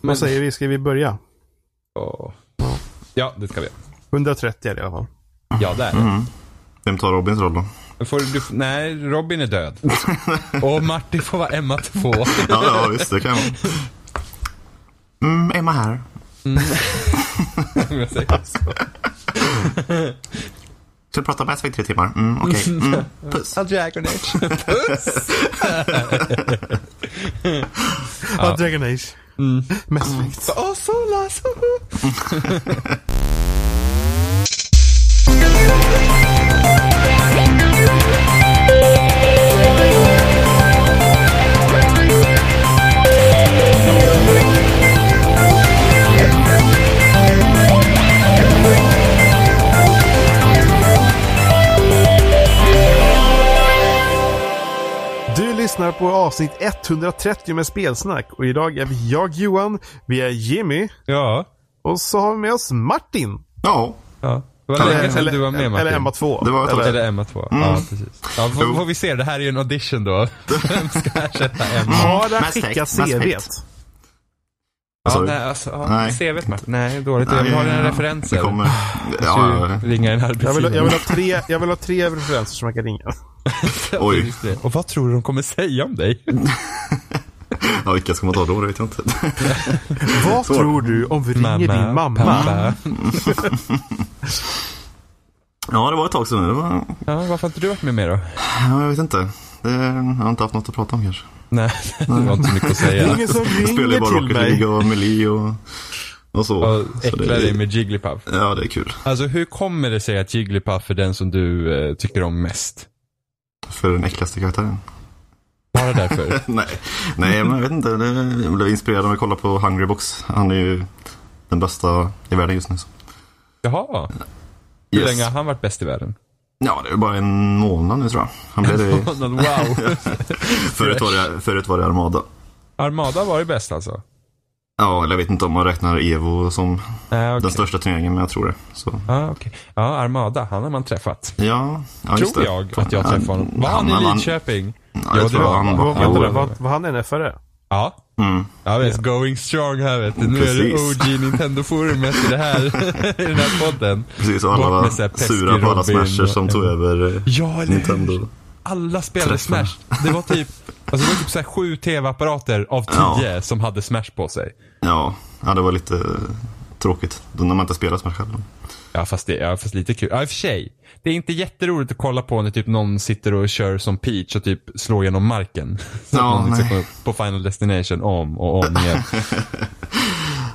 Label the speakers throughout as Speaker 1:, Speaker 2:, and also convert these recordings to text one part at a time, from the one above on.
Speaker 1: Vad säger vi? Ska vi börja?
Speaker 2: Åh. Ja, det ska vi.
Speaker 1: 130 är det i alla fall.
Speaker 2: Ja, där. Mm.
Speaker 3: Vem tar Robins roll då?
Speaker 2: Får du, f- nej, Robin är död. Och Martin får vara Emma 2.
Speaker 3: Ja, ja visst. Det kan jag vara. Mm, Emma här.
Speaker 2: Om jag säger så.
Speaker 3: Ska du prata om Aspect i tre timmar? Mm, okej. Mm, puss.
Speaker 2: All Dragon Age. Puss!
Speaker 1: Ja. Dragon Age. Mm. Mass Effect.
Speaker 2: Åh, sola, sola.
Speaker 1: Du lyssnar på avsnitt 130 med spelsnack och idag är vi jag Johan, vi är Jimmy
Speaker 2: Ja.
Speaker 1: och så har vi med oss Martin.
Speaker 3: Ja.
Speaker 2: ja. Det var länge sedan du var med Martin.
Speaker 1: Eller Emma Mm. 2.
Speaker 3: Det var ett tag.
Speaker 2: Eller Emma 2. Ja, precis. Ja, får, får vi se. Det här är ju en audition då. Vem ska ersätta
Speaker 3: Mm,
Speaker 2: Emma?
Speaker 1: Har den
Speaker 3: Mass
Speaker 1: skickat
Speaker 3: Effect, Mass Effect.
Speaker 1: CVt?
Speaker 2: Ja,
Speaker 3: Sorry.
Speaker 2: nej, alltså, ja,
Speaker 3: Nej.
Speaker 2: CVt Martin. Nej, dåligt. Jag har en referens.
Speaker 3: Det kommer. Ja, ja,
Speaker 2: Ja,
Speaker 3: ja.
Speaker 2: ringa en
Speaker 1: Jag vill,
Speaker 2: arbetsgivare.
Speaker 1: jag, vill ha tre, jag vill ha tre referenser som jag kan ringa.
Speaker 3: Oj.
Speaker 2: Just det. Och vad tror du de kommer säga om dig?
Speaker 3: ja, vilka ska man ta då? Det vet jag inte.
Speaker 1: Vad
Speaker 3: Så.
Speaker 1: tror du om vi ringer din mamma?
Speaker 2: Pappa.
Speaker 3: Ja, det var ett tag sedan nu. Det var...
Speaker 2: Ja, varför har inte du varit med mer då?
Speaker 3: Ja, jag vet inte. Det... Jag har inte haft något att prata om kanske.
Speaker 2: Nej, det var inte mycket att
Speaker 1: Det är
Speaker 2: säga.
Speaker 1: ingen som
Speaker 3: Jag spelar ju
Speaker 1: ringer
Speaker 3: bara
Speaker 1: till
Speaker 3: Rocket
Speaker 1: mig.
Speaker 3: League och Melee och, och så.
Speaker 2: Och
Speaker 3: så
Speaker 2: äckla dig
Speaker 3: det...
Speaker 2: med Jigglypuff.
Speaker 3: Ja, det är kul.
Speaker 2: Alltså hur kommer det sig att Jigglypuff är den som du eh, tycker om mest?
Speaker 3: För den äckligaste karaktären.
Speaker 2: Bara därför?
Speaker 3: Nej, nej men jag vet inte. Det- Jag blev inspirerad av att kolla på Hungry Box. Han är ju den bästa i världen just nu. så.
Speaker 2: Jaha. Hur
Speaker 3: Yes.
Speaker 2: länge har han varit bäst i världen?
Speaker 3: Ja, det är bara en månad nu tror jag. Han blev det.
Speaker 2: Wow.
Speaker 3: Förut var det, förut var det Armada.
Speaker 2: Armada var ju bäst alltså?
Speaker 3: Ja, eller jag vet inte om man räknar Evo som
Speaker 2: Äh,
Speaker 3: den
Speaker 2: okay.
Speaker 3: största turneringen, men jag tror det. Så,
Speaker 2: ah, okay. Ja, Armada, han har man träffat.
Speaker 3: ja, ja, just
Speaker 2: Tror
Speaker 3: det.
Speaker 2: jag att jag träffade honom. Var han, i Lidköping?
Speaker 3: Ja, jag tror
Speaker 2: det var
Speaker 3: han
Speaker 2: han.
Speaker 3: var.
Speaker 1: Vad- vänta nu,
Speaker 3: Jo,
Speaker 1: Vad vad han är NFR?
Speaker 2: Ja.
Speaker 3: Mm.
Speaker 2: Ja visst, going strong här vet du. Nu är det
Speaker 3: Precis.
Speaker 2: OG Nintendo-forumet i, det här, i den här podden.
Speaker 3: Precis, och alla
Speaker 2: Bort med
Speaker 3: var
Speaker 2: så här pesky
Speaker 3: sura på alla
Speaker 2: Robin
Speaker 3: smashers som
Speaker 2: och-
Speaker 3: tog över eh,
Speaker 2: Ja, eller hur?
Speaker 3: Nintendo.
Speaker 2: Alla spelade
Speaker 3: Träffar.
Speaker 2: Smash. Det var typ, alltså det var typ så här sju tv-apparater av
Speaker 3: Ja.
Speaker 2: tio som hade Smash på sig.
Speaker 3: Ja, ja, det var lite eh, tråkigt då när man inte spelar Smash själv.
Speaker 2: Ja fast, det, ja, fast lite kul. Ja, i och för sig. Det är inte jätteroligt att kolla på när typ någon sitter och kör som Peach och typ slår genom marken. Så
Speaker 3: Ja,
Speaker 2: att någon liksom
Speaker 3: nej.
Speaker 2: kommer upp på Final Destination om och om igen.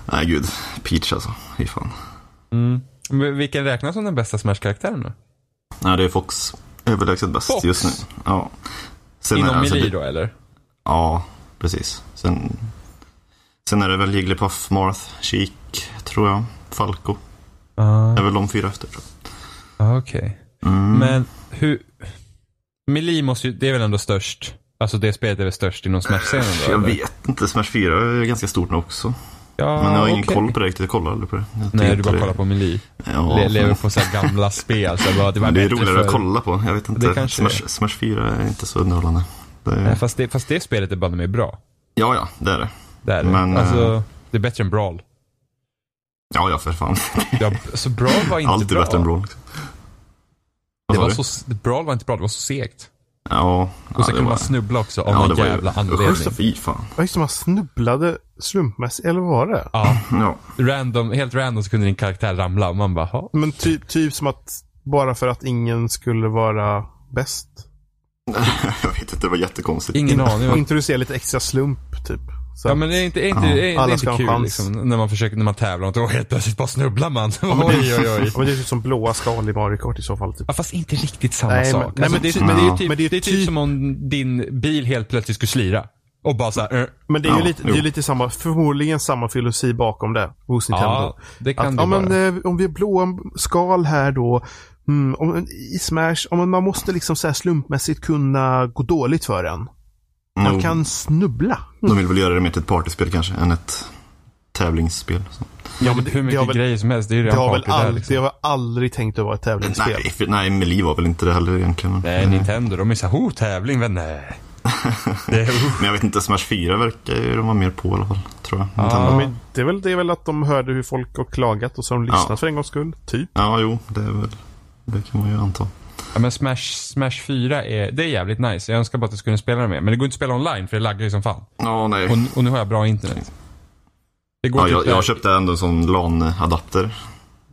Speaker 3: Nej, gud. Peach alltså. Fy fan.
Speaker 2: Men vilken räknas som den bästa Smash-karaktären då?
Speaker 3: Nej, det är Fox. Överlägset bäst
Speaker 2: Fox?
Speaker 3: just nu. Ja. Sen är-
Speaker 2: Inom
Speaker 3: alltså,
Speaker 2: Melee
Speaker 3: det-
Speaker 2: då eller?
Speaker 3: Ja, precis. Sen, sen är det väl Jigglypuff, Marth, Sheik, tror jag. Falco.
Speaker 2: Ah.
Speaker 3: Det är väl de fyra efter. Tror
Speaker 2: Ja, Okej.
Speaker 3: jag. Mm.
Speaker 2: Men hur... Melee måste ju, det är väl ändå störst? Alltså det spelet är väl störst inom Smash-scenen då?
Speaker 3: jag
Speaker 2: eller?
Speaker 3: vet inte. Smash 4 är ganska stort nu också.
Speaker 2: Ja,
Speaker 3: Men jag har ingen
Speaker 2: Ah, okej.
Speaker 3: koll på det riktigt. Jag kollar aldrig på det. Jag
Speaker 2: Nej,
Speaker 3: tycker
Speaker 2: du bara
Speaker 3: inte
Speaker 2: kollar på Melee.
Speaker 3: det.
Speaker 2: Le-
Speaker 3: Ja,
Speaker 2: lever på så här gamla spel. Så bara, det, var
Speaker 3: men det är
Speaker 2: bättre
Speaker 3: roligare att
Speaker 2: förr.
Speaker 3: kolla på. Jag vet
Speaker 2: Det
Speaker 3: inte.
Speaker 2: kanske det
Speaker 3: Smash, Smash 4 är inte så underhållande. Det
Speaker 2: Nej,
Speaker 3: är,
Speaker 2: fast, det, fast det spelet är banne mig bra.
Speaker 3: ja, ja, det är det.
Speaker 2: Det är det.
Speaker 3: Men, eh,
Speaker 2: alltså, det är bättre än Brawl.
Speaker 3: Ja, ja, för fan.
Speaker 2: Ja, så Brawl var inte
Speaker 3: Allt är
Speaker 2: bra.
Speaker 3: bättre än Brawl. Liksom. Vad
Speaker 2: Det
Speaker 3: sa
Speaker 2: var
Speaker 3: du?
Speaker 2: så, Brawl var inte bra, det var så segt.
Speaker 3: Ja,
Speaker 2: Och sen
Speaker 3: ja, det
Speaker 2: kunde
Speaker 3: var-
Speaker 2: man snubbla också av
Speaker 3: ja, det
Speaker 2: någon
Speaker 3: var ju-
Speaker 2: jävla
Speaker 3: Usch,
Speaker 2: anledning.
Speaker 3: fy fan.
Speaker 1: Ja, just det, man snubblade slumpmässigt, eller vad var det?
Speaker 2: Ja,
Speaker 3: Ja.
Speaker 2: random, helt random så kunde din karaktär ramla och man bara, "Ha."
Speaker 1: Men typ, typ som att, bara för att ingen skulle vara bäst.
Speaker 3: Jag vet inte, det var jättekonstigt. Mm.
Speaker 2: ingen aning.
Speaker 1: Och
Speaker 2: vad-
Speaker 1: introducera lite extra slump, typ. Så.
Speaker 2: Ja men det är inte, är inte,
Speaker 3: Ja.
Speaker 2: är, det är
Speaker 1: Alla ska
Speaker 2: inte
Speaker 1: ha en
Speaker 2: kul
Speaker 1: chans.
Speaker 2: liksom, när man försöker, när man tävlar och inte- och helt plötsligt bara snubblar man.
Speaker 1: men det-
Speaker 2: oj, oj, oj.
Speaker 1: Ja, men det är typ som blåa skal i Mario Kart i så fall. Typ.
Speaker 2: Ja, fast inte riktigt samma
Speaker 1: Nej, men-
Speaker 2: sak.
Speaker 1: nej,
Speaker 2: alltså,
Speaker 1: men
Speaker 2: det,
Speaker 1: ty-
Speaker 2: är- men det är ju
Speaker 3: ja.
Speaker 2: typ,
Speaker 1: Men
Speaker 2: det
Speaker 1: det
Speaker 2: är
Speaker 1: är
Speaker 2: typ,
Speaker 1: typ-
Speaker 2: som om din bil helt plötsligt skulle slira. Och bara såhär, uh,
Speaker 1: Men det är ju
Speaker 3: Ja,
Speaker 1: lite, det är
Speaker 3: jo.
Speaker 1: lite samma, förmodligen samma filosofi bakom det hos Nintendo.
Speaker 2: ja, det kan
Speaker 1: att,
Speaker 2: det
Speaker 1: ja, men,
Speaker 2: vara.
Speaker 1: eh, om vi har blåa skal här då. Mm, om, I Smash, om man måste liksom så här slumpmässigt kunna gå dåligt för en. Man
Speaker 3: Jo,
Speaker 1: kan snubbla.
Speaker 2: Mm.
Speaker 3: De vill väl göra det mer till ett partyspel kanske, än ett tävlingsspel. Så.
Speaker 2: ja, men
Speaker 1: det-
Speaker 2: hur
Speaker 1: det har
Speaker 2: mycket
Speaker 1: väl-
Speaker 2: grejer som helst, det är ju
Speaker 1: Det har
Speaker 2: redan
Speaker 1: väl
Speaker 2: party där
Speaker 1: all,
Speaker 2: liksom.
Speaker 1: det har väl aldrig tänkt att vara ett tävlingsspel.
Speaker 3: Nej, för- nej Melee var väl inte det heller egentligen. men-
Speaker 2: Nej, Nintendo, de är såhär, ho, tävling, men nej. Det är,
Speaker 3: Men jag vet inte, Smash 4 verkar ju de vara mer på i alla fall. Tror jag.
Speaker 1: Ja,
Speaker 3: Nintendo.
Speaker 1: men det, är väl, det är väl att de hörde hur folk har klagat och så har de lyssnat
Speaker 3: Ja.
Speaker 1: för en gångs skull. Typ.
Speaker 3: Ja, jo, det är väl. Det kan man ju anta.
Speaker 2: ja, men Smash, Smash 4 är, det är jävligt nice. Jag önskar bara att jag skulle spela det mer. Men det går inte att spela online för det laggar ju som fan.
Speaker 3: Ja, nej.
Speaker 2: Och, och nu har jag bra internet. liksom. Det går
Speaker 3: Ja,
Speaker 2: typ
Speaker 3: jag,
Speaker 2: där-
Speaker 3: jag köpte ändå en sån LAN-adapter.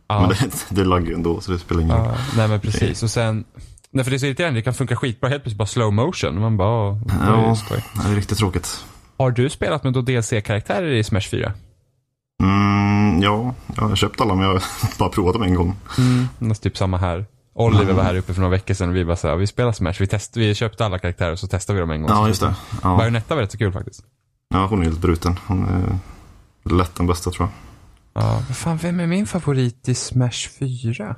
Speaker 2: Ja.
Speaker 3: Men det, det laggar ju ändå, så det spelar ingen roll.
Speaker 2: Ja, nej men precis. Och sen, nej för det är så irriterande, det kan funka skitbra helt plötsligt bara slow motion. Man bara, åh, det är
Speaker 3: Ja.
Speaker 2: skoj.
Speaker 3: Nej, Det är riktigt tråkigt.
Speaker 2: Har du spelat med då DLC-karaktärer i Smash 4?
Speaker 3: Mm, ja, jag har köpt alla men jag har bara provat dem en gång.
Speaker 2: Mm. Typ samma här. Oliver var här uppe för några veckor sedan och vi bara så här, vi spelar Smash, vi, test, vi köpte alla karaktärer och så testade vi dem en gång.
Speaker 3: Ja, just det. Ja,
Speaker 2: Bajonetta var rätt så kul faktiskt.
Speaker 3: ja hon är helt bruten. Hon är lätt den bästa tror jag.
Speaker 2: Ja, vad fan, vem är min favorit i Smash 4?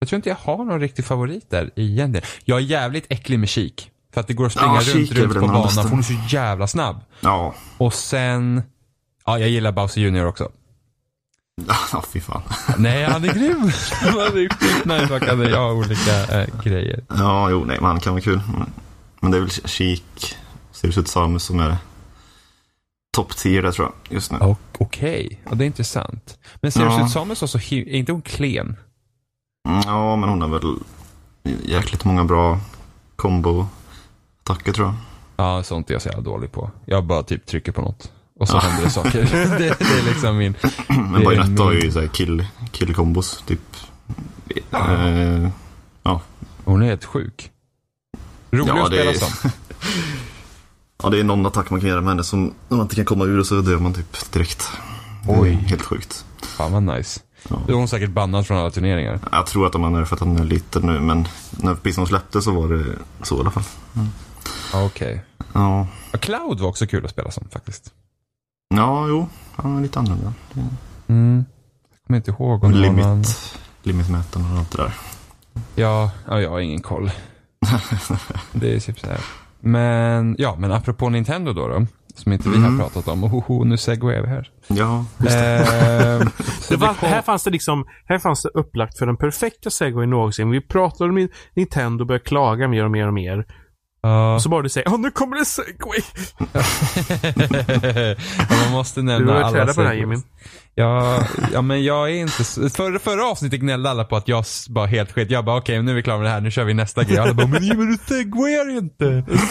Speaker 2: Jag tror inte jag har någon riktig favorit där egentligen. Jag är jävligt äcklig med Kik. För att det går att springa
Speaker 3: Ja,
Speaker 2: runt,
Speaker 3: Sheik är
Speaker 2: runt
Speaker 3: väl
Speaker 2: på
Speaker 3: den
Speaker 2: banan,
Speaker 3: bästa.
Speaker 2: för hon är så jävla snabb.
Speaker 3: Ja,
Speaker 2: Och sen, ja jag gillar Bowser Jr också.
Speaker 3: ja fy fan.
Speaker 2: Nej, han är grym. han är skitnice, han kan göra olika eh, grejer.
Speaker 3: Ja, jo, nej, men han kan vara kul. Men det är väl Chic, Sirius ut Samus som är topp 10 där tror jag just nu.
Speaker 2: Och- Okej, ja, det är intressant. Men ser
Speaker 3: Ja.
Speaker 2: ut Samus var så hi- är inte hon klen?
Speaker 3: Mm, Ja, men hon har väl jäkligt många bra combo-attacker tror jag.
Speaker 2: Ja, sånt är jag så jävla dålig på. Jag bara typ trycker på något. Och så händer det saker. det, det är liksom min... Det
Speaker 3: Mm, Men
Speaker 2: är
Speaker 3: Bajonetta
Speaker 2: min-
Speaker 3: har ju så här kill, kill-combos, typ. Eh, ja,
Speaker 2: Hon är helt sjuk. Rolig
Speaker 3: Ja,
Speaker 2: att
Speaker 3: det
Speaker 2: spela
Speaker 3: är-
Speaker 2: som.
Speaker 3: Ja, det är någon attack man kan göra med henne som om man inte kan komma ur så dör man typ direkt.
Speaker 2: Oj.
Speaker 3: Det är Helt sjukt.
Speaker 2: Fan vad nice.
Speaker 3: Ja.
Speaker 2: Då är hon säkert bannad från alla turneringar.
Speaker 3: Jag tror att de använder det för att han är liten nu, men när Bison släppte så var det så i alla fall.
Speaker 2: Ja, Okej.
Speaker 3: Ja,
Speaker 2: Ja, Cloud var också kul att spela som faktiskt.
Speaker 3: ja jo. Han är lite annorlunda.
Speaker 2: Mm. Jag kommer inte ihåg om det var någon annan.
Speaker 3: Limit, limitmätaren och allt det där.
Speaker 2: Ja, ja, jag har ingen koll. det är typ så här. Men, ja, men apropå Nintendo då, då som inte
Speaker 3: Mm.
Speaker 2: vi har pratat om. Oh, oh, nu segwayar vi här.
Speaker 3: Ja,
Speaker 2: Ehm, så
Speaker 1: Det var,
Speaker 2: kom-
Speaker 1: här, fanns det liksom, här fanns det upplagt för den perfekta segwayen någonsin. Vi pratade om Nintendo och började klaga mer och mer och mer.
Speaker 2: Ja.
Speaker 1: Och så bara du säger "Ja, nu kommer det segway.
Speaker 2: ja, man måste
Speaker 1: Du
Speaker 2: nämna
Speaker 1: behöver
Speaker 2: alla
Speaker 1: träda på det här
Speaker 2: segways.
Speaker 1: Jimmy.
Speaker 2: Ja, ja, men jag är inte så... Förra, förra avsnittet gnällde alla på att jag s- bara helt skit. Jag bara okej, nu är vi klara med det här. Nu kör vi nästa grej. Alla bara, men Jimmy du segwayar ju inte.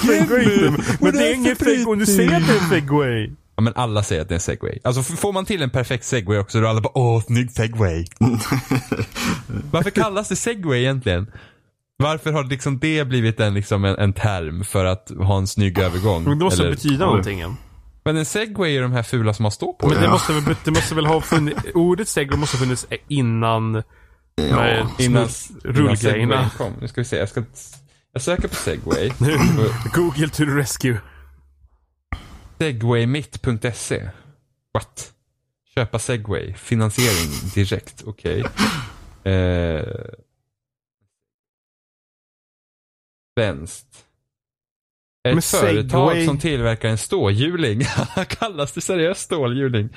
Speaker 2: Jimmy,
Speaker 1: Men
Speaker 2: vad
Speaker 1: det är
Speaker 2: för
Speaker 1: ingen segway. Du
Speaker 2: brytning?"
Speaker 1: säger att det är en segway.
Speaker 2: Ja, men alla säger att det är en segway. Alltså f- får man till en perfekt segway också då är alla bara åh, snygg segway. Varför kallas det segway egentligen? Varför har liksom det blivit en, liksom en, en term för att ha en snygg övergång?
Speaker 1: Men det måste
Speaker 2: Eller-
Speaker 1: betyda någonting. ja.
Speaker 2: Men en segway är de här fula som man står på.
Speaker 1: Men det
Speaker 3: Ja.
Speaker 1: måste väl, det måste väl ha funnits, ordet segway måste ha funnits innan
Speaker 3: ja.
Speaker 2: Innan,
Speaker 1: smurf-
Speaker 2: innan
Speaker 1: rullgrejerna.
Speaker 2: segwayn kom. Nu ska vi se, jag ska jag söker på segway.
Speaker 1: Google to the rescue.
Speaker 2: Segwaymitt.se. What? Köpa segway. Finansiering direkt. Okej. Eh, Svenskt. Ett
Speaker 1: Men
Speaker 2: företag
Speaker 1: Segway-
Speaker 2: som tillverkar en stålhjuling. Kallas det seriöst stålhjuling?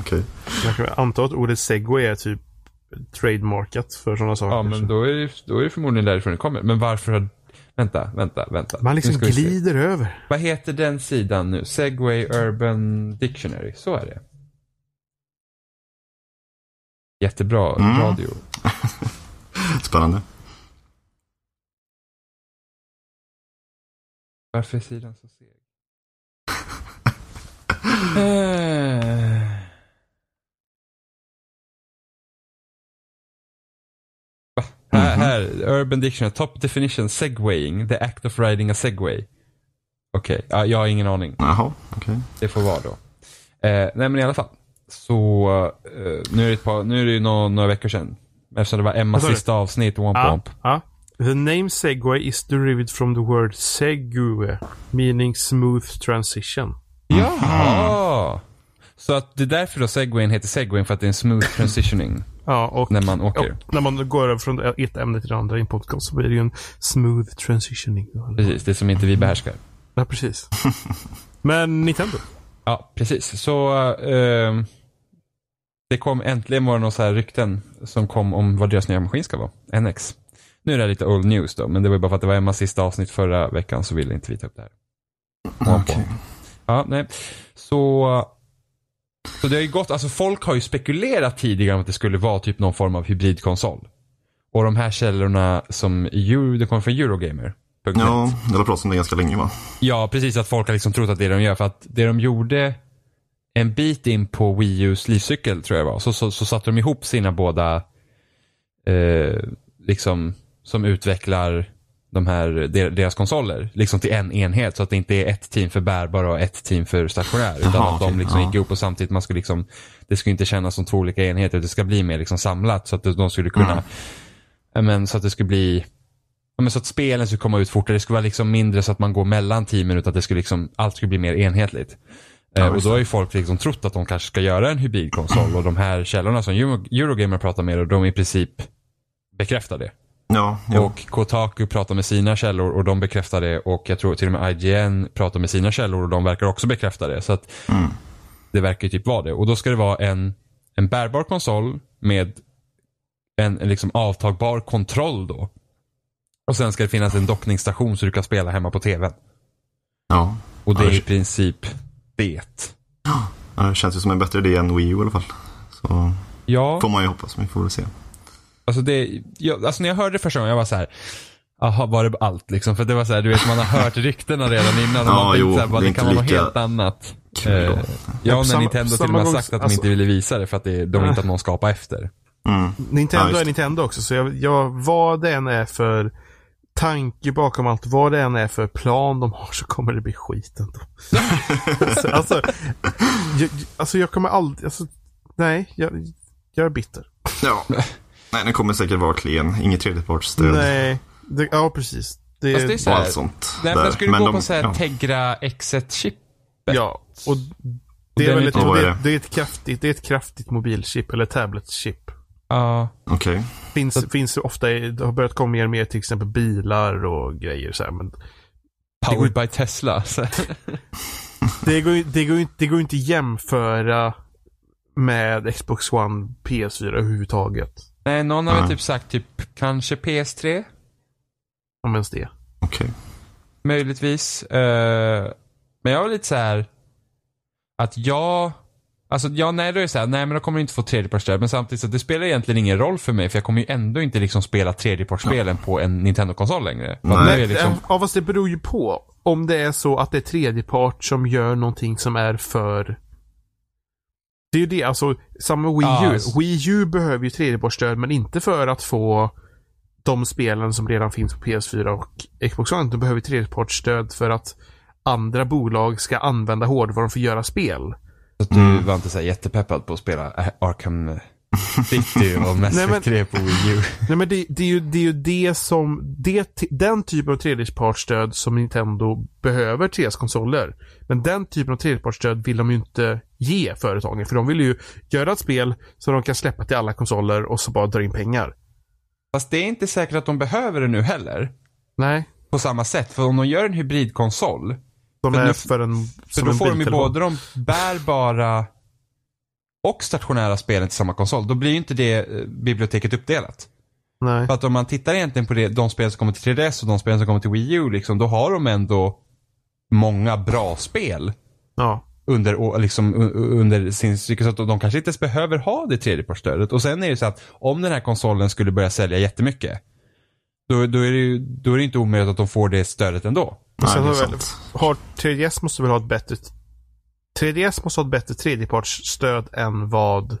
Speaker 3: okej.
Speaker 1: Jag kan anta att ordet segway är typ trademarkat för sådana saker.
Speaker 2: Ja, men då är, det, då är det förmodligen därifrån det kommer. Men varför har... Vänta, vänta, vänta.
Speaker 1: Man liksom
Speaker 2: Nu ska vi se.
Speaker 1: glider över.
Speaker 2: Vad heter den sidan nu? Segway Urban Dictionary. Så är det. Jättebra
Speaker 3: Mm.
Speaker 2: radio.
Speaker 3: Spännande.
Speaker 2: Varför är sidan så seg? Eh. Va? Här, här, Urban Dictionary, top definition, segwaying, the act of riding a segway. Okej, ja, jag har ingen aning.
Speaker 3: Jaha, okej.
Speaker 2: Det får vara då. Eh, nej men i alla fall. Så eh, nu är det, ett par, nu är det ju några, några veckor sedan. Eftersom det var
Speaker 1: Vad
Speaker 2: Emmas
Speaker 1: sa du?
Speaker 2: sista avsnitt, Womp
Speaker 1: Ja,
Speaker 2: Womp.
Speaker 1: ja. The name segway is derived from the word segue, meaning smooth transition.
Speaker 2: Jaha! Så att det är därför då segwayn heter segwayn, för att det är en smooth transitioning
Speaker 1: Ja, och
Speaker 2: när man åker.
Speaker 1: och när man går över från ett ämne till det andra i en podcast så blir det ju en smooth transitioning.
Speaker 2: Precis, det som inte vi behärskar.
Speaker 1: Ja, precis. Men Nintendo.
Speaker 2: Ja, precis. Så eh, det kom äntligen var det några så här rykten som kom om vad deras nya maskin ska vara. NX. Nu är det här lite old news då, men det var ju bara för att det var Emmas sista avsnitt förra veckan så ville inte vi ta upp det här.
Speaker 3: Okej.
Speaker 2: Ja, nej. Så, så det har ju gått, alltså folk har ju spekulerat tidigare om att det skulle vara typ någon form av hybridkonsol. Och de här källorna som EU, det kommer från Eurogamer.
Speaker 3: Ja, det har pratats om det ganska länge va?
Speaker 2: Ja, precis. Att folk har liksom trott att det är det de gör. För att det de gjorde en bit in på Wii U's livscykel, tror jag det var, så, så, så satte de ihop sina båda, eh, liksom, som utvecklar de här, der- deras konsoler, liksom till en enhet. Så att det inte är ett team för bärbara och ett team för stationär. Utan
Speaker 3: Jaha,
Speaker 2: att de
Speaker 3: okej,
Speaker 2: liksom
Speaker 3: ja.
Speaker 2: gick ihop och samtidigt, man ska liksom, det ska inte kännas som två olika enheter. Det ska bli mer liksom samlat. Så att de skulle kunna,
Speaker 3: Mm.
Speaker 2: ja, men, så att det skulle bli, Ja, men så att spelen skulle komma ut fortare. Det skulle vara liksom mindre så att man går mellan teamen utan att det skulle liksom, allt skulle bli mer enhetligt. Eh, och
Speaker 3: just
Speaker 2: då har ju folk liksom trott att de kanske ska göra en hybridkonsol och de här källorna som Euro- Eurogamer pratar med, och de i princip bekräftar det.
Speaker 3: Ja, jo.
Speaker 2: Och Kotaku pratar med sina källor och de bekräftar det och jag tror till och med IGN pratar med sina källor och de verkar också bekräfta det. Så att
Speaker 3: Mm.
Speaker 2: det verkar ju typ vara det. Och då ska det vara en, en bärbar konsol med en, en liksom avtagbar kontroll då. Och sen ska det finnas en dockningsstation så du kan spela hemma på tvn.
Speaker 3: ja.
Speaker 2: Och det
Speaker 3: Ja,
Speaker 2: är i
Speaker 3: det-
Speaker 2: princip det.
Speaker 3: Ja, Det känns ju som en bättre idé än Wii U i alla fall. Så
Speaker 2: Ja.
Speaker 3: får man ju hoppas, men vi får väl se.
Speaker 2: Alltså, det, jag, alltså när jag hörde det första gången, jag var så här. Jaha, var det allt liksom? För det var så här, du vet man har hört ryktena redan innan. och
Speaker 3: Ja,
Speaker 2: man tänkte
Speaker 3: jo,
Speaker 2: så här, bara,
Speaker 3: det är
Speaker 2: det kan
Speaker 3: inte
Speaker 2: vara något
Speaker 3: lika
Speaker 2: helt annat.
Speaker 3: kul då.
Speaker 2: Eh, ja, när
Speaker 1: samma-
Speaker 2: Nintendo till och
Speaker 1: samma
Speaker 2: med har
Speaker 1: gång-
Speaker 2: sagt att de
Speaker 1: alltså-
Speaker 2: inte ville visa det för att det, de vill inte att någon skapar efter.
Speaker 3: Mm. Ja,
Speaker 1: Nintendo
Speaker 3: just
Speaker 1: är
Speaker 3: det.
Speaker 1: Nintendo också, så jag, jag, vad det än är för tanke bakom allt, vad det än är för plan de har så kommer det bli skit ändå. alltså, alltså, jag, alltså jag kommer aldrig, alltså, nej, jag, jag är bitter.
Speaker 3: Ja. Nej, den kommer säkert vara klen. Inget tredjepartsstöd
Speaker 1: Nej, det, ja precis. Det,
Speaker 2: Fast det är så
Speaker 3: och
Speaker 2: här,
Speaker 3: allt sånt.
Speaker 2: nej,
Speaker 3: där.
Speaker 2: men jag skulle gå på så här
Speaker 3: ja.
Speaker 2: Tegra X1-chip.
Speaker 1: ja, och det
Speaker 2: Den
Speaker 1: är, väl
Speaker 2: är
Speaker 1: ett,
Speaker 2: inte-
Speaker 1: det,
Speaker 3: Vad är
Speaker 1: är-
Speaker 3: det?
Speaker 1: det är ett kraftigt, det är ett kraftigt mobilchip eller tabletchip.
Speaker 2: Ja,
Speaker 3: Okej.
Speaker 1: Finns, finns ju ofta, i- det har börjat komma mer och mer till exempel bilar och grejer så här, men
Speaker 2: powered by Tesla. Så här.
Speaker 1: Det går, ju- det, går, ju inte- det går ju inte att jämföra med Xbox One PS4 överhuvudtaget.
Speaker 2: nej, någon har väl
Speaker 3: Ja.
Speaker 2: typ sagt typ kanske PS3.
Speaker 1: Om ens det.
Speaker 3: Okej.
Speaker 2: Möjligtvis. Eh, men jag var lite så här att jag, alltså jag, nej då är det så här, nej men då kommer jag inte få tredjepartsstöd. Men samtidigt så det spelar egentligen ingen roll för mig för jag kommer ju ändå inte liksom spela tredjepartsspelen på en Nintendo-konsol längre. För att
Speaker 3: Nej.
Speaker 2: nu är liksom,
Speaker 1: eh, Ja, fast det beror ju på. Om det är så att det är tredjepart som gör någonting som är för... Det är ju det, alltså. Samma Wii U.
Speaker 2: Ja, alltså.
Speaker 1: Wii U behöver ju tredjepartsstöd, men inte för att få de spelen som redan finns på PS4 och Xbox One. De behöver tredjepartsstöd för att andra bolag ska använda hårdvaran för att göra spel.
Speaker 2: så att du var inte så här jättepeppad på att spela eh, Arkham City och Mass
Speaker 1: Nej, men-
Speaker 2: Effect 3 på Wii U.
Speaker 1: Nej men det, det, är ju, det är ju det som, det, den typen av tredjepartsstöd som Nintendo behöver till deras konsoler. Men den typen av tredjepartsstöd vill de ju inte ge företagen. För de vill ju göra ett spel som de kan släppa till alla konsoler och så bara dra in pengar.
Speaker 2: Fast det är inte säkert att de behöver det nu heller.
Speaker 1: Nej.
Speaker 2: På samma sätt, för om de gör en hybridkonsol
Speaker 1: De
Speaker 2: För
Speaker 1: är
Speaker 2: nu-
Speaker 1: för en,
Speaker 2: För
Speaker 1: som
Speaker 2: då
Speaker 1: en
Speaker 2: får de ju
Speaker 1: biltelefon.
Speaker 2: både de bärbara och stationära spelen till samma konsol. Då blir ju inte det eh, biblioteket uppdelat.
Speaker 1: Nej.
Speaker 2: För att om man tittar egentligen på det, de spel som kommer till 3DS och de spel som kommer till Wii U, liksom, då har de ändå många bra spel
Speaker 1: Ja.
Speaker 2: under, å- liksom, u- u- under sin cykel. Så att de kanske inte ens behöver ha det tredjepartsstödet. Och sen är det så att om den här konsolen skulle börja sälja jättemycket, då, då, är, det ju, då är det inte omöjligt att de får det stödet ändå.
Speaker 1: Och sen
Speaker 3: Nej, det är
Speaker 1: har, väl,
Speaker 3: sant.
Speaker 1: har 3DS måste väl ha ett bättre 3DS måste ha ett bättre tredjepartsstöd än vad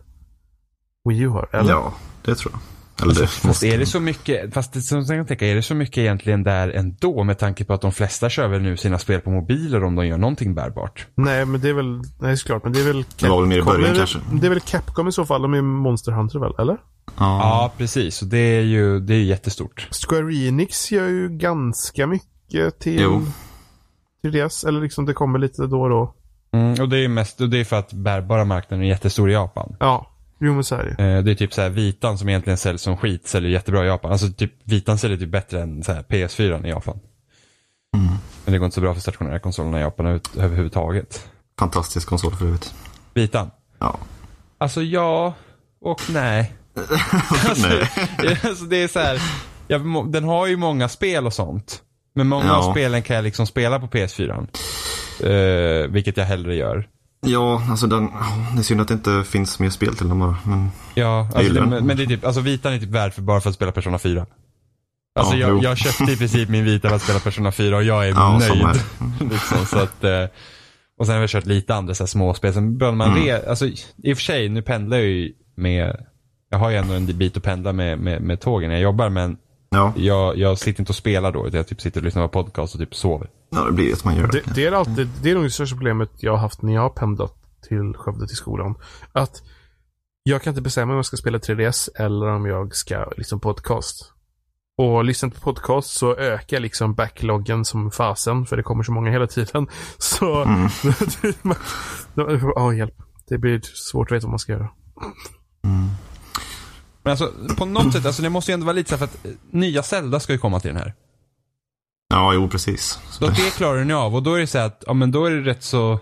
Speaker 1: Wii U har? Eller?
Speaker 3: Ja, det tror jag. Eller det
Speaker 2: Alltså, Fast
Speaker 3: måste...
Speaker 2: är det så mycket, fast det, som jag kan tänka, är det så mycket egentligen där ändå med tanke på att de flesta kör väl nu sina spel på mobiler om de gör någonting bärbart?
Speaker 1: Nej, men det är väl... Nej, såklart. Men det är väl...
Speaker 3: Det var väl mer i början
Speaker 1: Capcom, det är
Speaker 3: kanske.
Speaker 1: väl- Det är väl Capcom i så fall. De är Monster Hunter väl, eller?
Speaker 3: Ja.
Speaker 2: Ja, precis. Och det är ju, det är ju jättestort.
Speaker 1: Square Enix gör ju ganska mycket till...
Speaker 3: Jo.
Speaker 1: Till deras. Eller liksom det kommer lite då och då.
Speaker 2: Mm, och det är ju mest, och det är för att bärbara marknaden är jättestor i Japan.
Speaker 1: Ja. Jo, men så är det ju.
Speaker 2: Eh, Det är typ så här vitan som egentligen säljs som skit säljer jättebra i Japan. Alltså typ vitan säljer typ bättre än så här PS4 i Japan. Men det går inte så bra för stationära konsolerna i Japan över- överhuvudtaget.
Speaker 3: Fantastisk konsol för övrigt.
Speaker 2: Vitan.
Speaker 3: Ja.
Speaker 2: Alltså ja och nej. alltså, alltså det är så här. jag, må- den har ju många spel och sånt. Men många
Speaker 3: Ja.
Speaker 2: av spelen kan jag liksom spela på PS4. Eh, vilket jag hellre gör.
Speaker 3: Ja, alltså den, ja, det är synd att det inte finns mer spel till den bara. Men,
Speaker 2: Ja, alltså,
Speaker 3: gillar
Speaker 2: det,
Speaker 3: den.
Speaker 2: men, men det är typ, alltså vitan är typ värd för bara för att spela Persona 4. Alltså
Speaker 3: Ja, jo.
Speaker 2: jag, jag köpte i princip min vita för att spela Persona 4 och jag är
Speaker 3: ja, samma
Speaker 2: nöjd.
Speaker 3: här.
Speaker 2: Liksom, så att, eh, och sen har jag kört lite andra så här, småspel. Sen började
Speaker 3: Mm.
Speaker 2: man re, alltså, i och för sig, nu pendlar jag ju med, jag har ju ändå en bit att pendla med, med, med tågen när jag jobbar men
Speaker 3: Ja,
Speaker 2: jag, jag sitter inte och spelar då utan jag typ sitter och lyssnar på podcast och typ sover.
Speaker 3: ja, det blir att man gör det.
Speaker 1: Det, det, är alltid, det är nog det största problemet jag har haft när jag har pendlat till Skövde till skolan. Att jag kan inte bestämma om jag ska spela 3DS eller om jag ska liksom podcast. Och lyssnar på podcast så ökar liksom backloggen som fasen för det kommer så många hela tiden. Så...
Speaker 3: Mm.
Speaker 1: Ja, hjälp. Det blir svårt att veta vad man ska göra.
Speaker 2: Men alltså på något sätt, alltså det måste ju ändå vara lite så här för att eh, nya Zelda ska ju komma till den här.
Speaker 3: Ja, jo precis.
Speaker 2: Då det klarar den ju av och då är det så här att, ja men då är det rätt så,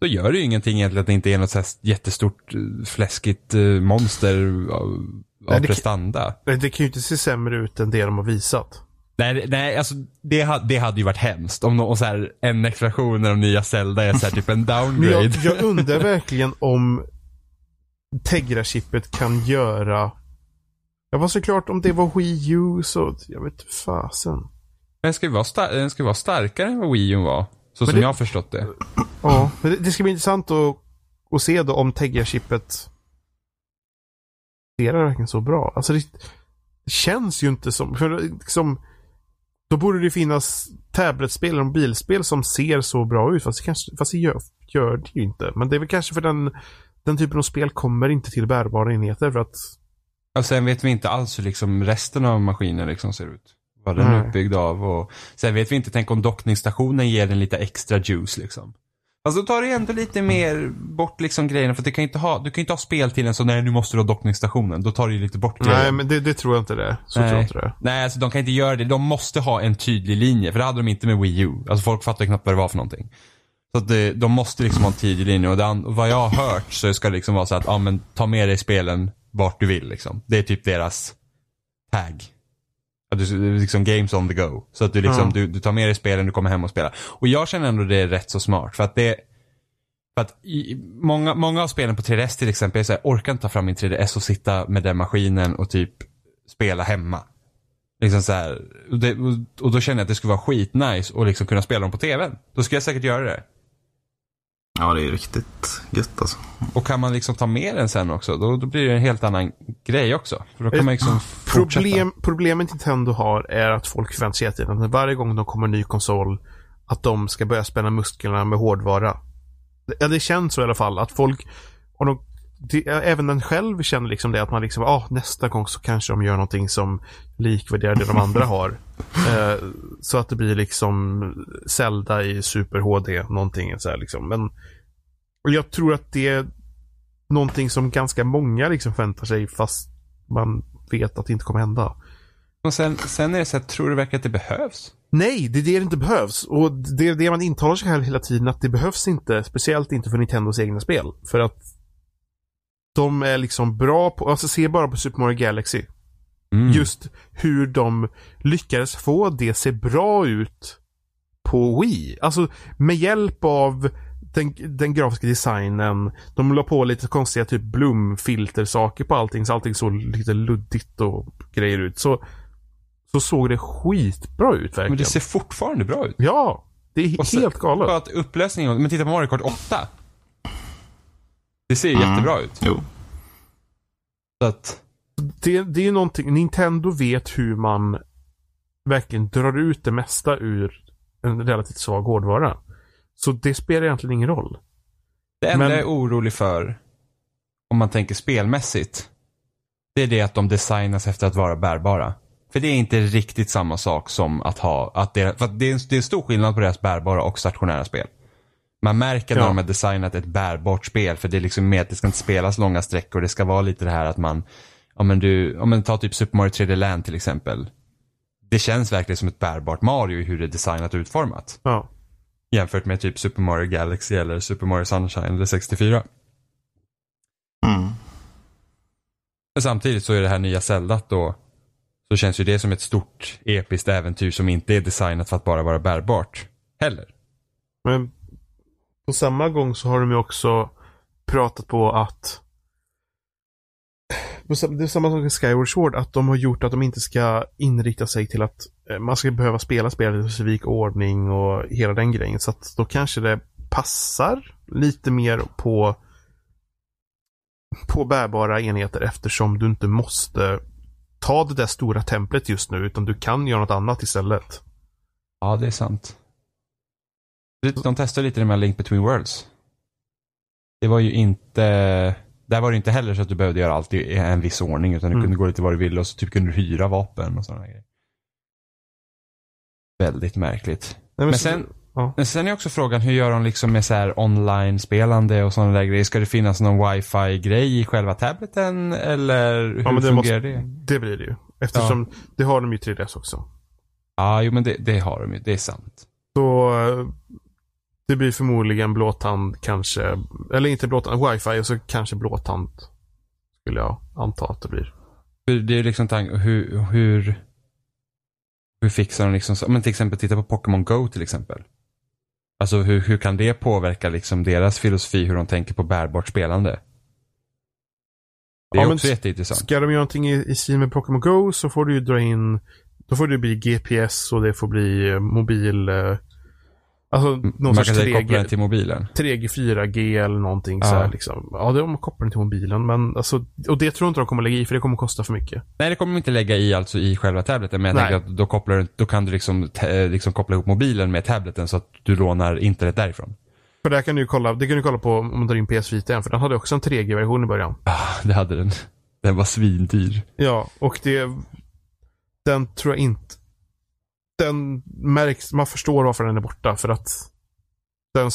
Speaker 2: då gör det ju ingenting egentligen att det inte är något så här jättestort eh, fläskigt eh, monster av,
Speaker 1: Nej,
Speaker 2: av
Speaker 1: det kan-
Speaker 2: prestanda.
Speaker 1: Men det kan ju inte se sämre ut än det de har visat.
Speaker 2: Nej, det- nej alltså det, ha- det hade ju varit hemskt om någon, så här, en expansion av nya Zelda är så här, typ en
Speaker 1: Men
Speaker 2: downgrade.
Speaker 1: jag, jag undrar verkligen om Tegra-chippet kan göra... Jag var såklart om det var Wii U så... Jag vet fasen.
Speaker 2: Den ska ju vara, star- den ska ju vara starkare än vad Wii U var. Så som
Speaker 1: det-
Speaker 2: jag har förstått det.
Speaker 1: Ja, men det, det ska bli intressant att, att se då om Tegra-chippet fungerar verkligen så bra. Alltså det känns ju inte som... För liksom, då borde det finnas tabletspel eller mobilspel som ser så bra ut. Fast det, kanske, fast det gör, gör det ju inte. Men det är väl kanske för den, den typen av spel kommer inte till bärbara enheter för att
Speaker 2: Och sen vet vi inte alls hur liksom resten av maskinen liksom ser ut. Vad den
Speaker 1: Nej.
Speaker 2: är uppbyggd av. Och sen vet vi inte, tänk om dockningsstationen ger den lite extra juice liksom. Alltså då tar det ändå lite
Speaker 1: Mm.
Speaker 2: mer bort liksom grejerna. För att du kan ju inte ha, du kan ju inte ha spel till en så nej nu måste du ha dockningsstationen. Då tar det ju lite bort grejer.
Speaker 1: Nej, men det, det tror jag inte det är. Så tror jag inte det är.
Speaker 2: Nej, alltså de kan inte göra det. De måste ha en tydlig linje. För det hade de inte med Wii U. Alltså folk fattade knappt vad det var för någonting. Så att det, de måste liksom ha en tydlig linje. Och det, an- vad jag har hört så ska det liksom vara så att, ja men ta med dig spelen vart du vill liksom. Det är typ deras tag. Att du, liksom games on the go. Så att du liksom,
Speaker 1: Ja.
Speaker 2: du, du tar med dig spelen, du kommer hem och spelar. Och jag känner ändå det är rätt så smart. För att det, för att i, många, många av spelen på 3DS till exempel, är så här, orkar inte ta fram min 3DS och sitta med den maskinen och typ spela hemma. Liksom så här, och, det, och- och då känner jag att det skulle vara skitnice och liksom kunna spela dem på TVn. Då skulle jag säkert göra det.
Speaker 3: Ja, det är riktigt gött alltså.
Speaker 2: Och kan man liksom ta med den sen också, då, då blir det en helt annan grej också. För då kan man liksom fortsätta.
Speaker 1: Problem, problemet Nintendo har är att folk förväntar sig hela tiden att varje gång de kommer en ny konsol att de ska börja spänna musklerna med hårdvara. Det- Ja, det känns så i alla fall. Att folk, och de, det, även den själv känner liksom det att man liksom, ah, nästa gång så kanske de gör någonting som likvärderar det de andra har. Eh, så att det blir liksom Zelda i Super HD, någonting så här liksom. Men och jag tror att det är någonting som ganska många liksom förväntar sig fast man vet att det inte kommer hända.
Speaker 2: Och sen, sen är det så här, tror du verkligen att det behövs?
Speaker 1: Nej, det är det det inte behövs. Och det är det man intalar sig här hela tiden att det behövs inte. Speciellt inte för Nintendos egna spel. För att de är liksom bra på, alltså se bara på Super Mario Galaxy.
Speaker 2: Mm.
Speaker 1: Just hur de lyckades få det se bra ut på Wii. Alltså med hjälp av den, den grafiska designen. De la på lite konstiga typ blomfiltersaker på allting så allting såg lite luddigt och grejer ut. Så, så såg det skitbra ut verkligen.
Speaker 2: Men det ser fortfarande bra ut.
Speaker 1: Ja! Det är he-
Speaker 2: Och sen-
Speaker 1: helt galet.
Speaker 2: Bara att upplösningen, men titta på Mario Kart 8. Det ser ju
Speaker 3: Mm.
Speaker 2: jättebra ut.
Speaker 3: Jo.
Speaker 2: Så att,
Speaker 1: det, det är ju någonting, Nintendo vet hur man verkligen drar ut det mesta ur en relativt svag hårdvara. Så det spelar egentligen ingen roll.
Speaker 2: det enda
Speaker 1: Men-
Speaker 2: jag är orolig för, om man tänker spelmässigt, det är det att de designas efter att vara bärbara. För det är inte riktigt samma sak som att ha, att det, för att det, är en, det är en stor skillnad på deras bärbara och stationära spel. Man märker när
Speaker 1: Ja.
Speaker 2: de har designat ett bärbart spel för det är liksom mer att det ska inte spelas långa sträckor. Det ska vara lite det här att man, om men du, om man tar typ Super Mario 3D Land till exempel. Det känns verkligen som ett bärbart Mario i hur det är designat och utformat.
Speaker 1: Ja.
Speaker 2: Jämfört med typ Super Mario Galaxy eller Super Mario Sunshine eller 64.
Speaker 3: Mm.
Speaker 2: Men Samtidigt så är det här nya Zelda då så känns ju det som ett stort episkt äventyr som inte är designat för att bara vara bärbart. Heller.
Speaker 1: Men på samma gång så har de ju också pratat på att på sam- det är samma sak med Skyward Sword, att de har gjort att de inte ska inrikta sig till att eh, man ska behöva spela spelet i specifik ordning och hela den grejen. Så att då kanske det passar lite mer på på bärbara enheter eftersom du inte måste ta det där stora templet just nu utan du kan göra något annat istället.
Speaker 2: Ja, det är sant. De testar lite det med Link Between Worlds. Det var ju inte, där var det inte heller så att du behövde göra allt i en viss ordning utan du
Speaker 1: Mm.
Speaker 2: kunde gå lite var du ville och så typ kunde du hyra vapen och sådana grejer. Väldigt märkligt.
Speaker 1: Nej,
Speaker 2: Men
Speaker 1: så-
Speaker 2: sen-
Speaker 1: ja.
Speaker 2: Men sen är också frågan, hur gör de liksom med så här online-spelande och sådana där grejer? Ska det finnas någon wifi-grej i själva tableten eller hur
Speaker 1: Ja, men det,
Speaker 2: fungerar
Speaker 1: måste,
Speaker 2: det?
Speaker 1: det blir det ju. Eftersom det har de ju i 3DS också.
Speaker 2: Ja, jo men det, det har de ju, det är sant.
Speaker 1: Så eh, det blir förmodligen blåtand kanske. Eller inte blåtand, wifi och så kanske blåtand. Skulle jag anta att det blir.
Speaker 2: Hur, det är liksom tanken, hur, hur, hur fixar de liksom, så- men till exempel titta på Pokémon Go till exempel. Alltså hur, hur kan det påverka liksom deras filosofi, hur de tänker på bärbart spelande? Det är
Speaker 1: Ja, men
Speaker 2: också
Speaker 1: s-
Speaker 2: jätteintressant.
Speaker 1: Ska de göra någonting i, i stil med Pokémon Go så får du ju dra in. Då får det bli GPS och det får bli eh, mobil. eh, Alltså någon
Speaker 2: Mm, Man kan
Speaker 1: sorts
Speaker 2: säga koppla den
Speaker 1: 3G,
Speaker 2: till mobilen.
Speaker 1: 3G, 4G eller någonting
Speaker 2: Ja.
Speaker 1: så här liksom. Ja, de kopplar den till mobilen men alltså. Och det tror jag inte de kommer lägga i för det kommer kosta för mycket.
Speaker 2: Nej, det kommer de inte lägga i alltså i själva tableten. Men jag
Speaker 1: Nej.
Speaker 2: tänker att då, kopplar, du- då kan du liksom, ta- eh, liksom koppla ihop mobilen med tableten så att du lånar internet därifrån.
Speaker 1: För där kan du ju kolla, det kan du kolla på om du drar in PS Vita igen för den hade också en 3G-version i början.
Speaker 2: Ah, det hade den. Den var svindyr.
Speaker 1: Ja, och det... Den tror jag inte... Den märks, man förstår varför den är borta för att den,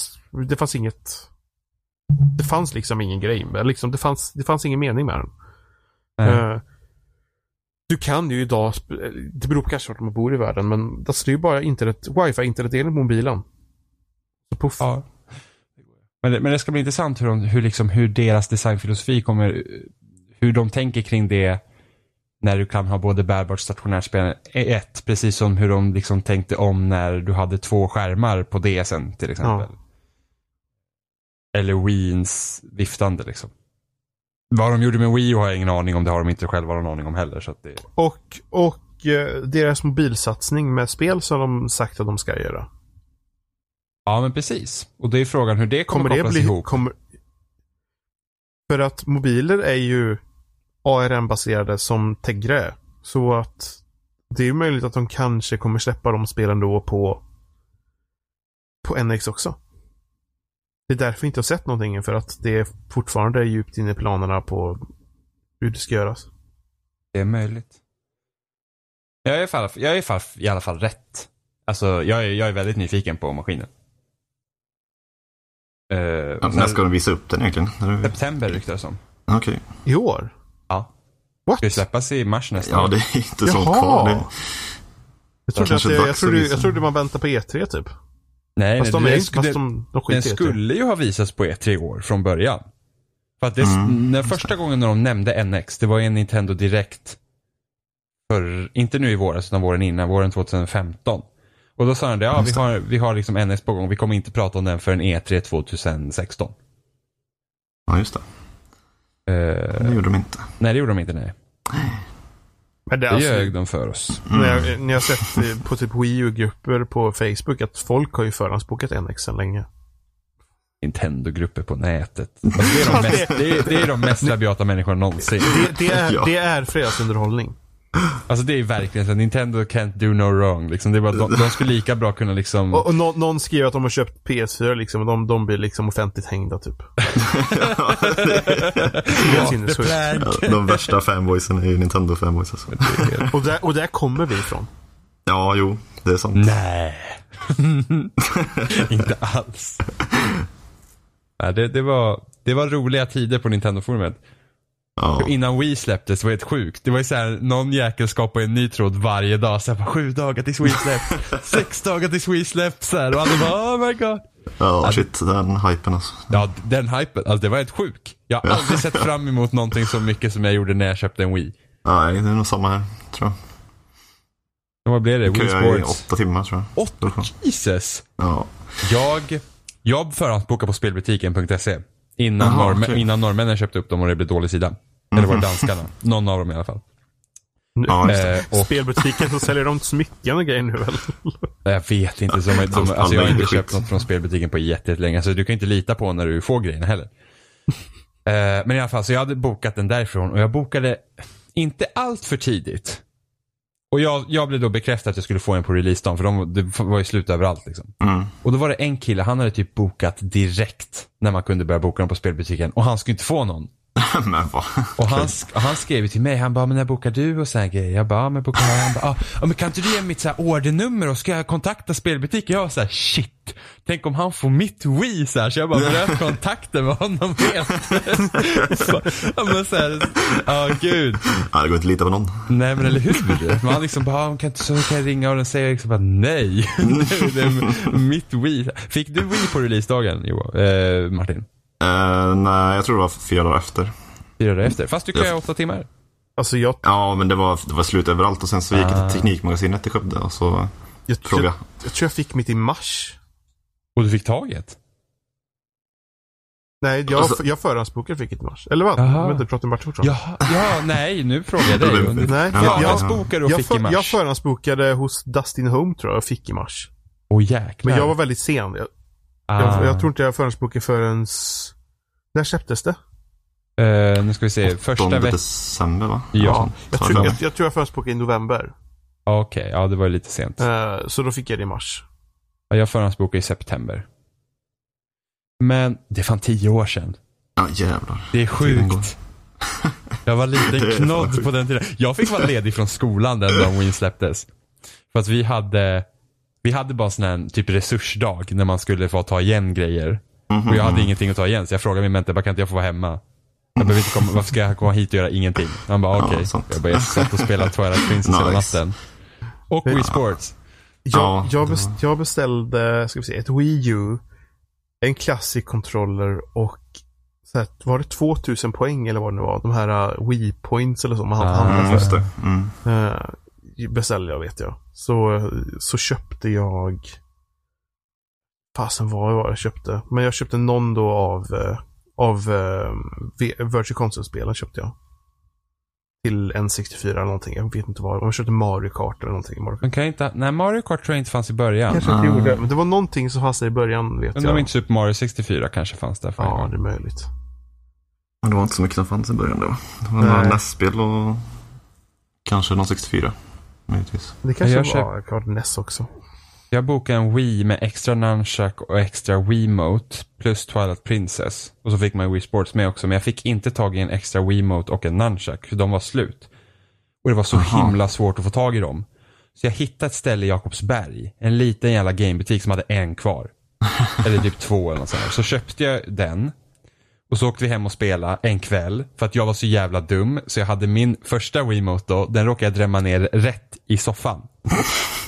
Speaker 1: det fanns inget... Det fanns liksom ingen grej med liksom, det, fanns, det fanns ingen mening med den.
Speaker 2: Nej.
Speaker 1: Eh, du kan ju idag, sp- eh, det beror på kanske vart man bor i världen, men alltså, det är ju bara internet, wifi, internetdelen på mobilen. Så puff.
Speaker 2: Ja. Men det, men det ska bli intressant hur, de, hur, liksom, hur deras designfilosofi kommer, hur de tänker kring det när du kan ha både bärbart och stationärt spel i ett, precis som hur de liksom tänkte om när du hade två skärmar på DSen till exempel. Eller Wiens viftande liksom. Vad de gjorde med Wii har jag ingen aning om, det har de inte själva någon aning om heller. Så att det,
Speaker 1: Och, och eh, deras mobilsatsning med spel som de sagt att de ska göra.
Speaker 2: ja men precis. Och det är frågan hur det kommer,
Speaker 1: Kommer det
Speaker 2: kopplas
Speaker 1: bli
Speaker 2: ihop.
Speaker 1: Kommer... För att mobiler är ju ARM-baserade som Tegra är. Så att det är ju möjligt att de kanske kommer släppa de spelen då på på NX också. Det är därför vi inte har sett någonting för att det är fortfarande djupt inne i planerna på hur det ska göras.
Speaker 2: Det är möjligt. Jag är i alla fall, jag är i, alla fall, i alla fall rätt. Alltså, jag är, jag är väldigt nyfiken på maskinen. Eh,
Speaker 3: Ja,
Speaker 2: och sen-
Speaker 3: när ska de visa upp den egentligen? När är det-
Speaker 2: September ryktas det som.
Speaker 3: Okej.
Speaker 1: I år?
Speaker 2: Ja.
Speaker 1: What?
Speaker 2: Ska ju släppas i mars nästa
Speaker 3: Ja,
Speaker 2: år.
Speaker 3: det är inte
Speaker 1: Jaha.
Speaker 3: sånt kvar. Det,
Speaker 1: Jag trodde, att
Speaker 3: kanske
Speaker 1: det,
Speaker 3: är
Speaker 1: jag,
Speaker 3: dags
Speaker 1: trodde,
Speaker 3: att visa.
Speaker 1: jag trodde man väntar på E3 typ.
Speaker 2: Nej,
Speaker 1: Fast de,
Speaker 2: det-
Speaker 1: är,
Speaker 2: det-
Speaker 1: fast de, de
Speaker 2: den
Speaker 3: E
Speaker 1: skiter i det.
Speaker 2: skulle ju ha visats på E3 i år från början. För att det,
Speaker 3: Mm,
Speaker 2: när första gången när de nämnde NX, det var ju en Nintendo Direkt. För, inte nu i våras, utan våren innan, våren 2015. Och då sa han det, ja vi
Speaker 3: Just det.
Speaker 2: har, vi har liksom NX på gång, vi kommer inte prata om den förrän E E3 2016.
Speaker 3: ja, just det.
Speaker 2: Eh,
Speaker 3: Det gjorde de inte.
Speaker 2: nej, det gjorde de inte, nej.
Speaker 1: Men det, är
Speaker 2: Det
Speaker 1: alltså-
Speaker 2: ljög de för oss.
Speaker 1: När, jag, när jag har sett eh, på typ Wii U-grupper på Facebook att folk har ju förhandsbokat NX sedan länge.
Speaker 2: Nintendo-grupper på nätet. Alltså, det, är de mest, det, är, det är de mest rabiata människorna någonsin.
Speaker 1: Det, det, är,
Speaker 3: Ja.
Speaker 1: det är fredagsunderhållning.
Speaker 2: Alltså det är verkligen så, här, Nintendo can't do no wrong. Liksom, det är bara, de, de skulle lika bra kunna liksom...
Speaker 1: Och, och nå- någon skriver att de har köpt PS4 liksom och de, de blir liksom offentligt hängda typ. det är sinnessjukt.
Speaker 3: Ja, De värsta fanboysen är ju Nintendo-fanboys. Alltså.
Speaker 1: Och där, och där kommer vi ifrån.
Speaker 3: Ja, jo, det är sant.
Speaker 2: Nej. Inte alls. Nej, det, det, var, det var roliga tider på Nintendo-forumet.
Speaker 3: Ja.
Speaker 2: Innan Wii släpptes, det var helt sjukt. Det var ju såhär, någon jäkel skapade en ny tråd varje dag. Såhär, bara, sju dagar tills Wii släpps. sex dagar tills Wii släpps. Så här, och alla bara, oh my god.
Speaker 3: ja, shit, den hypen alltså.
Speaker 2: Ja, den hypen. Alltså det var helt sjuk. Jag har aldrig sett fram emot någonting så mycket som jag gjorde när jag köpte en Wii.
Speaker 3: Nej, det är nog samma här, tror jag.
Speaker 2: Vad blev det? Wii
Speaker 3: Köade i
Speaker 2: Sports?
Speaker 3: åtta timmar tror jag.
Speaker 2: Åtta? Jesus!
Speaker 3: Ja.
Speaker 2: Jag, jag förhandsbokade på spelbutiken.se. Innan,
Speaker 3: Jaha,
Speaker 2: norm,
Speaker 3: okej.
Speaker 2: innan norrmännen köpte upp dem och det blev dålig sida. Eller var det danskarna? Någon av dem i alla fall.
Speaker 3: Ja, just det.
Speaker 2: Eh, och
Speaker 1: Spelbutiken så säljer de smycken och grejer nu väl?
Speaker 2: Nej, Jag vet inte. Som, som,
Speaker 3: Alla
Speaker 2: alltså, jag har
Speaker 3: är
Speaker 2: inte
Speaker 3: skit.
Speaker 2: köpt något från spelbutiken på jättelänge. Alltså, du kan inte lita på när du får grejerna heller. Eh, men i alla fall, så jag hade bokat den därifrån och jag bokade inte allt för tidigt. Och jag, jag blev då bekräftad att jag skulle få en på releasedagen för de, det var ju slut överallt. Liksom.
Speaker 3: Mm.
Speaker 2: Och då var det en kille, han hade typ bokat direkt när man kunde börja boka dem på spelbutiken och han skulle inte få någon.
Speaker 3: Men vad?
Speaker 2: Och han, sk- och han skrev ju till mig, han bara, men när bokar du och sån här grejer? Jag bara, "Ja, men bokar jag? Han bara, "Ah, ja men kan inte du ge mig mitt så här ordernummer och ska jag kontakta spelbutiken? Jag var så här, shit. Tänk om han får mitt Wii så här, så jag bara bröt kontakten med honom helt. Så- Ja men så här, ja gud.
Speaker 3: Ja, det går inte att lita på någon.
Speaker 2: Nej men eller hur? Man liksom bara, "Ah, men kan inte så kan jag ringa och den säger liksom bara nej. Det är mitt Wii. Fick du Wii på releasedagen Johan, eh, Martin?
Speaker 3: Eh, nej, jag tror det var fyra dagar efter.
Speaker 2: Fyra dagar efter? Fast du kan ju ha åtta timmar.
Speaker 1: Alltså jag,
Speaker 3: Ja, men det var, det var slut överallt och sen så gick jag
Speaker 2: Ah.
Speaker 3: till Teknikmagasinet i Skövde och så
Speaker 1: jag,
Speaker 3: frågade
Speaker 1: jag,
Speaker 3: jag.
Speaker 1: jag tror jag fick mitt i mars.
Speaker 2: Och du fick taget?
Speaker 1: Nej, jag,
Speaker 3: Alltså-
Speaker 1: jag förhandsbokade fick mitt i mars. Eller vad?
Speaker 2: Jaha.
Speaker 1: Jag vet inte prata om match fortfarande.
Speaker 2: Ja, ja, nej, nu frågar jag dig. Om du-
Speaker 1: Nej, jag,
Speaker 3: Ja, ja.
Speaker 1: jag,
Speaker 2: Förhandsbokade och
Speaker 1: jag,
Speaker 2: fick i
Speaker 1: för, jag
Speaker 2: mars. Åh
Speaker 1: förhandsbokade hos Dustin Home tror jag och fick i mars.
Speaker 2: jäklar.
Speaker 1: Men jag var väldigt sen. Jag,
Speaker 2: Ah.
Speaker 1: jag, jag tror inte jag förhandsbokade förrän... s- När släpptes det?
Speaker 2: Eh, nu ska vi se, första
Speaker 3: 8
Speaker 2: veckan.
Speaker 3: december va?
Speaker 2: Ja,
Speaker 1: Jag
Speaker 3: Ta
Speaker 1: tror
Speaker 3: fram.
Speaker 1: jag, jag, tror jag förhandsbokade i november.
Speaker 2: Okej, ja det var ju lite sent.
Speaker 1: Eh, så då fick jag det i mars.
Speaker 2: Ja, Jag förhandsbokade i september. Men det är fan tio år sedan.
Speaker 3: Ja, jävlar.
Speaker 2: Det är
Speaker 3: Tiden går.
Speaker 2: sjukt. Jag var
Speaker 3: Det är
Speaker 2: liten
Speaker 3: fan
Speaker 2: knodd
Speaker 3: sjukt.
Speaker 2: på den tiden. Jag fick vara ledig från skolan den dagen Win släpptes. För att vi hade, vi hade bara sån här typ resursdag när man skulle få ta igen grejer. Och jag
Speaker 3: Mhm.
Speaker 2: hade ingenting att ta igen så jag frågade min mentor, bara kan inte jag få vara hemma? Jag behöver inte komma, varför ska jag komma hit och göra ingenting? Han bara
Speaker 3: Ja,
Speaker 2: okej.
Speaker 3: sant.
Speaker 2: Jag bara, jag satt och spelade Twilight Princess hela
Speaker 3: Nice.
Speaker 2: natten. Och Wii Sports.
Speaker 1: Jag,
Speaker 3: Ja,
Speaker 1: jag,
Speaker 3: det
Speaker 1: best, jag beställde, ska vi se, ett Wii U, en Classic Controller och så här, var det 2000 poäng eller vad det nu var? De här uh, Wii Points eller så man
Speaker 2: Ah.
Speaker 1: handlar
Speaker 3: Mm,
Speaker 1: för.
Speaker 3: just det. Mm.
Speaker 1: Eh, beställde jag vet jag. Så, så köpte jag Fasen vad var det jag köpte? Men jag köpte någon då av, eh, av eh, V- Virtual Console-spelen köpte jag. Till N64 eller någonting. Jag vet inte vad det var. Jag köpte Mario Kart eller någonting. Mario Kart.
Speaker 2: Men kan jag inte, nej Mario Kart tror jag inte fanns i början.
Speaker 1: Kanske inte gjorde. Men det var någonting som fanns där i början vet
Speaker 2: Undrar om
Speaker 1: jag.
Speaker 2: inte Super Mario 64 kanske fanns där för en
Speaker 1: Ja,
Speaker 2: gång.
Speaker 1: det är möjligt.
Speaker 3: Men det var inte så mycket som fanns i början då. va? Det var några
Speaker 1: Nej.
Speaker 3: NES-spel och kanske någon 64. Möjligtvis.
Speaker 1: Det kanske
Speaker 2: jag
Speaker 1: jag
Speaker 2: köp-
Speaker 1: var jag köpte NES också.
Speaker 2: Jag bokade en Wii med extra nunchuck och extra Wiimote plus Twilight Princess. Och så fick man Wii Sports med också, men jag fick inte tag i en extra Wiimote och en nunchuck, för de var slut. Och det var så
Speaker 3: Aha.
Speaker 2: himla svårt att få tag i dem. Så jag hittade ett ställe i Jakobsberg, en liten jävla gamebutik som hade en kvar. Eller typ två eller något sånt där. Så köpte jag den. Och så åkte vi hem och spelade en kväll. För att jag var så jävla dum. Så jag hade min första Wiimote då. Den råkade jag drämma ner rätt i soffan.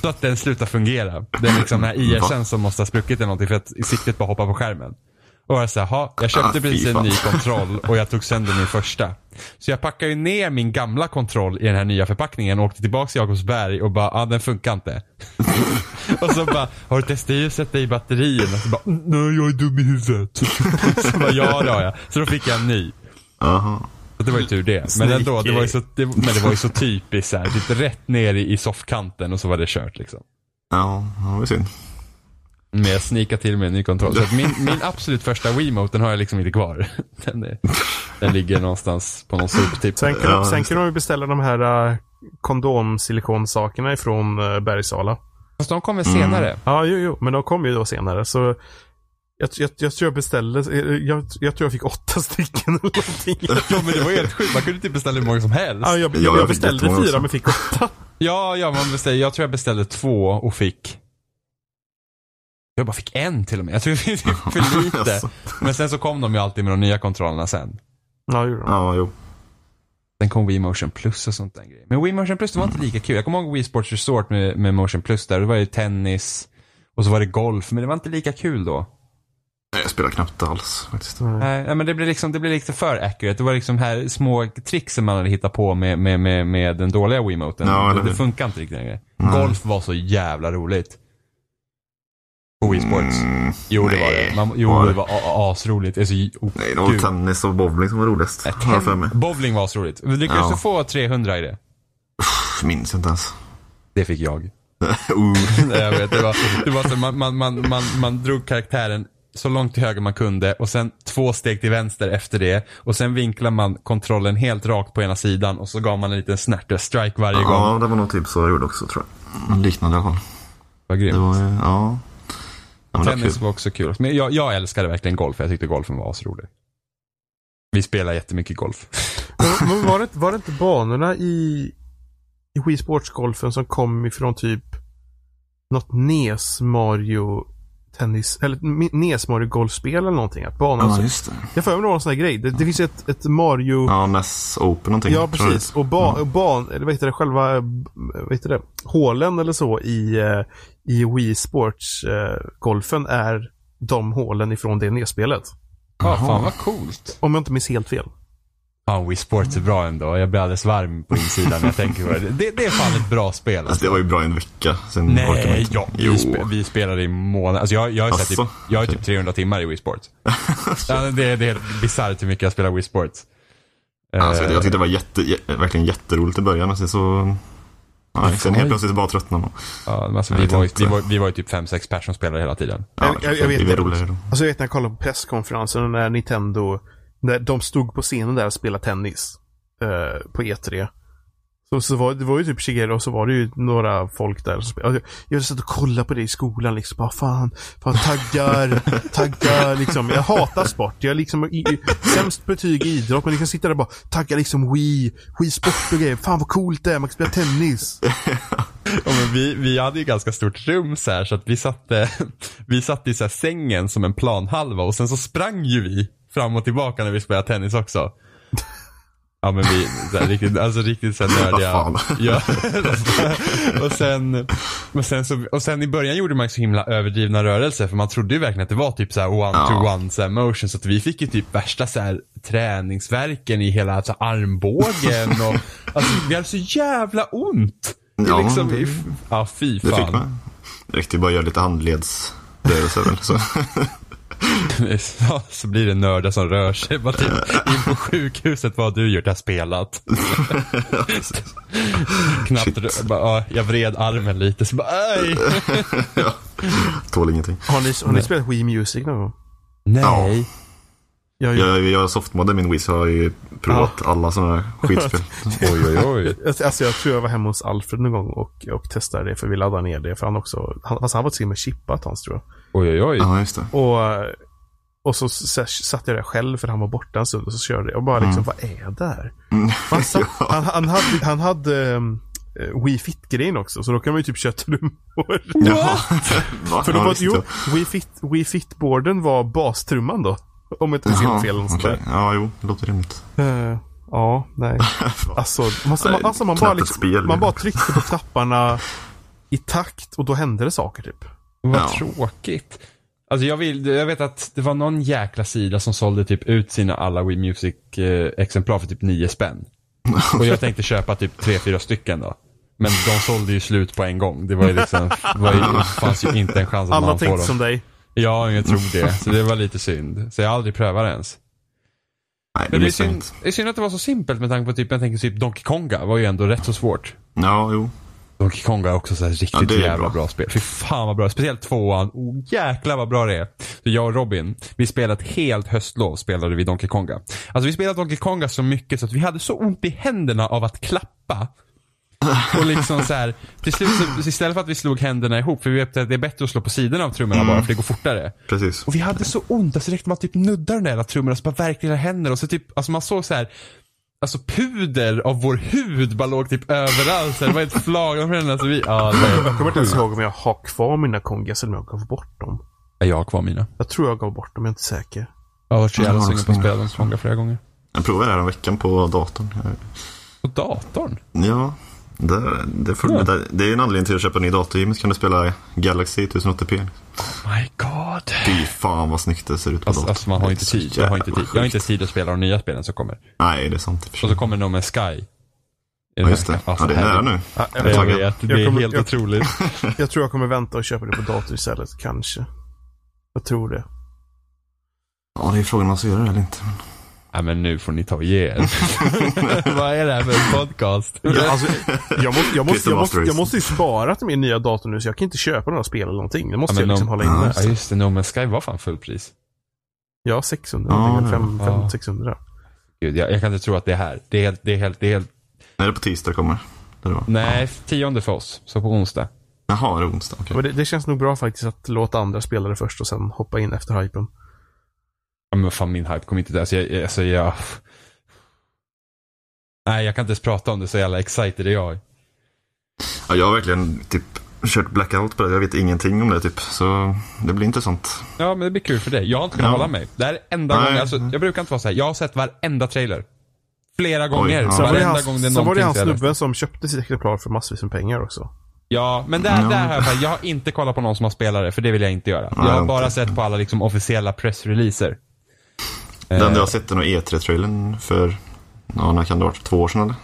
Speaker 2: Så att den slutade fungera. Det är liksom den här IRCn som måste ha spruckit eller någonting. För att siktet bara hoppar på skärmen. Och jag såhär, "Ha, jag
Speaker 3: Ah,
Speaker 2: köpte
Speaker 3: fy
Speaker 2: precis en
Speaker 3: fan."
Speaker 2: ny kontroll och jag tog sönder min första. Så jag packade ju ner min gamla kontroll i den här nya förpackningen och åkte tillbaka till Jakobsberg och bara, ah, den funkar inte. Och så bara, har du testat att sätta i batterierna? Så bara, nej jag är dum i huvudet. Så bara, ja det har jag. Så då fick jag en ny.
Speaker 3: Jaha.
Speaker 2: Så det var ju tur det. Men ändå, det var ju så, det, men det var ju så typiskt så här, typ rätt ner i, i soffkanten och så var det kört liksom.
Speaker 3: Ja, ja, det var synd.
Speaker 2: Men jag sneakade till med en ny kontroll. Så att min, min absolut första Wiimote, den har jag liksom inte kvar. Den, är, den ligger någonstans på någon soptipp.
Speaker 1: Sen kan,
Speaker 3: Ja,
Speaker 1: sen
Speaker 3: just
Speaker 1: kan de ju beställa de här uh, kondomsilikonsakerna ifrån uh, Bergsala.
Speaker 2: Fast de kommer senare.
Speaker 1: Ja, jo, jo, men de kom ju då senare. Så jag, jag, jag tror jag beställde, eh, jag, jag tror jag fick åtta stycken eller någonting.
Speaker 2: Ja men det var ju helt sjukt, man kunde inte beställa hur många som helst.
Speaker 1: Ja, jag,
Speaker 3: Ja,
Speaker 1: jag,
Speaker 3: jag fick
Speaker 1: beställde
Speaker 3: jättemånga
Speaker 1: fyra
Speaker 3: också.
Speaker 1: men fick åtta.
Speaker 2: Ja, ja man beställer, jag tror jag beställde två och fick jag bara fick en till och med. Jag tror det är för lite.
Speaker 3: Jaså.
Speaker 2: Men sen så kom de ju alltid med de nya kontrollerna sen.
Speaker 1: Ja, gjorde de.
Speaker 3: Ja, jo.
Speaker 2: Sen kom Wii Motion Plus och sånt där grejer. Men Wii Motion Plus det var inte lika kul. Jag kommer ihåg Wii Sports Resort med, med Motion Plus där. Det var ju tennis och så var det golf. Men det var inte lika kul då.
Speaker 3: Nej, jag spelar knappt alls faktiskt.
Speaker 2: Nej, nej, men det blir, liksom, det blir lite för accurate. Det var liksom här små tricks som man hade hittat på med, med, med, med den dåliga Wiimoten.
Speaker 3: Ja, eller
Speaker 2: det, det
Speaker 3: hur?
Speaker 2: funkar inte riktigt längre.
Speaker 3: Nej.
Speaker 2: Golf var så jävla roligt. På Wii Sports.
Speaker 3: Mm,
Speaker 2: Jo, det var
Speaker 3: nej.
Speaker 2: det. Man, jo,
Speaker 3: Var det?
Speaker 2: det var a- a- asroligt. Alltså, oh,
Speaker 3: Nej, det var
Speaker 2: gud.
Speaker 3: tennis och bowling som var roligast.
Speaker 2: Nej,
Speaker 3: Har jag för mig.
Speaker 2: Bowling var asroligt. Vi lyckades
Speaker 3: Ja.
Speaker 2: du få 300 i det?
Speaker 3: Pff, minns inte ens.
Speaker 2: Det fick jag.
Speaker 3: uh.
Speaker 2: Nej, jag vet, det var, det var så, man, man, man, man, man drog karaktären så långt till höger man kunde och sen två steg till vänster efter det. Och sen vinklade man kontrollen helt rakt på ena sidan och så gav man en liten snärt eh, strike varje gång.
Speaker 3: Ja, det var nog typ så jag gjorde också tror jag. Liknande i alla fall.
Speaker 2: Vad grymt.
Speaker 3: Det var ju, ja. ja men det var
Speaker 2: Tennis
Speaker 3: kul.
Speaker 2: var också kul. Men jag, jag älskade verkligen golf. Jag tyckte golfen var asrolig. Vi spelar jättemycket golf.
Speaker 1: Men, men var, det, var det inte banorna i, i Wii Sports-golfen som kom ifrån typ något NES Mario tennis, eller Mi- NES Mario golfspel eller någonting? Att banan,
Speaker 3: Ja, just det.
Speaker 1: jag får för mig det var en sån här grej. Det, det finns ett, ett Mario...
Speaker 3: Ja, Ness Open någonting.
Speaker 1: Ja,
Speaker 3: tror jag. Mm.
Speaker 1: precis. Och, ba, och ban, eller vad heter det, själva, eh, vad heter det, hålen eller så i, eh, i Wii Sports-golfen är de hålen ifrån det nedspelet.
Speaker 2: Ja,
Speaker 3: Jaha.
Speaker 2: fan vad coolt.
Speaker 1: Om jag inte minns helt fel.
Speaker 2: Fan, Wii Sports är bra ändå. Jag blir alldeles varm på insidan när jag tänker på det. det. Det är fan ett bra spel.
Speaker 3: Alltså, det var ju bra i en vecka. Sen orkade man
Speaker 2: Nej,
Speaker 3: inte.
Speaker 2: ja,
Speaker 3: Jo.
Speaker 2: vi, spe, vi spelade i månader. Alltså jag, jag, har sett
Speaker 3: Asså?
Speaker 2: typ, jag har typ 300 timmar i Wii Sports. ja, det, är- det är helt bisarrt hur mycket jag spelar Wii Sports. Eh,
Speaker 3: Alltså, jag tyckte det var jätte, jä- verkligen jätteroligt i början och sen så... Nej, sen helt plötsligt bara tröttnade man.
Speaker 2: Ja, men alltså,
Speaker 3: jag
Speaker 2: vi,
Speaker 3: vet
Speaker 2: var, ju-
Speaker 3: inte.
Speaker 2: vi, var, vi var ju typ 5-6 personer som spelade hela tiden.
Speaker 3: Ja,
Speaker 1: Jag- jag- jag vet
Speaker 3: det
Speaker 1: inte.
Speaker 3: blir roligare då.
Speaker 1: Alltså jag vet när jag kollade på presskonferensen när Nintendo, när de stod på scenen där och spelade tennis eh, på E3. Så, så var, det var ju typ Shigeru och så var det ju några folk där som spelade. Jag, jag satt och kollade på det i skolan liksom. Bara, fan, fan taggar, taggar liksom. Jag hatar sport. Jag är liksom i, i, sämst betyg i idrott men liksom sitter där och bara taggar liksom Wii, Wii sport och grejer. Fan vad coolt det är, man kan spela tennis.
Speaker 2: Ja, men vi, vi hade ju ganska stort rum så här så att vi satte, vi satte i så här sängen som en planhalva och sen så sprang ju vi fram och tillbaka när vi spelade tennis också. Ja men vi, så här, riktigt, alltså riktigt så här nördiga.
Speaker 3: Vad fan.
Speaker 2: Ja, och, sen, och, sen så, och sen i början gjorde man ju så himla överdrivna rörelser för man trodde ju verkligen att det var typ så här one to one så här motion så att vi fick ju typ värsta så här träningsverken i hela alltså, armbågen och alltså vi hade så jävla ont. Det är
Speaker 3: Ja,
Speaker 2: liksom,
Speaker 3: det-
Speaker 2: ja fy
Speaker 3: Det fick
Speaker 2: fan.
Speaker 3: man. Det räckte ju bara att göra lite handledsrörelser väl. Så.
Speaker 2: Ja, så blir det nördar som rör sig. Bara typ, in på sjukhuset, vad har du gjort? Jag har spelat. Knappt, rö- bara, ja, jag vred armen lite så bara, aj.
Speaker 3: Tål ingenting.
Speaker 1: Har ni, har ni spelat Wii Music någon gång?
Speaker 2: Nej.
Speaker 1: Jag,
Speaker 3: Jag, jag softmodde min Wii så jag har ju provat alla sådana här skitspel.
Speaker 2: Oj, oj, oj.
Speaker 1: Alltså alltså, jag tror jag var hemma hos Alfred någon gång och, och testade det för vi laddade ner det. För han också, han, fast han var till och med chippat hans tror jag.
Speaker 2: Oj, oj, oj.
Speaker 3: Ja, just det.
Speaker 1: Och, och så, så, satt jag där själv för han var borta en stund och så körde jag. Och bara
Speaker 3: Mm.
Speaker 1: liksom, vad är det här? Han, satt, han, han hade, han hade um, Wii Fit-grejen också. Så då kan man ju typ köra trummor.
Speaker 3: Jaha. Va?
Speaker 1: För då
Speaker 3: Ja,
Speaker 1: var,
Speaker 3: visst,
Speaker 1: jo,
Speaker 3: ja.
Speaker 1: Wii Fit- Wii Fit-boarden var bastrumman då. Om jag inte minns
Speaker 3: Jaha,
Speaker 1: helt fel. eller något sånt
Speaker 3: okej.
Speaker 1: där.
Speaker 3: Ja, jo, det låter rimligt.
Speaker 1: Eh, ja, nej. Alltså, man,
Speaker 3: Nej,
Speaker 1: man, alltså man, bara
Speaker 3: knappt ett
Speaker 1: liksom,
Speaker 3: spel.
Speaker 1: man bara tryckte på knapparna i takt och då hände det saker typ.
Speaker 2: Vad
Speaker 3: Ja.
Speaker 2: tråkigt. Alltså jag, vill, jag vet att det var någon jäkla sida som sålde typ ut sina alla Wii Music-exemplar för typ 9 spänn. Och jag tänkte köpa typ 3-4 stycken då. Men de sålde ju slut på en gång. Det var ju liksom, det var ju, det fanns ju inte en chans att
Speaker 1: Alla
Speaker 2: man får
Speaker 1: tänkte
Speaker 2: dem.
Speaker 1: som dig.
Speaker 2: Ja, jag tror det. Så det var lite synd. Så jag har aldrig prövat det ens.
Speaker 3: Nej, det
Speaker 2: Men det är
Speaker 3: missar jag
Speaker 2: synd,
Speaker 3: inte.
Speaker 2: det är synd att det var så simpelt med tanke på typ, jag tänker typ Donkey Konga var ju ändå rätt så svårt.
Speaker 3: Ja, jo.
Speaker 2: Donkey Konga är också så här riktigt
Speaker 3: det är
Speaker 2: jävla bra.
Speaker 3: bra.
Speaker 2: spel. Fy fan vad bra. Speciellt tvåan. Oh, jäklar vad bra det är. Så jag och Robin, vi spelade ett helt höstlov spelade vi Donkey Konga. Alltså vi spelade Donkey Konga så mycket så att vi hade så ont i händerna av att klappa. Och liksom så här, till slut så, så istället för att vi slog händerna ihop, för vi vet att det är bättre att slå på sidorna av trummorna bara
Speaker 3: Mm.
Speaker 2: för det går fortare.
Speaker 3: Precis.
Speaker 2: Och vi hade så ont, alltså direkt man typ nuddar den där jävla trummorna så bara värker hela händer och så typ, alltså man såg så här. Alltså puder av vår hud bara låg typ överallt. Så det var ett flagande på den. Alltså vi, ja,
Speaker 1: Jag kommer inte ens
Speaker 2: det
Speaker 1: ihåg om jag har kvar mina kongas eller om jag gav bort dem.
Speaker 2: var, jag har kvar mina.
Speaker 1: Jag tror jag gav bort dem, jag är inte säker.
Speaker 2: Jag har varit så
Speaker 3: Jag
Speaker 2: jävla
Speaker 3: har
Speaker 2: sugen
Speaker 3: också
Speaker 2: på att
Speaker 3: mina.
Speaker 2: spela de Konga flera gånger.
Speaker 3: Jag provade det här om veckan på datorn.
Speaker 2: På datorn?
Speaker 3: Ja, Det, det, får,
Speaker 2: Ja.
Speaker 3: det, det är ju en anledning till att köpa en ny dator. Jimmy så kan du spela Galaxy 1080p.
Speaker 2: My God.
Speaker 3: Fy fan vad snyggt det ser ut på
Speaker 2: Alltså,
Speaker 3: datorn.
Speaker 2: alltså man har ju
Speaker 3: Det
Speaker 2: inte
Speaker 3: är
Speaker 2: tid.
Speaker 3: så
Speaker 2: Jag har inte
Speaker 3: jävla
Speaker 2: tid. Jag har
Speaker 3: sjukt.
Speaker 2: inte tid att spela de nya spelen som kommer.
Speaker 3: Nej, det är sant. i och för
Speaker 2: Och
Speaker 3: sig.
Speaker 2: så Alltså, kommer de med Sky.
Speaker 3: Ja, just det. Ja, det är nära nu.
Speaker 1: Ja, jag,
Speaker 2: Jag
Speaker 1: tror,
Speaker 3: taggad.
Speaker 2: vet, det
Speaker 1: Jag
Speaker 2: är
Speaker 1: kommer-
Speaker 2: helt
Speaker 1: jag-
Speaker 2: otroligt.
Speaker 1: jag tror jag kommer vänta och köpa det på dator istället, kanske. Jag tror det.
Speaker 3: Ja, det är frågan om man ska göra det eller inte.
Speaker 2: Ja, men nu får ni ta och ge er. Vad är det här för en podcast?
Speaker 1: Ja, alltså, jag, måste, jag, måste, jag,
Speaker 3: Crystal
Speaker 1: måste,
Speaker 3: Masters.
Speaker 1: jag måste ju spara till min nya dator nu så jag kan inte köpa några spel eller någonting. Det måste
Speaker 2: Ja, men
Speaker 1: jag liksom
Speaker 2: de-
Speaker 1: hålla inne.
Speaker 2: Ja just det, no, men Sky var fan fullpris.
Speaker 1: Ja, 600
Speaker 3: Ja,
Speaker 1: någonting.
Speaker 3: det-
Speaker 1: Fem- fem-
Speaker 2: ja.
Speaker 1: 600.
Speaker 2: Gud, jag, jag kan inte tro att det är här. Det är helt, det är helt, det är helt.
Speaker 3: Är det på tisdag det kommer? Det var.
Speaker 2: Nej, tionde för oss. Så på onsdag.
Speaker 3: Jaha, det är onsdag. Okej.
Speaker 1: Men det, det känns nog bra faktiskt att låta andra spela det först och sen hoppa in efter hypen.
Speaker 2: Ja, men fan min hype kom inte där. Så jag, jag- alltså, jag... Nej, jag kan inte ens prata om det så jävla excited är jag.
Speaker 3: Ja, jag har verkligen typ kört blackout på det. Jag vet ingenting om det typ. Så det blir intressant.
Speaker 2: Ja, men det blir kul för dig. Jag har inte kunnat
Speaker 3: Ja.
Speaker 2: hålla mig. Det här är enda
Speaker 3: Nej.
Speaker 2: gången, alltså, jag brukar inte vara så här. Jag har sett varenda trailer. Flera gånger.
Speaker 3: ja.
Speaker 2: Så
Speaker 1: Sen
Speaker 3: Sen
Speaker 1: var det
Speaker 2: varenda
Speaker 1: han,
Speaker 2: gång det är
Speaker 1: sen var det han
Speaker 2: någonting så jävla-
Speaker 1: snubben som köpte sitt exemplar för massvis med pengar också.
Speaker 2: Ja, men där, där har jag, bara- jag har inte kollat på någon som har spelat det, för det vill jag inte göra. Jag har
Speaker 3: inte.
Speaker 2: bara sett på alla liksom, officiella pressreleaser.
Speaker 3: Den
Speaker 2: Eh.
Speaker 3: enda jag har sett är nog E3-trailern för, ja, när kan det ha varit? Två år sedan eller?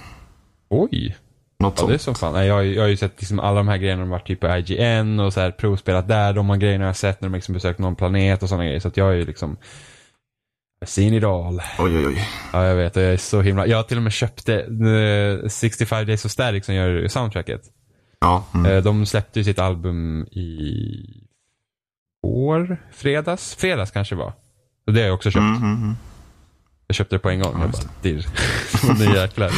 Speaker 2: Oj,
Speaker 3: Något
Speaker 2: ja,
Speaker 3: sånt.
Speaker 2: det är som fan. Nej, Jag, har ju- jag har ju sett liksom alla de här grejerna, de har varit typ på IGN och så här, provspelat där, de här grejerna jag har sett när de liksom besökt någon planet och sådana grejer. Så att jag är ju liksom, I've seen it all.
Speaker 3: Oj, oj, oj.
Speaker 2: Ja, jag vet. och Jag är så himla... Jag till och med köpte eh, 65 Days of Static som gör soundtracket.
Speaker 3: Ja, mm.
Speaker 2: Eh, De släppte ju sitt album i år, fredags. Fredags kanske det var. Och det har jag också köpt.
Speaker 3: Mm, mm, mm.
Speaker 2: Jag köpte det på en gång. jag
Speaker 3: just
Speaker 2: bara, dirr. nu jäklar.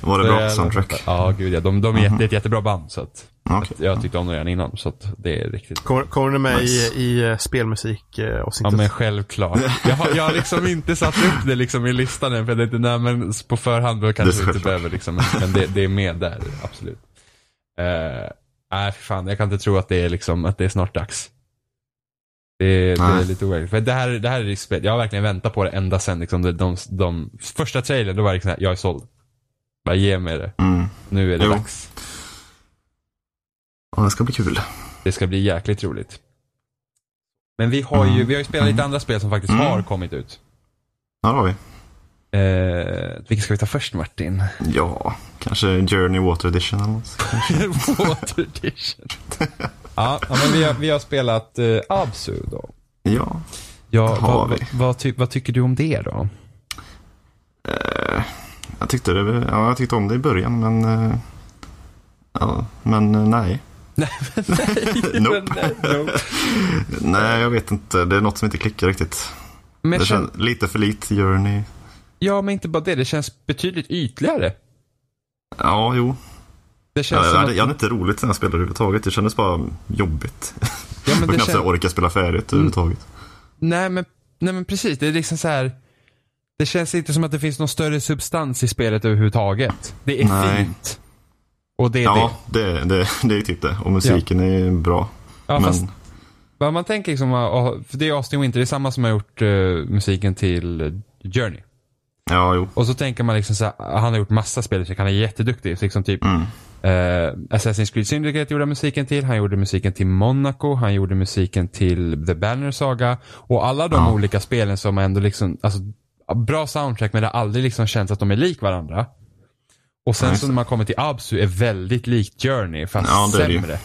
Speaker 3: Var det
Speaker 2: Så
Speaker 3: bra
Speaker 2: jag-
Speaker 3: soundtrack? Mm-hmm.
Speaker 2: Ja, gud ja. De, de är jätte, ett jättebra band. Så att
Speaker 3: Ja, okej.
Speaker 2: jag tyckte om dem redan innan. Så att det är riktigt
Speaker 1: Kommer, kommer det med
Speaker 3: Nice.
Speaker 1: i, i eh, spelmusik eh, och
Speaker 2: Ja
Speaker 1: inte
Speaker 2: men självklart. Jag har, jag har liksom inte satt upp det liksom i listan än för det är inte, nej men på förhand då
Speaker 3: Det är
Speaker 2: kanske vi inte
Speaker 3: självklart.
Speaker 2: behöver liksom, men- men det, det är med där, absolut. Uh, nej för fan, jag kan inte tro att det är liksom, att det är snart dags. Det, det är
Speaker 3: Nej.
Speaker 2: lite overkligt. För det här, det här är spel, jag har verkligen väntat på det ända sen liksom, de, de, de första trailern, då var det liksom här, jag är såld. Bara ge mig det.
Speaker 3: Mm.
Speaker 2: Nu är det
Speaker 3: Jo.
Speaker 2: dags.
Speaker 3: Ja, det ska bli kul.
Speaker 2: Det ska bli jäkligt roligt. Men vi har ju,
Speaker 3: Mm.
Speaker 2: vi har ju spelat lite
Speaker 3: Mm.
Speaker 2: andra spel som faktiskt
Speaker 3: Mm.
Speaker 2: har kommit ut.
Speaker 3: Ja, det har vi.
Speaker 2: Eh, vilken ska vi ta först Martin?
Speaker 3: Ja, kanske Journey Water Edition eller något.
Speaker 2: Water edition. ja, ja, men vi har, vi har spelat eh, Absu då.
Speaker 3: Ja.
Speaker 2: Ja,
Speaker 3: Har
Speaker 2: vad,
Speaker 3: vi.
Speaker 2: vad, vad, ty, vad tycker du om det då?
Speaker 3: Eh, jag, tyckte det, ja, jag tyckte om det i början, men... eh, ja, men eh, nej. Nope.
Speaker 2: nope.
Speaker 3: Nej, jag vet inte. Det är något som inte klickar riktigt.
Speaker 2: Men jag
Speaker 3: Det
Speaker 2: känner,
Speaker 3: känns lite för likt Journey.
Speaker 2: ja, men inte bara det. Det känns betydligt ytligare.
Speaker 3: Ja, jo.
Speaker 2: Det känns
Speaker 3: Jag, jag,
Speaker 2: som
Speaker 3: hade,
Speaker 2: att,
Speaker 3: jag hade inte roligt när jag spelade överhuvudtaget. Det kändes bara jobbigt.
Speaker 2: ja, men det
Speaker 3: Jag
Speaker 2: Mm.
Speaker 3: knappt
Speaker 2: känns,
Speaker 3: jag orkar spela färdigt överhuvudtaget.
Speaker 2: nej, men, nej, men precis. Det är liksom så här. Det känns inte som att det finns någon större substans i spelet överhuvudtaget. Det är
Speaker 3: Nej.
Speaker 2: fint. Och det är det.
Speaker 3: Ja, det, det, det är typ det. Och musiken är bra.
Speaker 2: Ja,
Speaker 3: men
Speaker 2: fast Vad man tänker liksom, ah, ah, för det är Austin Winter, det är samma som har gjort eh, musiken till eh, Journey.
Speaker 3: ja, jo.
Speaker 2: Och så tänker man liksom så här, ah, han har gjort massa spel, så han är jätteduktig. Så liksom typ
Speaker 3: Mm.
Speaker 2: eh, Assassin's Creed Syndicate gjorde han musiken till, han gjorde musiken till Monaco, han gjorde musiken till The Banner Saga. Och alla de
Speaker 3: Ja.
Speaker 2: olika spelen som ändå liksom, alltså bra soundtrack men det har aldrig liksom känts att de är lik varandra. Och sen
Speaker 3: Nej,
Speaker 2: så
Speaker 3: så.
Speaker 2: när man kommer till Absu är väldigt likt Journey fast
Speaker 3: Ja, det är det ju.
Speaker 2: sämre.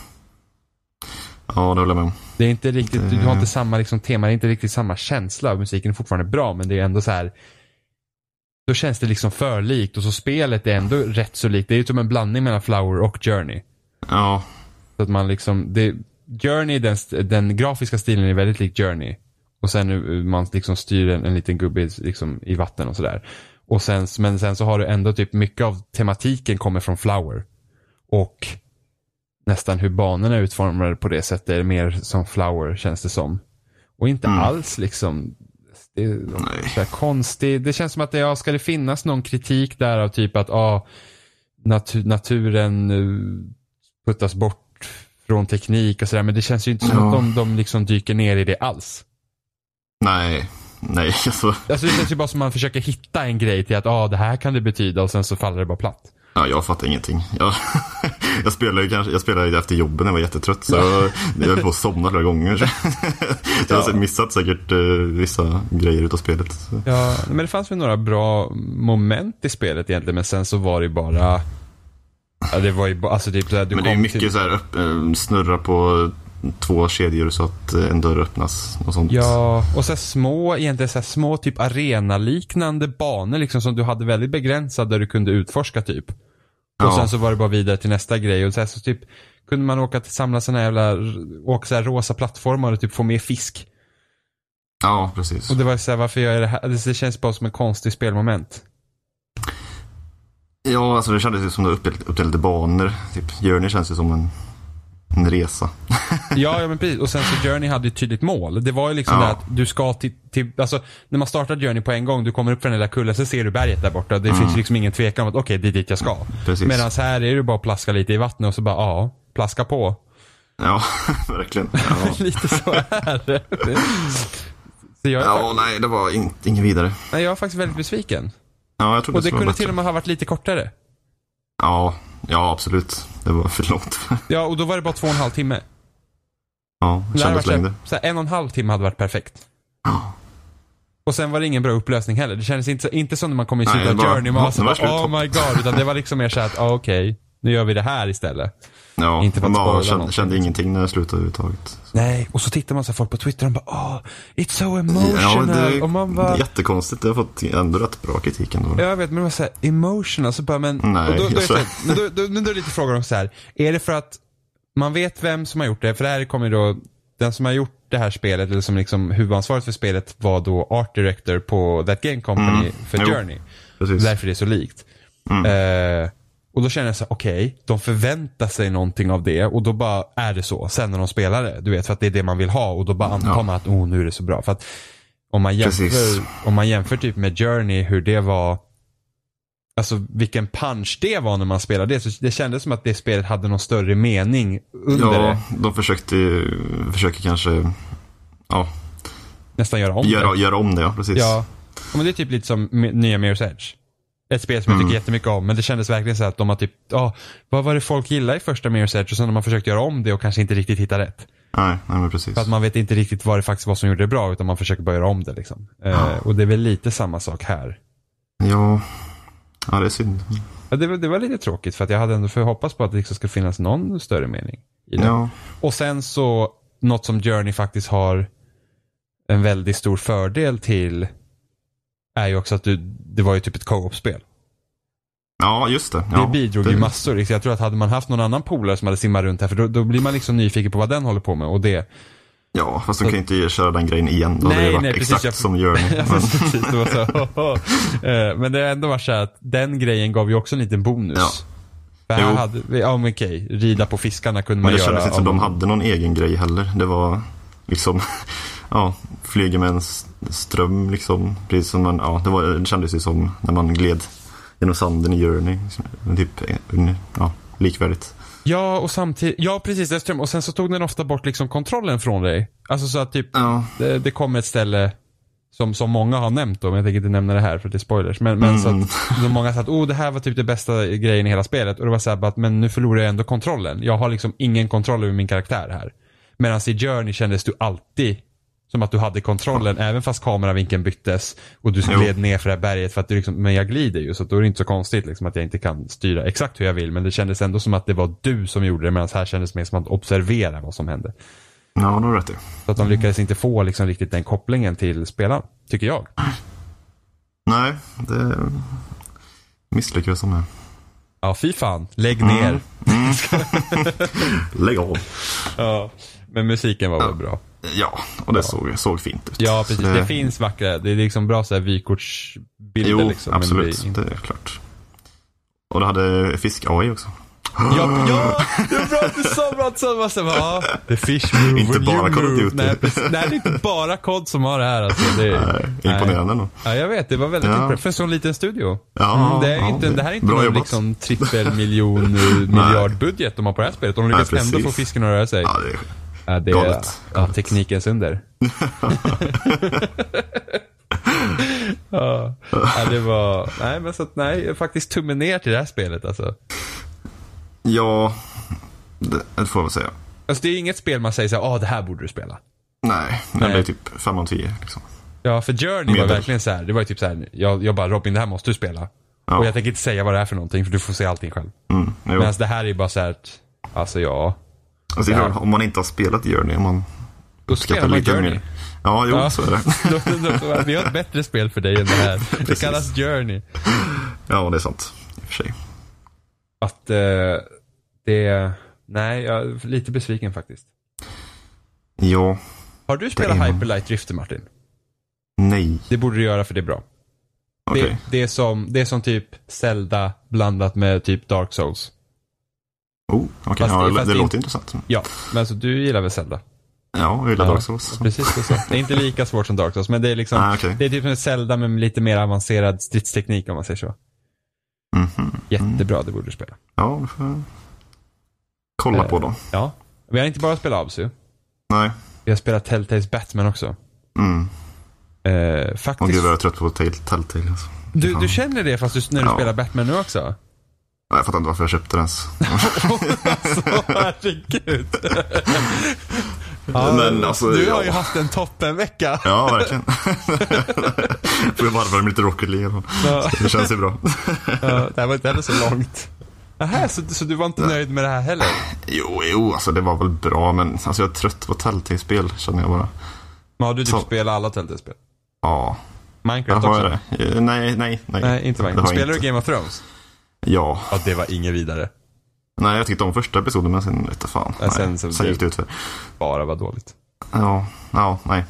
Speaker 3: Ja, det håller jag med om.
Speaker 2: Det är inte riktigt, du har inte samma liksom, tema, det är inte riktigt samma känsla. Musiken är fortfarande bra men det är ändå så här. Då känns det liksom för likt och så spelet är ändå rätt så likt. Det är ju som en blandning mellan Flower och Journey.
Speaker 3: Ja,
Speaker 2: Så att man liksom, det, Journey, den, st- den grafiska stilen är väldigt lik Journey. Och sen hur man liksom styr en, en liten gubbe i- liksom, i vatten och sådär. Och sen, men sen så har du ändå typ mycket av tematiken kommer från Flower. Och nästan hur banorna är utformade på det sättet är mer som Flower känns det som. Och inte alls liksom det, är
Speaker 3: Nej.
Speaker 2: så här konstigt. Det känns som att det, ja, ska det finnas någon kritik där av typ att ah, natu- naturen eh, puttas bort från teknik och sådär. Men det känns ju inte som
Speaker 3: Ja.
Speaker 2: att de, de liksom dyker ner i det alls.
Speaker 3: nej. Nej, alltså.
Speaker 2: Alltså det känns ju bara som att man försöker hitta en grej till att ah, det här kan det betyda och sen så faller det bara platt.
Speaker 3: Ja, jag fattar ingenting. Jag, jag spelade ju kanske, jag spelade efter jobbet när jag var jättetrött. Så jag, jag höll på att somna flera gånger. Så, så jag har missat säkert eh, vissa grejer utav spelet. Så.
Speaker 2: Ja, men det fanns väl några bra moment i spelet egentligen, men sen så var det ju bara... Ja, det var ju bara, alltså typ såhär, du
Speaker 3: Men det är
Speaker 2: kom
Speaker 3: mycket
Speaker 2: till,
Speaker 3: så här upp, eh, snurra på två kedjor så att eh, en dörr öppnas och sånt.
Speaker 2: Ja, och så här små, egentligen så här små typ arenaliknande banor liksom som du hade väldigt begränsad där du kunde utforska typ. Och
Speaker 3: Ja.
Speaker 2: sen så var det bara vidare till nästa grej och så, här, så typ kunde man åka till, samla såna här jävla, åka så här rosa plattformar och typ få mer fisk.
Speaker 3: ja precis.
Speaker 2: Och det var så här, varför gör jag det här? Det det känns bara som en konstig spelmoment.
Speaker 3: Ja, alltså det kändes ju som det var uppdelat- uppdelade banor. Typ. Journey känns ju som en, en resa.
Speaker 2: Ja, ja men precis. Och sen så Journey hade ju ett tydligt mål. Det var ju liksom
Speaker 3: Ja.
Speaker 2: det att du ska till, till, alltså när man startar Journey på en gång, du kommer upp för den lilla kullen, så ser du berget där borta. Det finns ju liksom ingen tvekan om att okej, det är dit jag ska.
Speaker 3: Mm. Precis.
Speaker 2: Medan här är det bara att plaska lite i vattnet och så bara, ja, plaska på.
Speaker 3: Ja, verkligen. Ja,
Speaker 2: lite så är det. Så jag är, fak-
Speaker 3: ja nej, det var in, inget vidare.
Speaker 2: nej, jag är faktiskt väldigt besviken.
Speaker 3: Ja, jag trodde
Speaker 2: Och det
Speaker 3: skulle
Speaker 2: kunde
Speaker 3: vara
Speaker 2: till
Speaker 3: bättre.
Speaker 2: och med ha varit lite kortare.
Speaker 3: Ja, ja, absolut. Det var för långt.
Speaker 2: Ja, och då var det bara två och en halv timme.
Speaker 3: Ja,
Speaker 2: Det hade varit så
Speaker 3: kändislängder.
Speaker 2: här, så här, en och en halv timme hade varit perfekt.
Speaker 3: Ja.
Speaker 2: Och sen var det ingen bra upplösning heller. Det kändes inte, så- inte som när man kom i
Speaker 3: Nej,
Speaker 2: slutet
Speaker 3: det
Speaker 2: av
Speaker 3: bara-
Speaker 2: Journey. Man var så
Speaker 3: det var
Speaker 2: bara,
Speaker 3: slut.
Speaker 2: oh my god. Utan det var liksom mer såhär att, ah, okej, nu gör vi det här istället.
Speaker 3: Ja,
Speaker 2: Inte för att
Speaker 3: man bara
Speaker 2: spoila
Speaker 3: kände,
Speaker 2: någonting.
Speaker 3: kände ingenting när det slutade överhuvudtaget.
Speaker 2: Nej, och så tittar man så här, folk på Twitter och de bara, oh, it's so emotional.
Speaker 3: det,
Speaker 2: och man bara,
Speaker 3: det är jättekonstigt. Det har fått ändå rätt bra kritik ändå.
Speaker 2: Ja, Jag vet, men det var såhär emotional, så bara men...
Speaker 3: Nej,
Speaker 2: och då, då, är det
Speaker 3: jag
Speaker 2: så här,
Speaker 3: sa-
Speaker 2: men då, då, men då är det lite frågan om så här. är det för att man vet vem som har gjort det? För det här kommer ju då, den som har gjort det här spelet, eller som liksom huvudansvaret för spelet var då Art Director på That Game Company för
Speaker 3: Mm. Jo.
Speaker 2: Journey.
Speaker 3: Precis. Mm.
Speaker 2: Därför det är så likt. Eh, och då känner jag så här, okej, de förväntar sig någonting av det och då bara är det så. Sen när de spelar det, du vet, för att det är det man vill ha och då bara antar
Speaker 3: Ja.
Speaker 2: man att, oh, nu är det så bra. För att om man
Speaker 3: Precis.
Speaker 2: jämför, om man jämför typ med Journey, hur det var, alltså vilken punch det var när man spelade det. Så det kändes som att det spelet hade någon större mening under
Speaker 3: Ja,
Speaker 2: det.
Speaker 3: de försökte ju, försöker kanske ja,
Speaker 2: Nästan göra om det.
Speaker 3: göra, göra om det. Ja, precis.
Speaker 2: Mm. Ja. Ja, men det är typ lite som mi- nya Mirror's Edge. Ett spel som jag tycker jättemycket om, men det kändes verkligen så här att de har typ, ja, vad var det folk gillade i första Mirror's Edge och sen har man försökt göra om det och kanske inte riktigt hittat rätt.
Speaker 3: Nej, nej, men precis.
Speaker 2: För att man vet inte riktigt vad det faktiskt var som gjorde det bra, utan man försöker bara göra om det liksom. Eh, och det är väl lite samma sak här.
Speaker 3: Ja. ja, det är synd.
Speaker 2: Ja, det, var- det var lite tråkigt för att jag hade ändå för hoppats på att det liksom skulle finnas någon större mening. I det.
Speaker 3: Ja,
Speaker 2: Och sen så, något som Journey faktiskt har en väldigt stor fördel till är ju också att du, det var ju typ ett co-op-spel.
Speaker 3: ja just det.
Speaker 2: Det
Speaker 3: Ja,
Speaker 2: bidrog
Speaker 3: det-
Speaker 2: ju massor. liksom. Jag tror att hade man haft någon annan polare som hade simmat runt här, för då, då blir man liksom nyfiken på vad den håller på med. Och det,
Speaker 3: Ja, fast de kan ju inte köra den grejen igen. Då nej, hade
Speaker 2: Nej,
Speaker 3: det varit
Speaker 2: nej, precis,
Speaker 3: exakt
Speaker 2: jag-
Speaker 3: som Mm. Journey.
Speaker 2: Ja,
Speaker 3: Men,
Speaker 2: precis, det var så, Eh, Men det har ändå varit så här att den grejen gav ju också en liten bonus.
Speaker 3: Ja.
Speaker 2: För här
Speaker 3: Jo.
Speaker 2: hade vi, ja men okej, rida på fiskarna kunde
Speaker 3: men
Speaker 2: man
Speaker 3: det
Speaker 2: göra.
Speaker 3: kändes inte som
Speaker 2: om-
Speaker 3: de hade någon egen grej heller. Det var liksom, ja, flyger med en s- ström liksom. Precis som man, ja, det, var, det kändes ju som när man gled genom sanden i Journey. liksom. Men Typ, eh, ja, likvärdigt.
Speaker 2: Ja, och samtidigt, ja precis, det är ström. Och sen så tog den ofta bort liksom kontrollen från dig. Alltså så att typ,
Speaker 3: Ja,
Speaker 2: det, det kom ett ställe som, som många har nämnt då, men jag tänker inte nämna det här för det är spoilers. Men, men så att så många sa att oh, det här var typ det bästa grejen i hela spelet. Och det var så här, bara att men nu förlorar jag ändå kontrollen. Jag har liksom ingen kontroll över min karaktär här. Medan i Journey kändes du alltid som att du hade kontrollen även fast kameravinkeln byttes och du
Speaker 3: Jo.
Speaker 2: gled ner för det här berget för att du liksom, men jag glider ju så att då är det inte så konstigt liksom att jag inte kan styra exakt hur jag vill men det kändes ändå som att det var du som gjorde det medan här kändes det mer som att observera vad som hände.
Speaker 3: ja det har du rätt i.
Speaker 2: Så att de lyckades inte få liksom riktigt den kopplingen till spelaren, tycker jag.
Speaker 3: Nej, det misslyckades de med.
Speaker 2: Ja, fy fan. Lägg ner.
Speaker 3: Mm. Lägg av.
Speaker 2: Ja. Men musiken var väl bra.
Speaker 3: Ja, och det Såg, såg fint ut.
Speaker 2: Ja, precis.
Speaker 3: Så
Speaker 2: Det finns vackra, det är liksom bra så här vykortsbilder
Speaker 3: Eh, Jo,
Speaker 2: liksom. men
Speaker 3: absolut.
Speaker 2: det är inte-
Speaker 3: det, är klart. Och det hade fisk-AI också.
Speaker 2: Ja, ja, det är bra att du sa bra att du sa bara så här, ja, The fish move
Speaker 3: Inte
Speaker 2: when you
Speaker 3: bara Call of
Speaker 2: move.
Speaker 3: Duty.
Speaker 2: Nej, precis. Nej, det är inte bara kod som har det här alltså. Det är,
Speaker 3: Nej, imponerande nog.
Speaker 2: Ja, jag vet. Det var väldigt
Speaker 3: Ja.
Speaker 2: imponerande. För en sån liten studio.
Speaker 3: Ja,
Speaker 2: Mm, det, är
Speaker 3: ja,
Speaker 2: inte, det här är inte
Speaker 3: bra
Speaker 2: någon
Speaker 3: jobbat.
Speaker 2: liksom, trippelmiljon eh, miljardbudget de har på det här spelet. De lyckas
Speaker 3: Nej,
Speaker 2: ändå få
Speaker 3: precis.
Speaker 2: fisken att röra sig.
Speaker 3: Ja, det är
Speaker 2: Ja, det är
Speaker 3: Galet.
Speaker 2: ja, teknikens under. Ja. ja, det var... Nej, men så att, nej, faktiskt tummen ner till det här spelet alltså.
Speaker 3: Ja, det, det får jag väl säga.
Speaker 2: Alltså det är inget spel man säger så här, ah det här borde du spela.
Speaker 3: Nej, men
Speaker 2: Nej.
Speaker 3: det är typ 5 av 10 liksom.
Speaker 2: Ja, för Journey var
Speaker 3: Medel.
Speaker 2: verkligen så här. Det var ju typ så här, jag, jag bara Robin det här måste du spela.
Speaker 3: Ja.
Speaker 2: Och jag tänker inte säga vad det är för någonting för du får se allting själv.
Speaker 3: Mm, jo.
Speaker 2: Men alltså det här är ju bara så här, att, alltså ja.
Speaker 3: alltså, det är klart, om man inte har spelat Journey, om man
Speaker 2: Då spelar man Journey.
Speaker 3: Ja, jo,
Speaker 2: Ja.
Speaker 3: så är det.
Speaker 2: Då- då- då- Vi har ett bättre spel för dig än det här. Det
Speaker 3: Precis.
Speaker 2: kallas Journey.
Speaker 3: Ja, det är sant. I och för sig.
Speaker 2: Att eh, det, nej jag är lite besviken faktiskt.
Speaker 3: Ja,
Speaker 2: Har du spelat
Speaker 3: är man.
Speaker 2: Hyperlight Drifter Martin?
Speaker 3: nej.
Speaker 2: Det borde du göra för det är bra.
Speaker 3: Okej.
Speaker 2: Det, det, är som, det är som typ Zelda blandat med typ Dark Souls.
Speaker 3: Oh, okej.
Speaker 2: Fast-
Speaker 3: Ja, det,
Speaker 2: fast
Speaker 3: det
Speaker 2: det-
Speaker 3: låter intressant.
Speaker 2: Ja, men alltså du gillar väl Zelda?
Speaker 3: Ja, jag gillar
Speaker 2: Ja.
Speaker 3: Dark Souls.
Speaker 2: Precis, det är så. Det är inte lika svårt som Dark Souls, men det är liksom,
Speaker 3: Ah, okej.
Speaker 2: det är typ som ett Zelda men med lite mer avancerad stridsteknik om man säger så.
Speaker 3: Mhm.
Speaker 2: Jättebra, det borde du spela.
Speaker 3: Ja, det får jag kolla
Speaker 2: Eh.
Speaker 3: på då.
Speaker 2: Ja. Vi har inte bara spelat Absu,
Speaker 3: Nej.
Speaker 2: vi har spelat Telltales Batman också.
Speaker 3: Mm.
Speaker 2: Eh,
Speaker 3: Åh
Speaker 2: faktiskt.
Speaker 3: gud vad jag är trött på Tell- Telltale. Alltså.
Speaker 2: du, du känner det fast du, när du
Speaker 3: Ja.
Speaker 2: spelar Batman nu också?
Speaker 3: Nej, Jag fattar inte varför jag köpte den ens.
Speaker 2: alltså, herregud. ja,
Speaker 3: Men alltså,
Speaker 2: du har ju
Speaker 3: ja.
Speaker 2: haft en toppenvecka.
Speaker 3: Ja, verkligen. får jag varva det med lite Rocket League. i alla fall.
Speaker 2: Ja.
Speaker 3: Det känns ju bra.
Speaker 2: Ja, Alltså, det här var inte heller så långt. Aha, så, så du var inte nöjd med det här heller?
Speaker 3: Jo, jo, alltså det var väl bra, men alltså, jag är trött på Telltale-spel känner jag bara.
Speaker 2: Men har du typ
Speaker 3: Så.
Speaker 2: spelat alla Telltale-spel?
Speaker 3: Ja, jag
Speaker 2: Minecraft
Speaker 3: har
Speaker 2: också?
Speaker 3: det. Eh, Nej, nej, nej.
Speaker 2: Nej, inte
Speaker 3: Det har
Speaker 2: Minecraft.
Speaker 3: jag
Speaker 2: Spelar
Speaker 3: inte.
Speaker 2: du Game of Thrones?
Speaker 3: Ja.
Speaker 2: Ja, det var inget vidare.
Speaker 3: Nej, jag tyckte om första episoden, men sen vete fan.
Speaker 2: Ja, sen
Speaker 3: nej,
Speaker 2: så
Speaker 3: sen,
Speaker 2: blev-
Speaker 3: gick det utför.
Speaker 2: Bara var dåligt.
Speaker 3: Ja, ja, nej.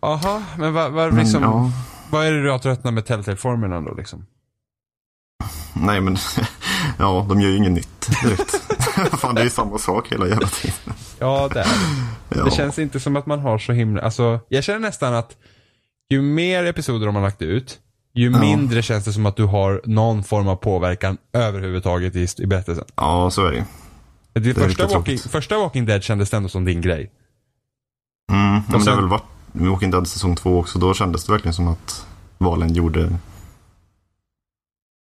Speaker 2: Jaha, men vad, vad,
Speaker 3: Men,
Speaker 2: liksom,
Speaker 3: Mm, ja,
Speaker 2: vad är det du har tröttnat med Telltale-formerna då liksom?
Speaker 3: nej, men ja, de gör ju inget nytt direkt. fan, det är ju samma sak hela jävla tiden.
Speaker 2: Ja, det är det.
Speaker 3: Ja,
Speaker 2: Det känns inte som att man har så himla, alltså jag känner nästan att ju mer episoder de har lagt ut, ju
Speaker 3: Ja.
Speaker 2: mindre känns det som att du har någon form av påverkan överhuvudtaget i, i berättelsen.
Speaker 3: ja så är det ju.
Speaker 2: Det, första,
Speaker 3: riktigt
Speaker 2: walking,
Speaker 3: tråkigt.
Speaker 2: första Walking Dead kändes ändå som din grej.
Speaker 3: Mm, men det
Speaker 2: sen-
Speaker 3: har väl varit med Walking Dead säsong två också. Då kändes det verkligen som att valen gjorde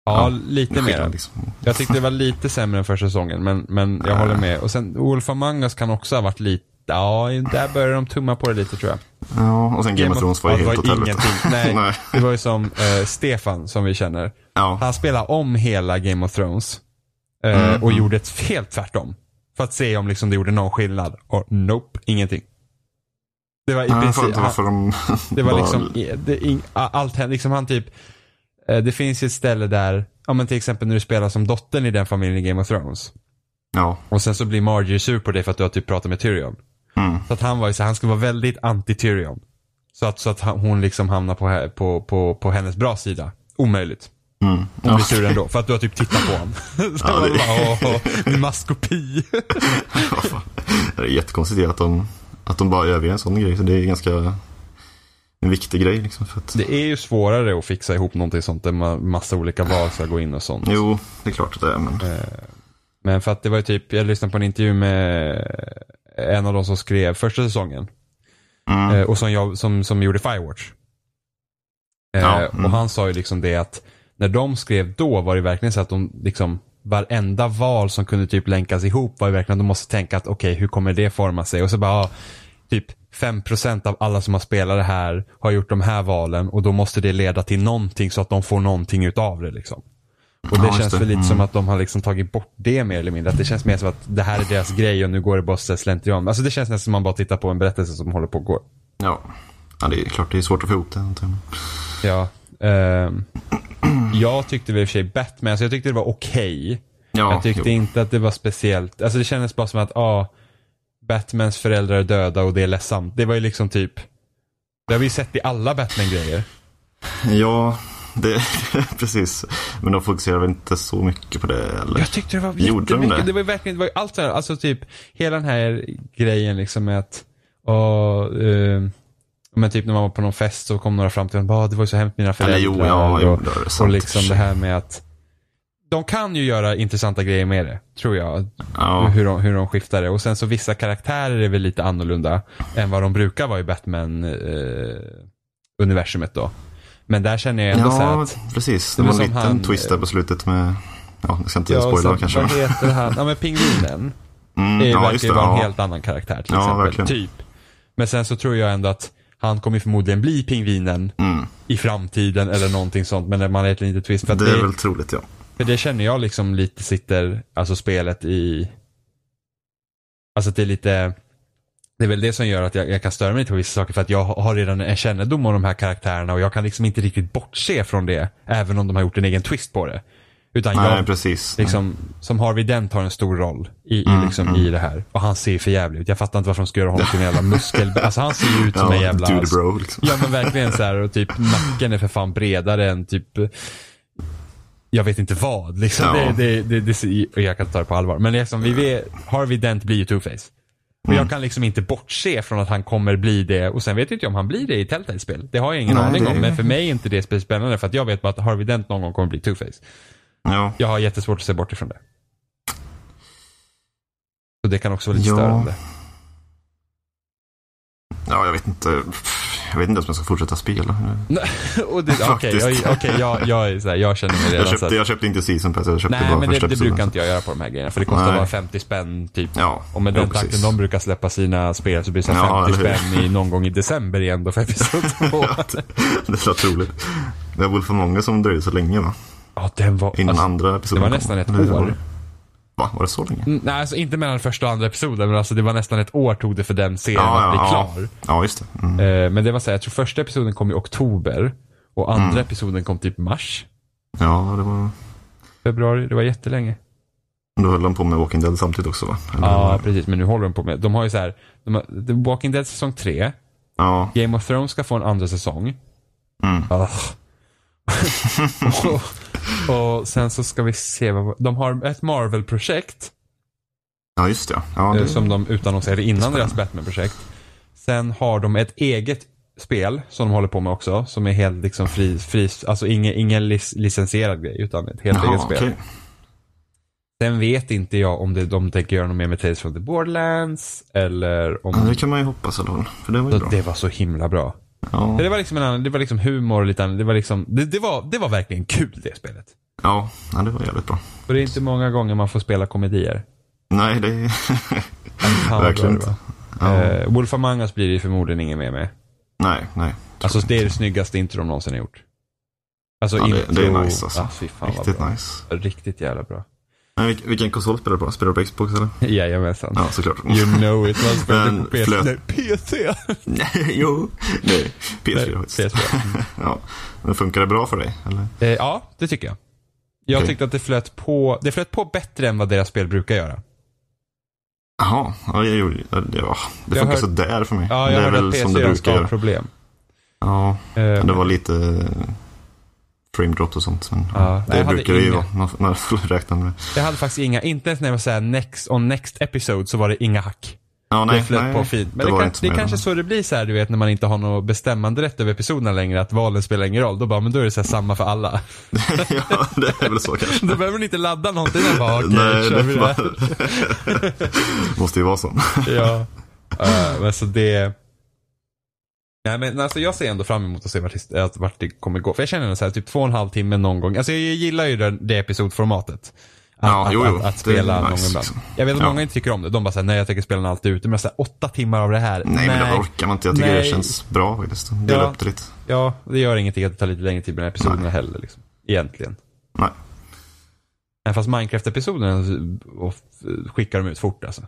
Speaker 2: Ja,
Speaker 3: Ja,
Speaker 2: lite mer.
Speaker 3: skillnad. Liksom.
Speaker 2: Jag tyckte det var lite sämre än första säsongen, men, men jag
Speaker 3: Äh.
Speaker 2: håller med. Och sen Wolf Among Us kan också ha varit lite, ja, där började de tumma på det lite tror jag.
Speaker 3: Ja, och sen Game of Thrones var ju
Speaker 2: ja, det typ-
Speaker 3: helt åt helvete.
Speaker 2: ingenting. Nej,
Speaker 3: Nej.
Speaker 2: det var ju som eh, Stefan som vi känner.
Speaker 3: Ja,
Speaker 2: Han spelade om hela Game of Thrones eh,
Speaker 3: Mm.
Speaker 2: och gjorde ett helt tvärtom. För att se om liksom det gjorde någon skillnad. Och nope, ingenting. Det var i
Speaker 3: jag fattar
Speaker 2: princip,
Speaker 3: inte
Speaker 2: han,
Speaker 3: varför de...
Speaker 2: det var
Speaker 3: bara-
Speaker 2: liksom, det, ing- a- allt hände, liksom han typ, eh, det finns ju ett ställe där, ja men till exempel när du spelar som dottern i den familjen i Game of Thrones.
Speaker 3: Ja,
Speaker 2: Och sen så blir Margie sur på dig för att du har typ pratat med Tyrion.
Speaker 3: mm.
Speaker 2: Så att han var ju så här, han skulle vara väldigt anti-Tyrion. Så att, så att han- hon liksom hamnar på, på, på, på hennes bra sida. Omöjligt.
Speaker 3: Mm.
Speaker 2: Hon
Speaker 3: Ja.
Speaker 2: blir sur ändå, för att du har typ tittat på honom. Så
Speaker 3: Ja,
Speaker 2: man
Speaker 3: det-
Speaker 2: bara, åh, åh, din maskopi.
Speaker 3: Det är jättekonstigt att de, att de bara överger en sån grej. Så det är ganska en viktig grej liksom. För att,
Speaker 2: Det är ju svårare att fixa ihop någonting sånt, där man massa olika val ska gå in och sånt.
Speaker 3: Jo, det är klart att det är, men
Speaker 2: Men för att det var ju typ, jag lyssnade på en intervju med en av de som skrev första säsongen.
Speaker 3: Mm.
Speaker 2: Eh, Och som, jag, som, som gjorde Firewatch. Eh,
Speaker 3: Ja, mm.
Speaker 2: Och han sa ju liksom det att när de skrev då var det verkligen så att de liksom varenda val som kunde typ länkas ihop var ju verkligen att de måste tänka att okej hur kommer det forma sig och så bara ja, typ 5% av alla som har spelat det här har gjort de här valen och då måste det leda till någonting så att de får någonting utav det liksom. Och det
Speaker 3: Ja, just
Speaker 2: känns
Speaker 3: det. Mm.
Speaker 2: väl lite som att de har liksom tagit bort det mer eller mindre. Att det känns mer som att det här är deras grej och nu går det bara så här slentrian. Alltså det känns nästan som att man bara tittar på en berättelse som håller på att gå.
Speaker 3: ja. ja. Det är klart det är svårt att få ihop det. antar jag.
Speaker 2: Ja. ehm, jag tyckte väl i och för sig Batman, alltså jag tyckte det var okej.
Speaker 3: Ja,
Speaker 2: jag tyckte
Speaker 3: jo.
Speaker 2: inte att det var speciellt. Alltså det kändes bara som att, ah, Batmans föräldrar är döda och det är ledsamt. Det var ju liksom typ, det har vi ju sett i alla Batman-grejer.
Speaker 3: Ja, det, precis. Men de fokuserar väl inte så mycket på det. Eller?
Speaker 2: Jag tyckte det var
Speaker 3: Gjorde de
Speaker 2: jättemycket. Det?
Speaker 3: det?
Speaker 2: var ju verkligen, det var ju allt sådär. Alltså typ hela den här grejen liksom med att, och, eh, men typ när man var på någon fest så kom några fram till en bara, "Ah, det var ju så hemskt mina föräldrar.
Speaker 3: Eller jo, ja, jo,
Speaker 2: och,
Speaker 3: det är
Speaker 2: och
Speaker 3: sant.
Speaker 2: liksom det här med att de kan ju göra intressanta grejer med det, tror jag.
Speaker 3: Ja,
Speaker 2: Hur, de, hur de skiftar det. Och sen så vissa karaktärer är väl lite annorlunda än vad de brukar vara i Batman-universumet eh, då. Men där känner jag ändå så här
Speaker 3: Ja,
Speaker 2: att...
Speaker 3: precis.
Speaker 2: Det
Speaker 3: Det
Speaker 2: var
Speaker 3: var en
Speaker 2: som
Speaker 3: liten
Speaker 2: han-
Speaker 3: twist där på slutet med... Ja, jag ska inte
Speaker 2: och
Speaker 3: spoila
Speaker 2: sen,
Speaker 3: kanske.
Speaker 2: Vad heter han? Ja men pingvinen.
Speaker 3: Mm,
Speaker 2: är,
Speaker 3: ja,
Speaker 2: verkar
Speaker 3: just
Speaker 2: ju
Speaker 3: det.
Speaker 2: vara en
Speaker 3: Ja.
Speaker 2: helt annan karaktär till
Speaker 3: Ja,
Speaker 2: exempel.
Speaker 3: verkligen.
Speaker 2: Typ. Men sen så tror jag ändå att han kommer förmodligen bli pingvinen
Speaker 3: Mm.
Speaker 2: i framtiden eller någonting sånt. Men när man är ett litet twist. För, att
Speaker 3: Det
Speaker 2: det,
Speaker 3: är väl troligt, ja.
Speaker 2: för det känner jag liksom lite sitter, alltså spelet i... Alltså att det är lite... Det är väl det som gör att jag, jag kan störa mig lite på vissa saker för att jag har redan en kännedom om de här karaktärerna och jag kan liksom inte riktigt bortse från det. Även om de har gjort en egen twist på det. Utan
Speaker 3: Nej,
Speaker 2: jag,
Speaker 3: precis.
Speaker 2: Liksom, som Harvey Dent har en stor roll i, i,
Speaker 3: Mm,
Speaker 2: liksom, i det här. Och han ser för jävligt ut. Jag fattar inte varför de ska göra honom till en jävla muskel... Alltså han ser ju ut som
Speaker 3: ja,
Speaker 2: en jävla...
Speaker 3: Dude bro, liksom.
Speaker 2: Ja men verkligen så här och typ nacken är för fan bredare än typ... Jag vet inte vad liksom.
Speaker 3: Ja.
Speaker 2: Det, det, det, det, ser- och jag kan inte ta det på allvar. Men liksom, vi vet, Harvey Dent blir ju two-face. Och
Speaker 3: Mm.
Speaker 2: jag kan liksom inte bortse från att han kommer bli det. Och sen vet jag inte om han blir det i Telltale-spel. Det har jag ingen
Speaker 3: Nej,
Speaker 2: aning
Speaker 3: det är
Speaker 2: om.
Speaker 3: ju-
Speaker 2: Men för mig är inte det speciellt spännande. För att jag vet bara att Harvey Dent någon gång kommer bli two-face.
Speaker 3: Ja.
Speaker 2: Jag har jättesvårt att se bort ifrån det. Så det kan också vara lite
Speaker 3: Ja.
Speaker 2: störande.
Speaker 3: ja, jag vet inte. Jag vet inte ens om jag ska fortsätta spela.
Speaker 2: Och det- Okej,
Speaker 3: Faktiskt.
Speaker 2: jag, okay, jag, jag, är så här, jag känner mig redan
Speaker 3: Jag
Speaker 2: så
Speaker 3: köpte,
Speaker 2: att,
Speaker 3: jag köpte inte season pass, jag köpte
Speaker 2: alltså Nej,
Speaker 3: bara
Speaker 2: men det,
Speaker 3: första
Speaker 2: det
Speaker 3: episoden.
Speaker 2: brukar inte jag göra på de här grejerna. För det kostar
Speaker 3: Nej.
Speaker 2: bara 50 spänn typ.
Speaker 3: Ja,
Speaker 2: Och med
Speaker 3: ja,
Speaker 2: den takten
Speaker 3: precis.
Speaker 2: de brukar släppa sina spel så blir det så här
Speaker 3: Ja,
Speaker 2: 50
Speaker 3: eller hur?
Speaker 2: spänn i, någon gång i december igen då för episod 2.
Speaker 3: det lät roligt. Det var väl för många som dröjde så länge va?
Speaker 2: ja, den var...
Speaker 3: Innan
Speaker 2: Alltså,
Speaker 3: andra episoden
Speaker 2: det var
Speaker 3: kom.
Speaker 2: nästan ett
Speaker 3: Eller hur var
Speaker 2: år.
Speaker 3: det? Va, var det så länge?
Speaker 2: n- nej, alltså inte mellan första och andra episoden, men alltså det var nästan ett år tog det för den serien att bli
Speaker 3: ja,
Speaker 2: klar.
Speaker 3: ja. ja, just det. Mm.
Speaker 2: Eh, men det var så här, jag tror första episoden kom i oktober och
Speaker 3: Mm.
Speaker 2: andra episoden kom typ mars.
Speaker 3: Ja, det var...
Speaker 2: februari. Det var jättelänge.
Speaker 3: Då höll de på med Walking Dead samtidigt också va? Eller
Speaker 2: Ja,
Speaker 3: var det-
Speaker 2: precis. Men nu håller de på med. De har ju så här. De har, The Walking Dead säsong 3.
Speaker 3: ja.
Speaker 2: Game of Thrones ska få en andra säsong.
Speaker 3: Mm.
Speaker 2: Ah. och, och sen så ska vi se vad... De har ett Marvel-projekt.
Speaker 3: ja, just det. Ja,
Speaker 2: eh,
Speaker 3: det...
Speaker 2: Som de utannonserade innan deras Batman-projekt. Sen har de ett eget spel som de håller på med också. Som är helt liksom fri... fri alltså ingen, ingen lic- licensierad grej. Utan ett helt eget
Speaker 3: Jaha,
Speaker 2: spel.
Speaker 3: okej.
Speaker 2: Sen vet inte jag om det, de tänker göra något mer med Tales from the Borderlands eller om...
Speaker 3: Ja, det kan man ju hoppas i alla fall. För det var
Speaker 2: Så
Speaker 3: ju bra.
Speaker 2: det var så himla bra.
Speaker 3: Ja.
Speaker 2: Det var liksom en annan, det var liksom humor och lite annat. Det var liksom, det, det, var, det var verkligen kul det spelet.
Speaker 3: Ja. ja, det var jävligt bra.
Speaker 2: Och det är inte många gånger man får spela komedier.
Speaker 3: Nej, det...
Speaker 2: Fan, vad
Speaker 3: Verkligen
Speaker 2: bra det var.
Speaker 3: ja.
Speaker 2: Eh, Wolf Among Us blir det ju förmodligen inget mer med.
Speaker 3: Nej, nej.
Speaker 2: Alltså det är det snyggaste intro de någonsin har gjort. Alltså
Speaker 3: Ja, det-
Speaker 2: intro...
Speaker 3: det är nice, alltså.
Speaker 2: Ah, fy fan vad
Speaker 3: Riktigt
Speaker 2: bra.
Speaker 3: nice.
Speaker 2: Riktigt jävla bra.
Speaker 3: Men vil- vilken konsol spelar du på? Spelar du på Xbox eller?
Speaker 2: Jajamensan.
Speaker 3: Ja, såklart.
Speaker 2: You know it. Man spelade
Speaker 3: Mm.
Speaker 2: på
Speaker 3: Men
Speaker 2: PC.
Speaker 3: flöt-
Speaker 2: Nej, PC.
Speaker 3: Nej, jo. Nej, PS4
Speaker 2: Nej,
Speaker 3: faktiskt.
Speaker 2: PS4.
Speaker 3: Ja. Men funkar det bra för dig? Eller?
Speaker 2: Eh, ja, det tycker jag. Jag
Speaker 3: Okej.
Speaker 2: tyckte att det flöt på, det flöt på bättre än vad deras spel brukar göra.
Speaker 3: Jaha, ja, jag gjorde, ja, det, ja, det
Speaker 2: Jag
Speaker 3: funkar
Speaker 2: hör-
Speaker 3: sådär för mig.
Speaker 2: Ja,
Speaker 3: det
Speaker 2: jag
Speaker 3: är
Speaker 2: hörde att
Speaker 3: väl som det
Speaker 2: PS4
Speaker 3: brukar
Speaker 2: ska ha
Speaker 3: göra.
Speaker 2: problem.
Speaker 3: Ja,
Speaker 2: Eh,
Speaker 3: men det var lite eh, frame drops och sånt. Men
Speaker 2: Ja, jag
Speaker 3: det
Speaker 2: hade
Speaker 3: brukar det ju
Speaker 2: inga.
Speaker 3: vara. Man, man får räkna med det.
Speaker 2: Jag hade faktiskt inga, inte ens när jag var såhär next on next episode så var det inga hack.
Speaker 3: Ja,
Speaker 2: Det
Speaker 3: nej,
Speaker 2: flöt
Speaker 3: nej,
Speaker 2: på fint. Men det,
Speaker 3: var
Speaker 2: kan,
Speaker 3: inte
Speaker 2: det är
Speaker 3: med.
Speaker 2: kanske så det blir så här, du vet när man inte har någon bestämmande rätt över episoderna längre, att valen spelar ingen roll. Då bara, men då är det så här samma för alla.
Speaker 3: ja, det är väl så kanske.
Speaker 2: Då behöver du inte ladda någonting. Jag bara, okej,
Speaker 3: Nej,
Speaker 2: kör vi
Speaker 3: det
Speaker 2: det här.
Speaker 3: måste ju vara så.
Speaker 2: Ja. Eh, men så det... Nej men alltså jag ser ändå fram emot att se vart, his- att vart det kommer gå. För jag känner så här, typ två och en halv timme någon gång. Alltså jag gillar ju det, det episodformatet. Att,
Speaker 3: Ja,
Speaker 2: att,
Speaker 3: jo, jo.
Speaker 2: att, att
Speaker 3: Det är
Speaker 2: spela
Speaker 3: nice,
Speaker 2: någon ibland.
Speaker 3: liksom.
Speaker 2: Jag vet att
Speaker 3: Ja.
Speaker 2: många inte tycker om det. De bara säger nej jag tänker spela den alltid ute. Men jag säger åtta timmar av det här.
Speaker 3: Nej, men det orkar man inte. Jag tycker
Speaker 2: Nej.
Speaker 3: det känns bra faktiskt. Dela
Speaker 2: Ja.
Speaker 3: upp det lite.
Speaker 2: Ja, det gör ingenting att det tar lite längre tid med de här episoderna heller. Liksom. Egentligen.
Speaker 3: Nej.
Speaker 2: Även fast Minecraft-episoderna eh, och, skickar de ut fort alltså.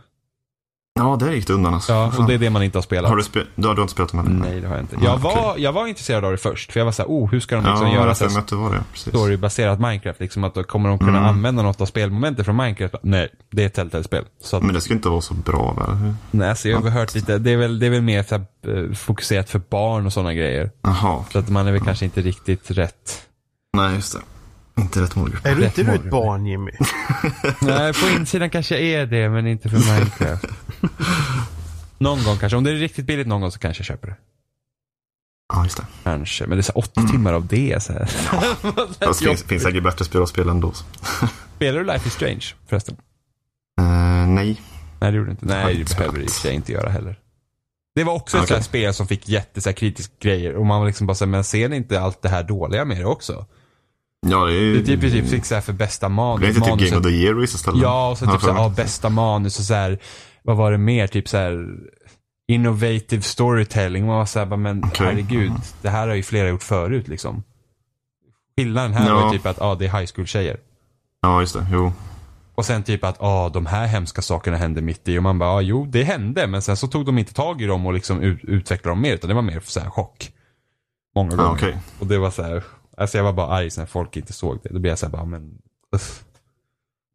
Speaker 3: Ja, där gick det undan alltså.
Speaker 2: Ja, och
Speaker 3: Fan.
Speaker 2: det är det man inte har spelat.
Speaker 3: Har du, spe... du, har- du har inte spelat dem heller?
Speaker 2: Nej, det har jag inte.
Speaker 3: Mm,
Speaker 2: Jag
Speaker 3: okej.
Speaker 2: var, jag var intresserad av det först, för jag var såhär, oh, hur ska de liksom
Speaker 3: Ja, jag
Speaker 2: göra
Speaker 3: har
Speaker 2: så
Speaker 3: för mig
Speaker 2: här
Speaker 3: att det var det. Precis.
Speaker 2: storybaserat Minecraft? Liksom att då kommer de
Speaker 3: Mm.
Speaker 2: kunna använda något av spelmomentet från Minecraft? Nej, det är ett Telltale-spel. Så att,
Speaker 3: Men det ska inte vara så bra väl?
Speaker 2: nej, så jag har hört lite, det är väl, det är väl mer så här, eh, fokuserat för barn och sådana grejer.
Speaker 3: Jaha,
Speaker 2: Så
Speaker 3: okej.
Speaker 2: att man är väl kanske inte riktigt rätt.
Speaker 3: Nej, just det. Inte rätt målgrupp.
Speaker 1: Är du
Speaker 2: Det
Speaker 1: inte
Speaker 2: får
Speaker 1: du
Speaker 2: du.
Speaker 1: ett barn Jimmy?
Speaker 2: Nej, på insidan kanske jag är det, men inte för Minecraft. Någon gång kanske, om det är riktigt billigt någon gång så kanske jag köper det.
Speaker 3: Ja, just det.
Speaker 2: Kanske, men det är så här åtta timmar av det. Så här.
Speaker 3: Mm. Fast det Alltså, finns, finns säkert bättre spel att spela ändå.
Speaker 2: Spelar du Life is Strange förresten?
Speaker 3: Uh, nej.
Speaker 2: Nej, det gjorde du inte. Nej, det
Speaker 3: Skönt.
Speaker 2: behöver det i och för sig inte göra heller. Det var också ett
Speaker 3: Okej.
Speaker 2: sånt här spel som fick jätte så här, kritisk grejer och man var liksom bara såhär, men ser ni inte allt det här dåliga med det också?
Speaker 3: Ja, det är
Speaker 2: Det
Speaker 3: ju...
Speaker 2: typ, typ fick såhär för bästa man-
Speaker 3: Mm. det är inte typ Game
Speaker 2: manuset.
Speaker 3: of the Year i vissa ställen.
Speaker 2: Ja, och så
Speaker 3: Har
Speaker 2: typ
Speaker 3: jag för
Speaker 2: såhär,
Speaker 3: mig.
Speaker 2: ja, bästa manus och såhär, vad var det mer? Typ såhär, innovative storytelling. Man var såhär, bara, men
Speaker 3: Okej. Mm.
Speaker 2: herregud, det här har ju flera gjort förut liksom. Skillnaden här var
Speaker 3: Ja.
Speaker 2: ju typ att, ja, det är high school-tjejer.
Speaker 3: Ja, just det. Jo.
Speaker 2: Och sen typ att, ja, de här hemska sakerna hände mitt i. Och man bara, ja, jo, det hände. Men sen så tog de inte tag i dem och liksom ut- utvecklade dem mer, utan det var mer såhär chock. Många gånger.
Speaker 3: Ja, Ah, okej.
Speaker 2: Och det var så här, alltså jag var bara arg när folk inte såg det. Då blev jag så här bara, men... uff.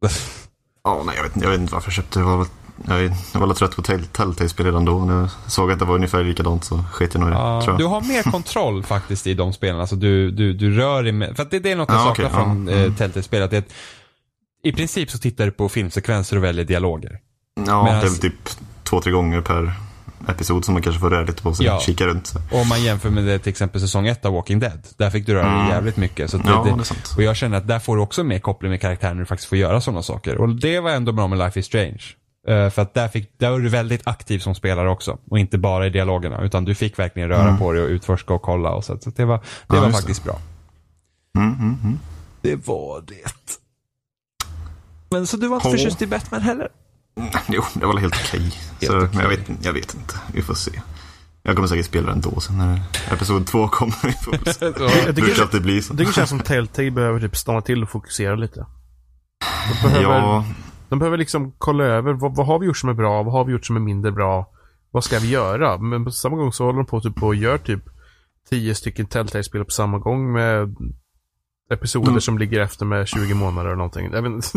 Speaker 2: Uff.
Speaker 3: Ja, nej, jag vet, inte- jag vet inte varför jag köpte. Jag var väl, jag, jag var väl trött på Tell- Telltale-spel redan då. När jag såg att det var ungefär likadant så sket jag nog i det,
Speaker 2: Ja,
Speaker 3: tror
Speaker 2: Ah, du
Speaker 3: jag.
Speaker 2: har mer kontroll faktiskt i de spelen. Alltså du, du, du rör dig med, för att det, det är något jag
Speaker 3: Ja,
Speaker 2: saknar
Speaker 3: okej, ja,
Speaker 2: från
Speaker 3: mm.
Speaker 2: eh, Telltale-spel. Att det är ett- I princip så tittar du på filmsekvenser och väljer dialoger.
Speaker 3: Ja,
Speaker 2: Men
Speaker 3: det är väl
Speaker 2: alltså-
Speaker 3: typ två, tre gånger per episod som man kanske får röra lite på sig.
Speaker 2: Ja.
Speaker 3: Kika runt. Så.
Speaker 2: Och om man jämför med det, till exempel säsong 1 av Walking Dead. Där fick du röra dig jävligt mycket. Så att det,
Speaker 3: Mm. Ja, det är
Speaker 2: det,
Speaker 3: sant.
Speaker 2: och jag känner att där får du också mer koppling med karaktären när du faktiskt får göra sådana saker. Och det var ändå bra med Life is Strange. Eh, för att där, fick, där var du väldigt aktiv som spelare också. Och inte bara i dialogerna. Utan du fick verkligen röra på dig och utforska och kolla. Och så att, så att det var, det var
Speaker 3: Mm. just det.
Speaker 2: faktiskt bra.
Speaker 3: Mm, mm, mm.
Speaker 2: Det var det. Men så du var inte
Speaker 3: Hå.
Speaker 2: förtjust i Batman heller?
Speaker 3: Jo, det var väl helt okej. Så,
Speaker 2: Helt okej.
Speaker 3: Men jag vet, jag vet inte. Vi får se. Jag kommer säkert spela den då sen när episod två kommer. Vi får väl
Speaker 2: Eh,
Speaker 3: se.
Speaker 1: Jag
Speaker 3: Det brukar
Speaker 1: tycker,
Speaker 3: alltid bli så.
Speaker 1: jag tycker det känns som Telltale behöver typ stanna till och fokusera lite. De behöver,
Speaker 3: Ja,
Speaker 1: de behöver liksom kolla över vad, vad har vi gjort som är bra, vad har vi gjort som är mindre bra, vad ska vi göra? Men på samma gång så håller de på typ och gör typ tio stycken Telltale-spel på samma gång med episoder
Speaker 3: Mm.
Speaker 1: som ligger efter med 20 månader eller någonting. Jag vet, inte.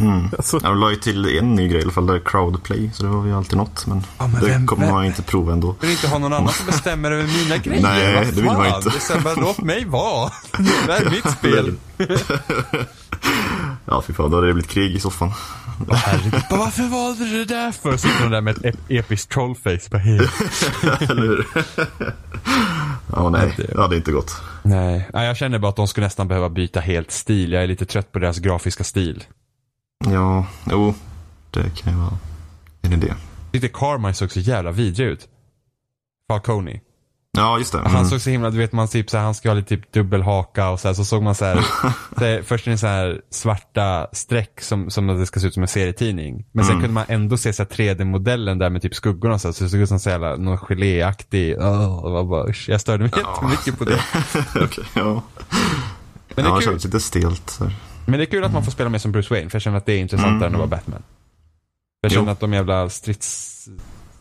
Speaker 3: mm.
Speaker 1: alltså,
Speaker 3: jag la ju till en ny grej i alla fall. Det är crowdplay. Så det var ju alltid något. Men
Speaker 2: Ja, men
Speaker 3: det
Speaker 2: vem-
Speaker 3: kommer
Speaker 2: vem-
Speaker 3: man inte prova ändå.
Speaker 2: Jag vill inte ha någon annan som bestämmer över mina grejer.
Speaker 3: Nej,
Speaker 2: Vad
Speaker 3: det vill man
Speaker 2: fan?
Speaker 3: inte.
Speaker 2: Det är så här, bara, låt mig vara. Det här är mitt spel.
Speaker 3: Ja, fy fan. Då hade det blivit krig i soffan.
Speaker 2: Åh, herregud. Bara, Varför valde du det där för? Sitter hon där med ett ep- episkt trollface. Bara, hej.
Speaker 3: Eller hur? Ja, nej. Det hade inte gått.
Speaker 2: Nej. Nej, jag känner bara att de skulle nästan behöva byta helt stil. Jag är lite trött på deras grafiska stil.
Speaker 3: Ja, jo. Det kan ju vara en idé.
Speaker 2: Jag tyckte Carmine såg så jävla vidrig ut. Falcone.
Speaker 3: Ja, just det.
Speaker 2: Han
Speaker 3: Mm.
Speaker 2: såg så himla, du vet man typ så här, han ska ha lite typ dubbelhaka och så här, så såg man så här, så här först är det så här svarta streck som, som att det ska se ut som en serietidning. Men
Speaker 3: Mm.
Speaker 2: sen kunde man ändå se så här 3D-modellen där med typ skuggorna och så, här, så det såg ut som så jävla, någon geléaktig, oh, det var bara, usch, jag störde mig jättemycket på det.
Speaker 3: Okej, ja.
Speaker 2: Men det,
Speaker 3: ja,
Speaker 2: är
Speaker 3: det
Speaker 2: kul,
Speaker 3: kändes lite stelt. eh, Så. här.
Speaker 2: men det är kul att man får spela med som Bruce Wayne, för jag känner att det är intressantare än att vara Batman. För jag
Speaker 3: Mm. Jo.
Speaker 2: känner att de jävla strids,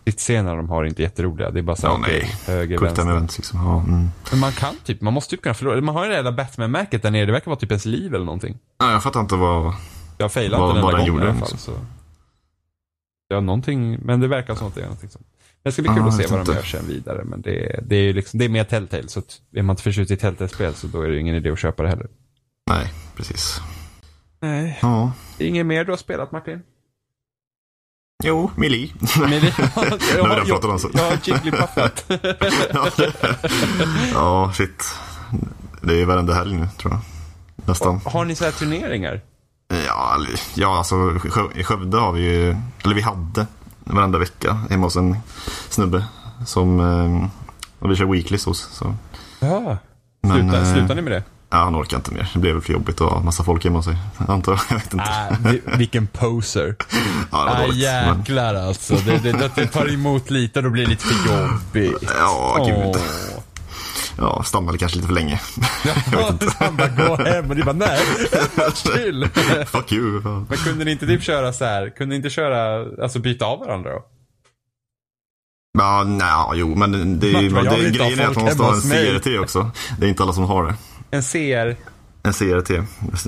Speaker 2: stridsscenerna de har är inte jätteroliga. Det är bara så här,
Speaker 3: Ja, nej.
Speaker 2: okej, höger,
Speaker 3: Quick
Speaker 2: vänster.
Speaker 3: time events liksom. Ja, mm.
Speaker 2: Men man kan typ, man måste typ kunna förlora. Man har ju det jävla Batman-märket där nere, det verkar vara typ ens liv eller någonting.
Speaker 3: Nej, jag fattar inte vad...
Speaker 2: Jag failade
Speaker 3: Vad-
Speaker 2: inte den
Speaker 3: vad
Speaker 2: enda
Speaker 3: den
Speaker 2: gången i
Speaker 3: gjorde,
Speaker 2: alla fall. Så. Ja, någonting, men det verkar som att det är någonting som. Det ska bli kul
Speaker 3: Ja,
Speaker 2: att se
Speaker 3: Ah, jag
Speaker 2: vad
Speaker 3: vet
Speaker 2: de
Speaker 3: inte.
Speaker 2: gör sen vidare, men det, det är ju liksom, det är mer Telltale, så att är man inte förtjust i Telltale-spel så då är det ju ingen idé att köpa det heller.
Speaker 3: Nej, precis.
Speaker 2: Nej.
Speaker 3: Ja.
Speaker 2: Inget mer du har spelat Martin?
Speaker 3: Jo, Mili.
Speaker 2: Men det, jag, har- jag,
Speaker 3: redan pratat om så.
Speaker 2: jag har Jigglypuffat.
Speaker 3: ja, det- ja, shit. Det är varenda helg nu, tror jag. Nästan.
Speaker 2: Har ni så här turneringar?
Speaker 3: Ja, eller- ja alltså Skö- i Skövde har vi ju, eller vi hade varenda vecka hemma hos en snubbe som eh, och vi kör weeklies hos. Så.
Speaker 2: Ja.
Speaker 3: Men,
Speaker 2: Sluta,
Speaker 3: eh,
Speaker 2: slutar ni med det?
Speaker 3: Ja, han orkar inte mer. Det blev väl för jobbigt att ha massa folk hemma hos sig. Antar jag. Jag vet inte.
Speaker 2: Ah, vi- vilken poser.
Speaker 3: Ja, det var
Speaker 2: Ah,
Speaker 3: dåligt. Men,
Speaker 2: jäklar alltså. Det, det, det, det tar emot lite och då blir det lite för jobbigt.
Speaker 3: Ja, gud.
Speaker 2: Åh.
Speaker 3: ja, stannade kanske lite för länge.
Speaker 2: Ja, han bara gå hem och ni bara nej, chill.
Speaker 3: Fuck you. fan.
Speaker 2: Men kunde ni inte typ köra så här, kunde ni inte köra, alltså byta av varandra då?
Speaker 3: Ja, nej, jo, men det är, ju-
Speaker 2: Vart vad jag
Speaker 3: det är
Speaker 2: vill inte ha
Speaker 3: grejen är att
Speaker 2: folk
Speaker 3: man
Speaker 2: hemma
Speaker 3: måste ha en
Speaker 2: hos mig.
Speaker 3: CRT också. Det är inte alla som har det.
Speaker 2: En CR,
Speaker 3: En CRT,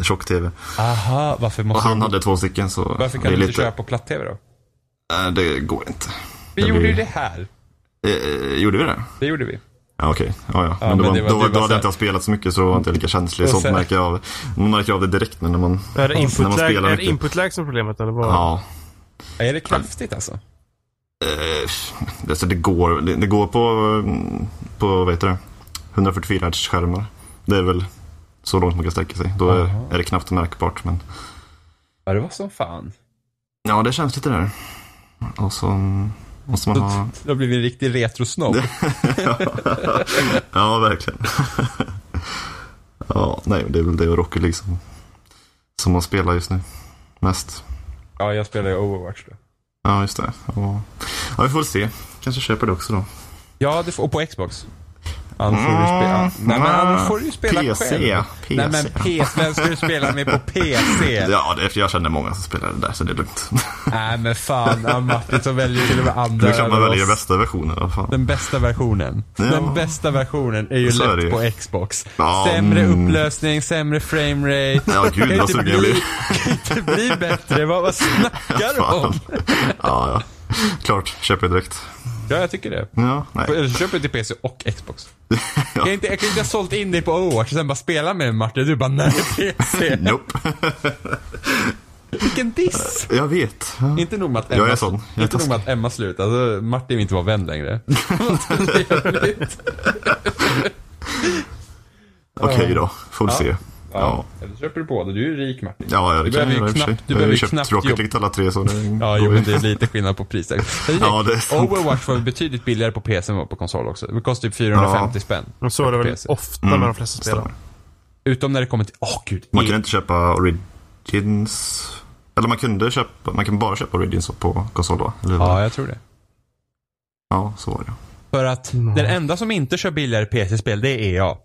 Speaker 3: tjock-tv.
Speaker 2: aha, varför
Speaker 3: Och
Speaker 2: måste
Speaker 3: han
Speaker 2: du,
Speaker 3: hade två stycken så
Speaker 2: varför
Speaker 3: det
Speaker 2: kan
Speaker 3: är
Speaker 2: du inte
Speaker 3: lite...
Speaker 2: köra på platt-tv då?
Speaker 3: Nej, det går inte.
Speaker 2: Vi
Speaker 3: Det
Speaker 2: gjorde
Speaker 3: blir-
Speaker 2: ju det här,
Speaker 3: Eh, gjorde vi det?
Speaker 2: det gjorde vi.
Speaker 3: Ja, okej. Ja, ja. Men,
Speaker 2: men
Speaker 3: då, var,
Speaker 2: det var-
Speaker 3: då,
Speaker 2: det
Speaker 3: var,
Speaker 2: var
Speaker 3: då
Speaker 2: så
Speaker 3: hade
Speaker 2: här-
Speaker 3: jag inte jag spelat så mycket så var jag inte lika känslig.
Speaker 2: Det var
Speaker 3: Sånt
Speaker 2: så här-
Speaker 3: märker jag av. Man märker av det direkt nu när man...
Speaker 1: är det
Speaker 3: när man
Speaker 1: input-lag
Speaker 3: spelar
Speaker 1: är det
Speaker 3: mycket.
Speaker 1: input-lag som är problemet eller vad?
Speaker 3: Ja.
Speaker 2: Är det kraftigt alltså?
Speaker 3: Eh, det, så det, går, det, det går på, mm, på, vad heter det, 144 Hz skärmar. Det är väl så långt man kan sträcka sig. Då är, är det knappt märkbart. Men...
Speaker 2: Ja, det var som fan.
Speaker 3: Ja, det känns lite där. Och så... Måste man ha...
Speaker 2: Du har blivit en riktig retrosnobb.
Speaker 3: Ja, verkligen. ja, nej, det är väl det och Rocket League som, som man spelar just nu. Mest.
Speaker 2: Ja, jag spelar ju Overwatch då.
Speaker 3: Ja, just det. Ja, ja vi får väl se. Kanske köper det också då.
Speaker 2: Ja, det får, och på Xbox. Annars får du
Speaker 3: Ah,
Speaker 2: spela. Mm. Nej, men annars får du ju spela
Speaker 3: PC.
Speaker 2: själv.
Speaker 3: PC.
Speaker 2: Nej, men PC. Vem ska du spela med på PC?
Speaker 3: Ja, det är för jag känner många som spelar det där så det är lugnt.
Speaker 2: Nej, men fan. Ja, Martin som väljer till och med andra.
Speaker 3: Då kan man
Speaker 2: än
Speaker 3: välja
Speaker 2: oss.
Speaker 3: bästa versionen. Vad fan.
Speaker 2: Den bästa versionen.
Speaker 3: Ja.
Speaker 2: Den bästa versionen är ju
Speaker 3: Så är det
Speaker 2: lätt
Speaker 3: ju.
Speaker 2: på Xbox.
Speaker 3: Ja,
Speaker 2: Sämre
Speaker 3: mm.
Speaker 2: upplösning, sämre framerate.
Speaker 3: Ja, gud,
Speaker 2: Kan
Speaker 3: vad
Speaker 2: inte
Speaker 3: sugen jag
Speaker 2: bli-
Speaker 3: blir.
Speaker 2: Kan inte bli bättre. Vad, vad snackar du om?
Speaker 3: Fan. ja, ja. Klart, köper jag direkt.
Speaker 2: Ja, jag tycker det.
Speaker 3: Ja, nej.
Speaker 2: Eller så köper du till PC och Xbox. Jag, kan inte, jag kan inte ha sålt in dig på Overwatch och sen bara spela med dig Martin. Du bara, nej, PC.
Speaker 3: Nope.
Speaker 2: Vilken diss!
Speaker 3: Jag vet. Ja.
Speaker 2: Inte nog med att
Speaker 3: Jag
Speaker 2: Emma,
Speaker 3: är sån. Jag är
Speaker 2: inte nog med
Speaker 3: taskig.
Speaker 2: att Emma slut. Alltså, Martin vill inte vara vän längre. Vad trevligt.
Speaker 3: Okej då, får vi se. Ja.
Speaker 2: ja. Eller så köper du båda. Du är ju rik Martin.
Speaker 3: Ja, ja, det
Speaker 2: Du
Speaker 3: kan
Speaker 2: behöver
Speaker 3: jag
Speaker 2: ju
Speaker 3: göra i och för sig.
Speaker 2: knappt- du
Speaker 3: Jag har
Speaker 2: behöver
Speaker 3: ju
Speaker 2: ju
Speaker 3: köpt
Speaker 2: knappt
Speaker 3: Rocket
Speaker 2: jobb.
Speaker 3: League till alla tre så det
Speaker 2: Ja,
Speaker 3: går
Speaker 2: jo,
Speaker 3: ju.
Speaker 2: men det är lite skillnad på priset.
Speaker 3: Ja, det är sant.
Speaker 2: Overwatch var betydligt billigare på PC än vad på konsol också. Det kostar typ 450 spänn.
Speaker 1: Men så är det väl
Speaker 2: PC.
Speaker 1: ofta med de flesta spelarna.
Speaker 3: Mm. Stämmer.
Speaker 2: Utom när det kommer till, åh gud.
Speaker 3: Man
Speaker 2: E-
Speaker 3: kan inte köpa Origins. Eller man kunde köpa, man kan bara köpa Origins på konsol då. Eller hur?
Speaker 2: Ja, jag tror det.
Speaker 3: ja, så var det.
Speaker 2: För att den enda som inte kör billigare PC-spel, det är E EA.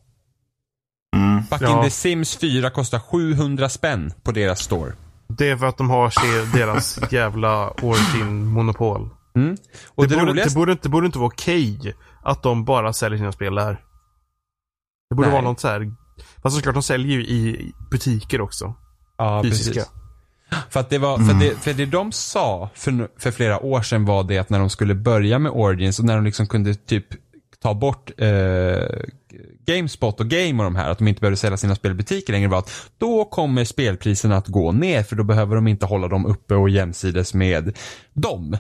Speaker 3: Mm.
Speaker 2: Fucking
Speaker 1: Ja.
Speaker 2: The Sims 4 kostar 700 spänn på deras store.
Speaker 1: Det är för att de har se- deras jävla origin-monopol.
Speaker 2: Mm. Och
Speaker 1: Det,
Speaker 2: det,
Speaker 1: borde,
Speaker 2: roligaste...
Speaker 1: det, borde, inte- det borde inte vara okej att de bara säljer sina spel där. Det borde
Speaker 2: Nej.
Speaker 1: vara något så här. Fast såklart, de säljer ju i butiker också.
Speaker 2: ja,
Speaker 1: fysiska.
Speaker 2: precis. För att det var, för, det, för det de sa för, för flera år sedan var det att när de skulle börja med Origins och när de liksom kunde typ ta bort eh, Gamespot och Game och de här, att de inte behövde sälja sina spel i butiker längre var att då kommer spelpriserna att gå ner för då behöver de inte hålla dem uppe och jämsides med dem.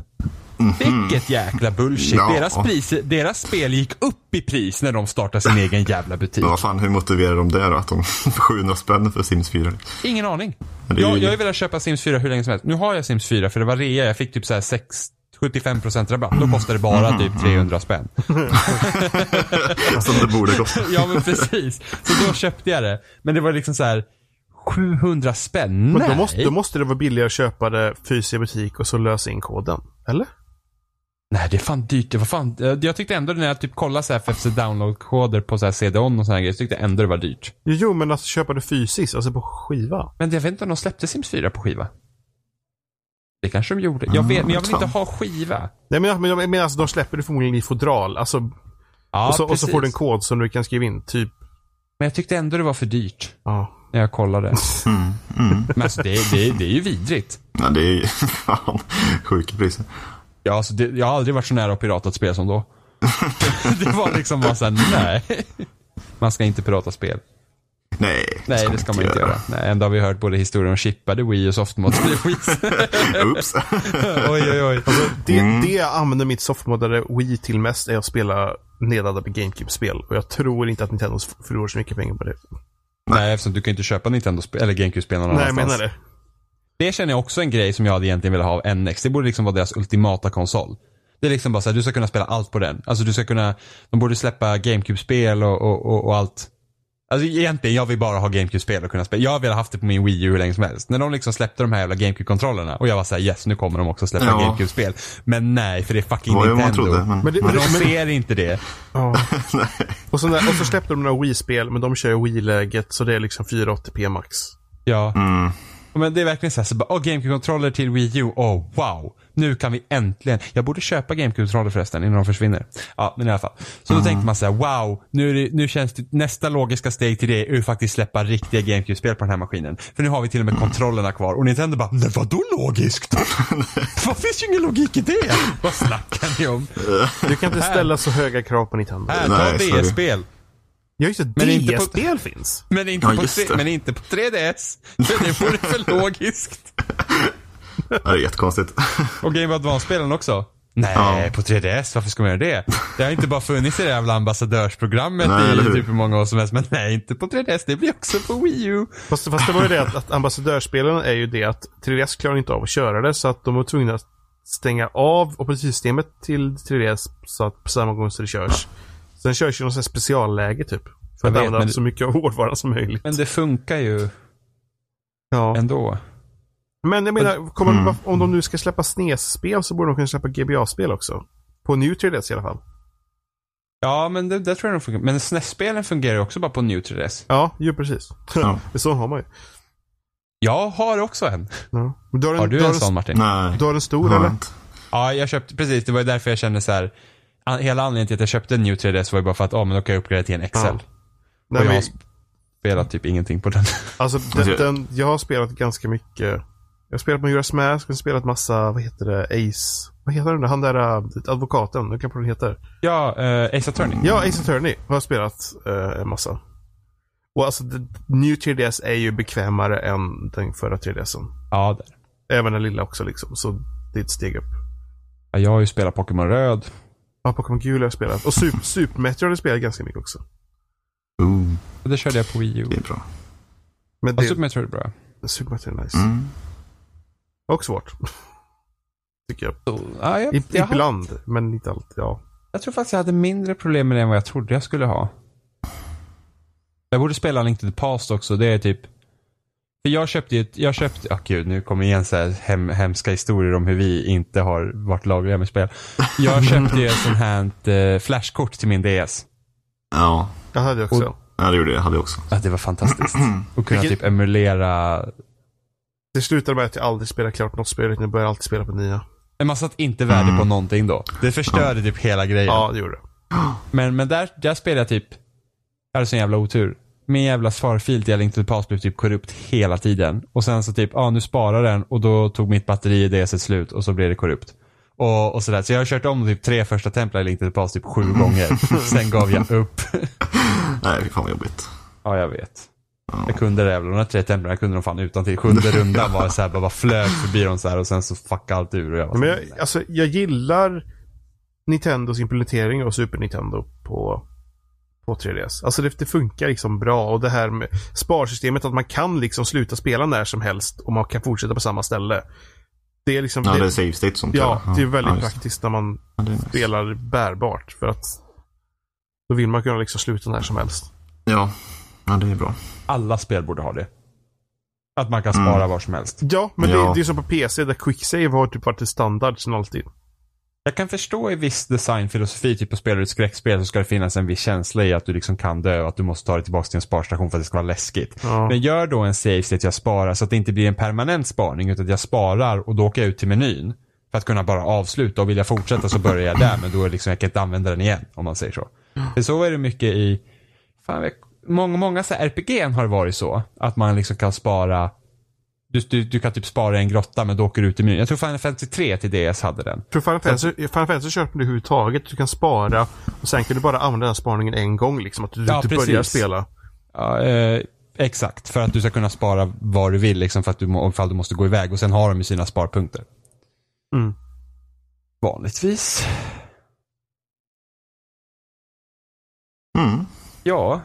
Speaker 2: Vilket jäkla bullshit.
Speaker 3: Ja.
Speaker 2: Deras, pris, deras spel gick upp i pris när de startade sin egen jävla butik.
Speaker 3: Men vad fan, hur motiverar de det då? Att de får 700 spänn för Sims 4?
Speaker 2: Ingen aning.
Speaker 3: Men det är
Speaker 2: jag,
Speaker 3: ju-
Speaker 2: jag har ju velat köpa Sims 4 hur länge som helst. Nu har jag Sims 4 för det var rea. Jag fick typ så här 6, 75% rabatt. Då kostar det
Speaker 1: Mm.
Speaker 2: bara typ 300 spänn.
Speaker 3: Som det borde kosta.
Speaker 2: Ja men precis. Så då köpte jag det. Men det var liksom så här 700 spänn.
Speaker 1: Men
Speaker 2: Nej.
Speaker 1: då måste, då måste det vara billigare att köpa det fysiskt i butik och så lösa in koden. Eller?
Speaker 2: Nej det är fan dyrt. Det var fan... eh, Jag tyckte ändå när jag typ kollade så här FFC download-koder på så här CD-ON och såna här grejer. Så tyckte jag ändå det var dyrt.
Speaker 1: Jo, Jo, men alltså köpa det fysiskt, alltså på skiva.
Speaker 2: Men jag vet inte om de släppte Sims 4 på skiva. Det kanske de gjorde.
Speaker 1: Ah,
Speaker 2: Jag vet, men jag vill inte ha skiva.
Speaker 1: Nej, men, men, men alltså, de släpper det förmodligen i fodral. Alltså,
Speaker 2: Ja,
Speaker 1: och, så, och så
Speaker 2: precis.
Speaker 1: får du en kod som du kan skriva in. Typ,
Speaker 2: Men jag tyckte ändå det var för dyrt.
Speaker 1: ja.
Speaker 2: När jag kollade. Men alltså det, det, det är ju vidrigt.
Speaker 3: Ja, det är ju fan sjuka priser.
Speaker 2: Ja, alltså det, jag har aldrig varit så nära att pirata ett spel som då. det var liksom bara såhär, nej. Man ska inte pirata spel.
Speaker 3: Nej,
Speaker 2: Nej, det ska man inte göra. Nej, ändå har vi hört både historier om chippade Wii och softmoddade Wii.
Speaker 3: Oops.
Speaker 2: oj, oj, oj.
Speaker 1: Det, det jag använder mitt softmodade Wii till mest är att spela nedladdade GameCube-spel. Och jag tror inte att Nintendo f- förlorar så mycket pengar på det.
Speaker 2: Nej, eftersom du kan inte köpa Nintendo spel eller GameCube-spel någon
Speaker 1: Nej, jag
Speaker 2: annanstans.
Speaker 1: menar det.
Speaker 2: Det känner jag också är en grej som jag hade egentligen velat ha av NX. Det borde liksom vara deras ultimata konsol. Det är liksom bara så här, du ska kunna spela allt på den. Alltså du ska kunna, de borde släppa GameCube-spel och, och, och, och allt. Alltså egentligen, jag vill bara ha GameCube-spel och kunna spela. Jag har velat haft det på min Wii U hur länge som helst. När de liksom släppte de här jävla GameCube-kontrollerna och jag var såhär yes, nu kommer de också släppa
Speaker 3: Ja.
Speaker 2: GameCube-spel. Men nej, för det är fucking
Speaker 3: Det var ju vad man
Speaker 2: Nintendo.
Speaker 3: trodde.
Speaker 1: Men
Speaker 3: Men...
Speaker 1: det,
Speaker 2: Men
Speaker 1: men
Speaker 2: de
Speaker 1: det men,
Speaker 2: ser inte det.
Speaker 1: ja. och, så där, och så släppte de några Wii-spel, men de kör ju Wii-läget. Så det är liksom 480p max.
Speaker 2: Ja.
Speaker 3: Mm.
Speaker 2: Men det är verkligen så här, så bara, åh, GameCube-kontroller till Wii U, åh wow. Nu kan vi äntligen, jag borde köpa GameCube-kontroller förresten innan de försvinner. Ja, men i alla fall. Så
Speaker 3: Mm.
Speaker 2: då tänkte man så här, wow, nu, är det, nu känns det, nästa logiska steg till det är ju faktiskt släppa riktiga GameCube-spel på den här maskinen. För nu har vi till och med kontrollerna kvar och Nintendo bara, nej vadå logiskt? Vad finns ju ingen logik i det? Vad snackar ni om?
Speaker 1: Du kan inte ställa så höga krav på Nintendo.
Speaker 2: Här,
Speaker 3: Eh, Nej,
Speaker 2: ta
Speaker 3: sorry.
Speaker 2: DS-spel.
Speaker 1: Ja, just det.
Speaker 2: Men inte på-
Speaker 1: DS-spel finns.
Speaker 2: Men inte,
Speaker 3: Ja,
Speaker 2: på
Speaker 3: just
Speaker 2: tre,
Speaker 3: det.
Speaker 2: men inte på 3DS. För det vore för logiskt.
Speaker 3: Ja, det är jättekonstigt.
Speaker 2: Och Game of Advance-spelen också. Nej,
Speaker 3: Ja.
Speaker 2: på 3DS, varför ska man göra det? Det har inte bara funnits i det jävla ambassadörsprogrammet
Speaker 3: Nej, eller
Speaker 2: i
Speaker 3: hur?
Speaker 2: typ hur många år som helst. Men nej, inte på 3DS. Det blir också på Wii U.
Speaker 1: Fast, fast det var ju det att, att ambassadörsspelen är ju det att 3DS klarar inte av att köra det så att de var tvungna att stänga av operativsystemet till 3DS så att på samma gång så det körs. Sen körs ju något sånt här specialläge typ. För
Speaker 2: Jag
Speaker 1: att
Speaker 2: vet,
Speaker 1: använda
Speaker 2: men-
Speaker 1: så mycket av hårdvaran som möjligt.
Speaker 2: Men det funkar ju
Speaker 1: Ja.
Speaker 2: ändå.
Speaker 1: Men jag menar, kommer de-
Speaker 3: Mm.
Speaker 1: om de nu ska släppa SNES-spel så borde de kunna släppa GBA-spel också. På New 3DS i alla fall.
Speaker 2: Ja, men det, det tror jag de funkar. Men SNES-spelen fungerar ju också bara på New 3DS.
Speaker 1: Ja, ju precis.
Speaker 3: Ja.
Speaker 1: Så har man ju.
Speaker 2: Jag har också en.
Speaker 1: Ja. Men Du har en,
Speaker 2: Har
Speaker 1: du
Speaker 2: du
Speaker 1: har
Speaker 2: en
Speaker 1: en,
Speaker 2: sån Martin?
Speaker 3: Nej.
Speaker 1: Du har en stor
Speaker 3: har jag
Speaker 1: eller?
Speaker 3: inte.
Speaker 2: Ja, jag köpte, precis. Det var ju därför jag kände så här. An, hela anledningen till att jag köpte en New 3DS var ju bara för att, ja men då kan jag uppgradera till en XL.
Speaker 1: Ja.
Speaker 2: Och
Speaker 1: Nej,
Speaker 2: jag
Speaker 1: men,
Speaker 2: har spelat typ ingenting på den.
Speaker 1: alltså, den,
Speaker 3: Alltså-
Speaker 1: den, jag har spelat ganska mycket. Jag har spelat Majora's Mask, jag har spelat massa, vad heter det, Ace. Vad heter den där? Han där äh, advokaten, jag kan på vad den heter.
Speaker 2: ja, eh, Ace Attorney.
Speaker 1: Ja, Ace Attorney har jag spelat eh, en massa. Och alltså, det- New 3DS är ju bekvämare än den förra 3DSen.
Speaker 2: Ja, där.
Speaker 1: Även den lilla också liksom, så det är ett steg upp.
Speaker 2: Ja, jag har ju spelat Pokémon Röd.
Speaker 1: Ja, Pokémon Gul har jag spelat. Och Super, Super Metroid har jag spelat ganska mycket också.
Speaker 3: Ooh,
Speaker 2: Och det körde jag på Wii U.
Speaker 3: det är bra.
Speaker 1: Men
Speaker 2: Ja,
Speaker 1: det,
Speaker 2: Super Metroid är bra.
Speaker 1: Super Metroid är nice.
Speaker 3: Mm.
Speaker 1: Och svårt. Tycker jag.
Speaker 2: Ja, jag,
Speaker 1: I,
Speaker 2: jag, har-
Speaker 1: Oh. ibland, men inte alltid. Ja.
Speaker 2: jag tror faktiskt jag hade mindre problem med det än vad jag trodde jag skulle ha. Jag borde spela Link to the Past också. Det är typ... För jag köpte ju ett... Jag köpte... Åh gud, nu kommer igen så här hem, hemska historier om hur vi inte har varit lagliga med spel. Jag köpte ju ett sånt här eh, flashkort till min DS.
Speaker 3: Ja,
Speaker 1: Det hade jag också.
Speaker 3: ja, det gjorde jag. hade jag också.
Speaker 2: Ja, det var fantastiskt. Och kunna
Speaker 1: Mm. Vilket-
Speaker 2: typ emulera...
Speaker 1: Det slutade med att jag aldrig spelar klart något spel, utan jag började alltid spela på nya.
Speaker 2: Men man satt inte värde på någonting då. Det förstörde typ hela grejen.
Speaker 1: Mm. Ja, det gjorde det.
Speaker 2: Men, men där, där spelade jag typ, jag hade sån jävla otur. Min jävla svarfil till Link to the Past blev typ korrupt hela tiden. Och sen så typ, ja ah, nu sparar den och då tog mitt batteri i DS slut och så blev det korrupt. Och, och sådär. Så jag har kört om typ tre första templar i Link to the Past typ sju gånger. Sen gav jag upp.
Speaker 3: Nej, fy fan vad jobbigt.
Speaker 2: ja, jag vet. Jag kunde det jävla, de där tre templarna jag kunde de fan utan till Sjunde rundan var det såhär, bara, bara flög förbi dem såhär och sen så fuckade allt ur och jag var
Speaker 1: Men
Speaker 2: såhär,
Speaker 1: jag, alltså, jag gillar Nintendos implementering av Super Nintendo på, på 3DS. Alltså det, det funkar liksom bra och det här med sparsystemet att man kan liksom sluta spela när som helst och man kan fortsätta på samma ställe. Det är liksom...
Speaker 3: Ja,
Speaker 1: det,
Speaker 3: det är save state och sånt.
Speaker 1: ja, det är väldigt
Speaker 3: ja, just det.
Speaker 1: praktiskt när man
Speaker 3: Ja, det är nice.
Speaker 1: spelar bärbart för att då vill man kunna liksom sluta när som helst.
Speaker 3: Ja. ja, det är bra.
Speaker 2: alla spel borde ha det. Att man kan spara var som helst.
Speaker 1: Ja, men Det,
Speaker 3: Ja.
Speaker 1: det är som på PC där quicksave har typ varit en standard sedan alltid.
Speaker 2: Jag kan förstå i viss designfilosofi, typ att spelar du ett skräckspel så ska det finnas en viss känsla i att du liksom kan dö och att du måste ta dig tillbaka till en sparstation för att det ska vara läskigt.
Speaker 1: Ja.
Speaker 2: Men gör då en save state jag sparar så att det inte blir en permanent sparning utan att jag sparar och då åker jag ut till menyn. För att kunna bara avsluta och vill jag fortsätta så börjar jag där men då är liksom, jag kan inte använda den igen om man säger så. För så är det mycket i, fan, jag, många, många så här RPG har det varit så. Att man liksom kan spara, du, du, du kan typ spara i en grotta men då åker du ut i menyn. Jag tror Final Fantasy 3 till DS hade den.
Speaker 1: För Final Fantasy, Final Fantasy köper du överhuvudtaget. Du kan spara och sen kan du bara använda den spaningen en gång. Liksom, att du
Speaker 2: Ja,
Speaker 1: inte börjar
Speaker 2: precis.
Speaker 1: spela.
Speaker 2: Ja, eh, exakt, för att du ska kunna spara var du vill liksom, för att du, må- ifall du måste gå iväg. Och sen har de ju sina sparpunkter.
Speaker 1: Mm.
Speaker 2: Vanligtvis.
Speaker 3: Mm.
Speaker 2: Ja,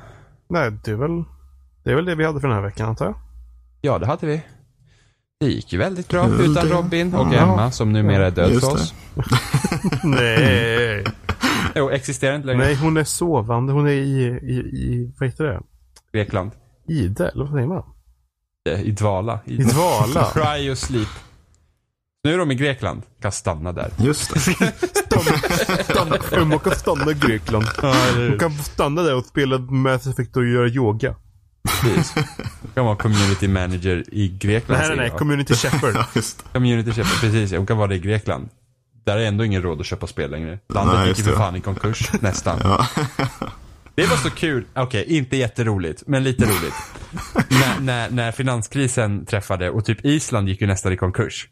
Speaker 1: Nej, det är, väl, det är väl det vi hade för den här veckan antar jag.
Speaker 2: ja det hade vi. Det gick ju väldigt bra
Speaker 3: Kul
Speaker 2: utan
Speaker 3: det.
Speaker 2: Robin och
Speaker 3: Ja.
Speaker 2: Emma som numera är död
Speaker 3: Just
Speaker 2: för
Speaker 3: det.
Speaker 2: oss.
Speaker 1: Nej.
Speaker 2: Jo, existerar inte längre.
Speaker 1: Nej, hon är sovande. Hon är i, i, i vad heter det?
Speaker 2: Grekland.
Speaker 1: Ide, eller vad säger man?
Speaker 2: Eh, I dvala.
Speaker 1: I dvala.
Speaker 2: Cryo sleep. Nu är de i Grekland. Kan stanna där.
Speaker 3: Just det.
Speaker 1: Stanna- Hon kan stanna i Grekland. Hon kan stanna där och spela Mass Effect och göra yoga.
Speaker 2: Precis. Kan vara community manager i Grekland.
Speaker 1: Nej, nej, nej.
Speaker 2: säger jag.
Speaker 1: Community Shepherd.
Speaker 3: Ja, just det.
Speaker 2: Community köper, precis. Hon kan vara det i Grekland. Där är ändå ingen råd att köpa spel längre. Landet
Speaker 3: Nej,
Speaker 2: gick
Speaker 3: just
Speaker 2: ju för
Speaker 3: det.
Speaker 2: fan i konkurs, nästan.
Speaker 3: Ja.
Speaker 2: Det var så kul, okej, inte jätteroligt, men lite roligt. när, när, när finanskrisen träffade och typ Island gick ju nästan i konkurs.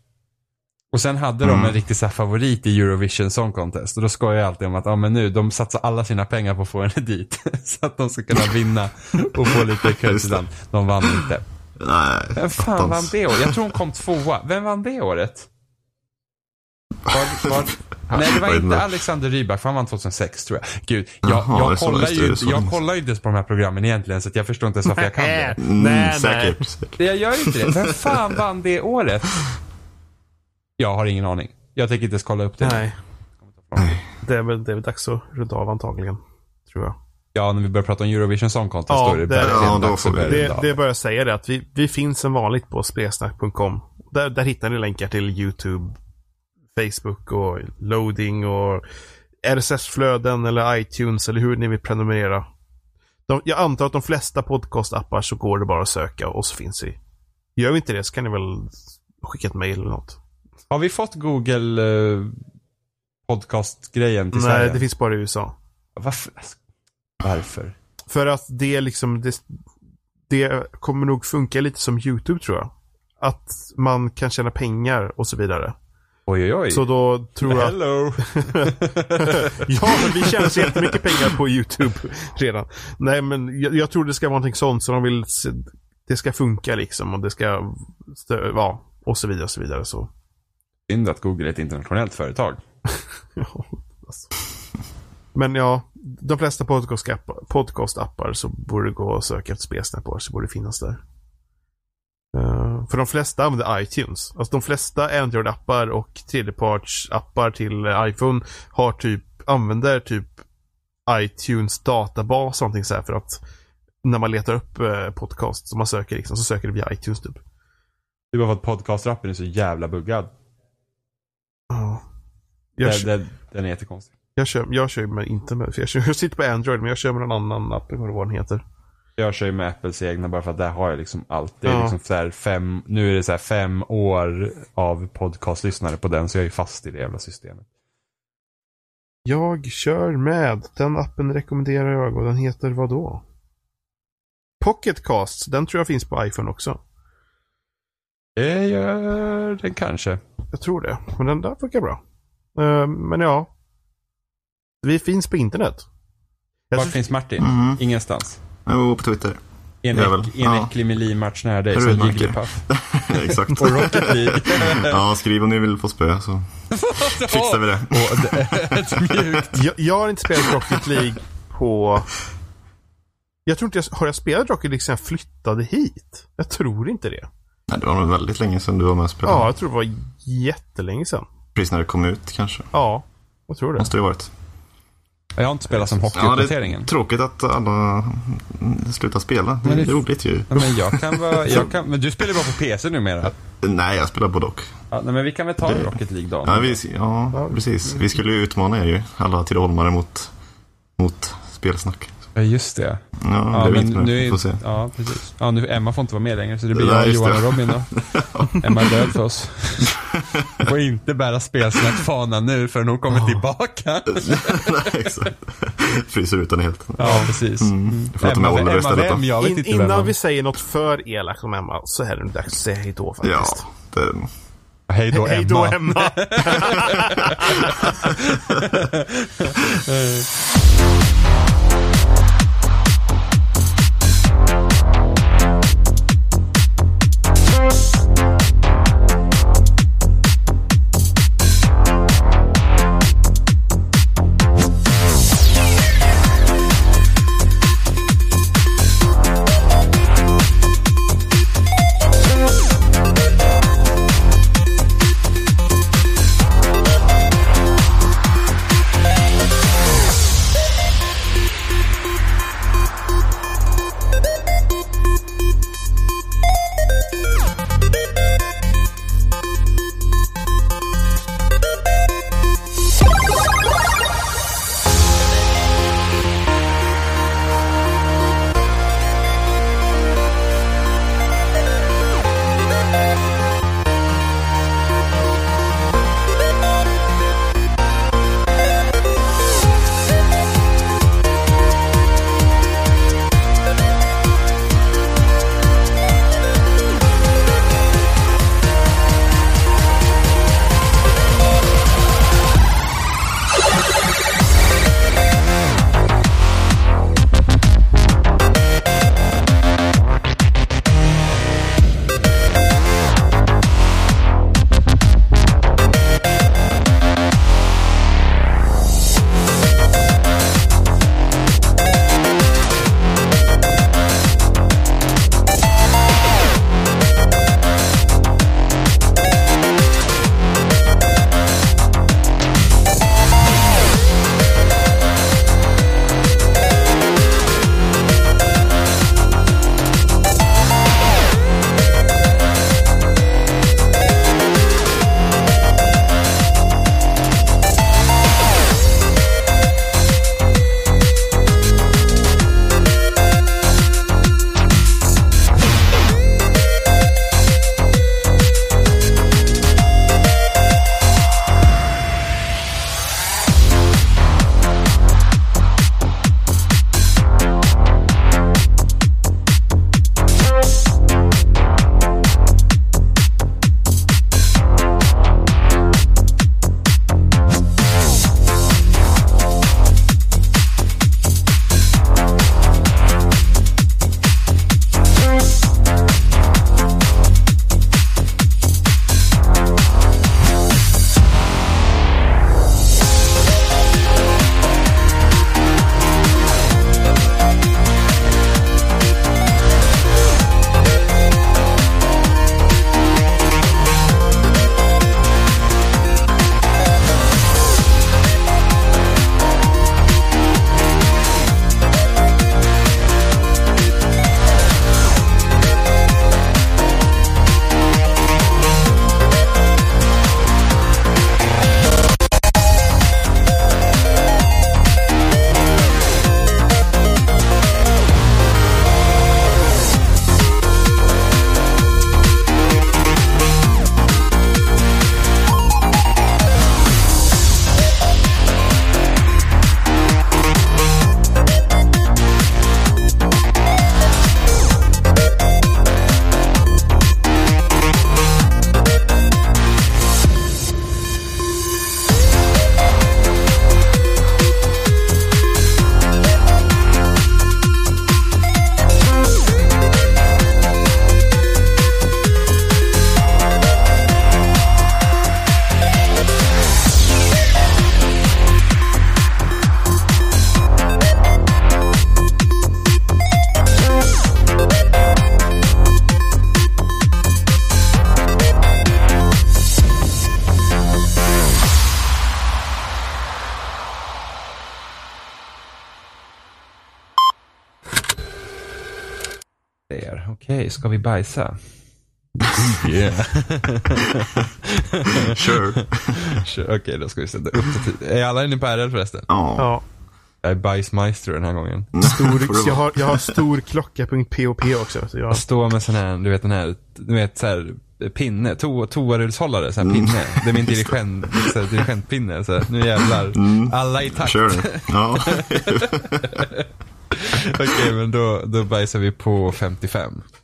Speaker 2: Och sen hade
Speaker 3: Mm.
Speaker 2: de en riktig så här favorit i Eurovision Song Contest. Och då skojar jag alltid om att, ja men nu, de satsar alla sina pengar på att få henne dit. så att de ska kunna vinna och få lite
Speaker 3: Just det.
Speaker 2: credit. De vann inte.
Speaker 3: Nej,
Speaker 2: Vem fan
Speaker 3: attans.
Speaker 2: vann det året? Jag tror hon kom tvåa. Vem vann det året? Var, var, nej, det var
Speaker 3: Vad är det
Speaker 2: inte
Speaker 3: där?
Speaker 2: Alexander Rybak, för han vann 2006 tror jag. Gud, jag,
Speaker 3: Jaha, det är
Speaker 2: jag,
Speaker 3: så-
Speaker 2: kollar,
Speaker 3: just det,
Speaker 2: ju,
Speaker 3: det är så
Speaker 2: inte- jag
Speaker 3: länge sedan.
Speaker 2: kollar ju inte ens på de här programmen egentligen, så att jag förstår inte ens varför jag kan det.
Speaker 3: Mm,
Speaker 1: Nej, nej.
Speaker 3: säkert. säkert.
Speaker 2: Jag gör ju inte det. Vem fan vann det året? Jag har ingen aning. Jag tänker inte ens kolla upp det.
Speaker 1: Nej. Det är, väl, det är väl dags att runda av antagligen. Tror jag.
Speaker 2: Ja, när vi börjar prata om Eurovision Song Contest
Speaker 1: Ja,
Speaker 2: då är det
Speaker 1: det-
Speaker 2: verkligen
Speaker 3: ja, då
Speaker 2: dags
Speaker 3: får
Speaker 2: att
Speaker 3: vi-
Speaker 2: börja runda
Speaker 1: Det,
Speaker 2: av.
Speaker 1: det är bara jag säga det att vi, vi finns som vanligt på spelsnack.com. Där, där hittar ni länkar till YouTube, Facebook och loading och RSS-flöden eller iTunes eller hur ni vill prenumerera. De, jag antar att de flesta podcastappar så går det bara att söka och så finns vi. Gör vi inte det så kan ni väl skicka ett mail eller något.
Speaker 2: Har vi fått Google eh, podcast-grejen till
Speaker 1: Nej,
Speaker 2: Sverige?
Speaker 1: det finns bara i USA.
Speaker 2: Varför? Alltså, Varför?
Speaker 1: För att det liksom, det, det kommer nog funka lite som YouTube tror jag. Att man kan tjäna pengar och så vidare.
Speaker 2: Oj, oj, oj.
Speaker 1: Så då tror jag...
Speaker 2: Hello!
Speaker 1: Ja, men vi tjänar så jättemycket pengar på YouTube redan. Nej, men jag, jag tror det ska vara någonting sånt så de vill... se- Det ska funka liksom och det ska... stö- Ja, och så vidare och så vidare. Så.
Speaker 2: Synd att Google är ett internationellt företag.
Speaker 1: Ja, alltså. Men ja, de flesta podcastappar, podcastappar så borde det gå att söka efter spelsnappar så borde det finnas där. Eh, för de flesta använder iTunes. Alltså de flesta Android-appar och tredjepartsappar till eh, iPhone har typ, använder typ iTunes databas någonting så här för att när man letar upp eh, podcast som man söker liksom, så söker det via iTunes typ.
Speaker 2: Det är bara för att podcast-appen är så jävla buggad.
Speaker 1: Ja. Jag,
Speaker 2: Den, den, den är jättekonstig.
Speaker 1: jag, kör, jag kör med, inte med, för jag, kör, jag sitter på Android men jag kör med en annan app, jag kommer inte ihåg vad den heter.
Speaker 2: Jag kör ju med Apples egna bara för att där har jag liksom allt. Det är
Speaker 1: Ja.
Speaker 2: liksom så här fem, nu är det så här fem år av podcastlyssnare på den så jag är ju fast i det jävla systemet.
Speaker 1: Jag kör med. Den appen rekommenderar jag och den heter vad då? Pocketcasts. Den tror jag finns på iPhone också.
Speaker 2: Det Eh, gör den kanske.
Speaker 1: Jag tror det. Men den där funkar bra. Eh, men ja. Vi finns på internet. Jag
Speaker 2: Var
Speaker 1: tror-
Speaker 2: finns Martin?
Speaker 3: Mhm.
Speaker 2: Ingenstans.
Speaker 3: Jo, på Twitter.
Speaker 2: En,
Speaker 3: Jävel.
Speaker 2: äck, en
Speaker 3: Ja.
Speaker 2: äcklig milimmatch nära dig som
Speaker 3: Rudmarker.
Speaker 2: Jigglypuff.
Speaker 3: Exakt.
Speaker 2: Och Rocket League.
Speaker 3: Ja, skriv om ni vill få spö så fixar vi det.
Speaker 2: Och det- ett mjukt.
Speaker 1: jag, jag har inte spelat Rocket League på... Jag tror inte jag... Har jag spelat Rocket League sedan jag flyttade hit? Jag tror inte det.
Speaker 3: Nej, det var nog väldigt länge sedan du var med och spelade.
Speaker 1: Ja, jag tror det var jättelänge sedan.
Speaker 3: Precis när det kom ut kanske.
Speaker 1: Ja, jag tror det.
Speaker 3: Måste det ha varit.
Speaker 2: Jag har inte spelat som
Speaker 3: Ja, det
Speaker 2: hockeyuppdateringen.
Speaker 3: är tråkigt att alla mm, slutar spela. Det
Speaker 2: Men
Speaker 3: är
Speaker 2: det-
Speaker 3: roligt ju.
Speaker 2: Ja, men jag kan vara, jag kan, men du spelar ju bara på PC numera.
Speaker 3: Nej, jag spelar både och.
Speaker 2: Ja, nej, men vi kan väl ta en Rocket League då.
Speaker 3: Ja, vi, ja, precis. Vi skulle ju utmana er ju. Alla tidaholmare mot, mot spelsnack.
Speaker 2: Ja, just det.
Speaker 3: Ja, det
Speaker 2: Ja,
Speaker 3: blev
Speaker 2: men
Speaker 3: inte med.
Speaker 2: nu
Speaker 3: Vi
Speaker 2: är,
Speaker 3: får se.
Speaker 2: ja, precis. Ja, nu, Emma får inte vara med längre så det blir
Speaker 3: Nej,
Speaker 2: jag,
Speaker 3: just
Speaker 2: Johan
Speaker 3: det.
Speaker 2: och Robin då. Emma är död för oss. Hon får inte bära spelsnackfanan nu förrän hon kommer tillbaka.
Speaker 3: Nej, exakt. Fryser ut den helt.
Speaker 2: Ja, precis. Mm.
Speaker 3: Jag får ta med Oliver
Speaker 2: Emma
Speaker 3: istället då.
Speaker 2: vem? Jag vet
Speaker 1: In,
Speaker 2: inte vem.
Speaker 1: innan
Speaker 2: hon-
Speaker 1: vi säger något för elakt om Emma så är det nu dags att säga hej då
Speaker 3: Ja,
Speaker 1: faktiskt.
Speaker 3: det är det nog.
Speaker 2: Hej då
Speaker 1: Hej då
Speaker 2: Emma.
Speaker 1: Emma!
Speaker 2: ska vi bajsa?
Speaker 3: Sure.
Speaker 2: Sure, Okej, då ska vi sätta upp på tid. Är alla inne på RL förresten?
Speaker 3: Ja.
Speaker 1: Ja.
Speaker 2: Jag är bajsmeister den här gången.
Speaker 3: Får
Speaker 1: Stor,
Speaker 3: det
Speaker 1: jag, har, jag har stor klocka.pop också. Så jag,
Speaker 2: Jag står med sån här, du vet den här, du vet så här pinne, to toarullshållare, sån här pinne. Det är min dirigent, så här, dirigentpinne. Så här, nu jävlar. Alla i takt.
Speaker 3: Sure. Ja.
Speaker 2: Okej, men då, då bajsar vi på 55.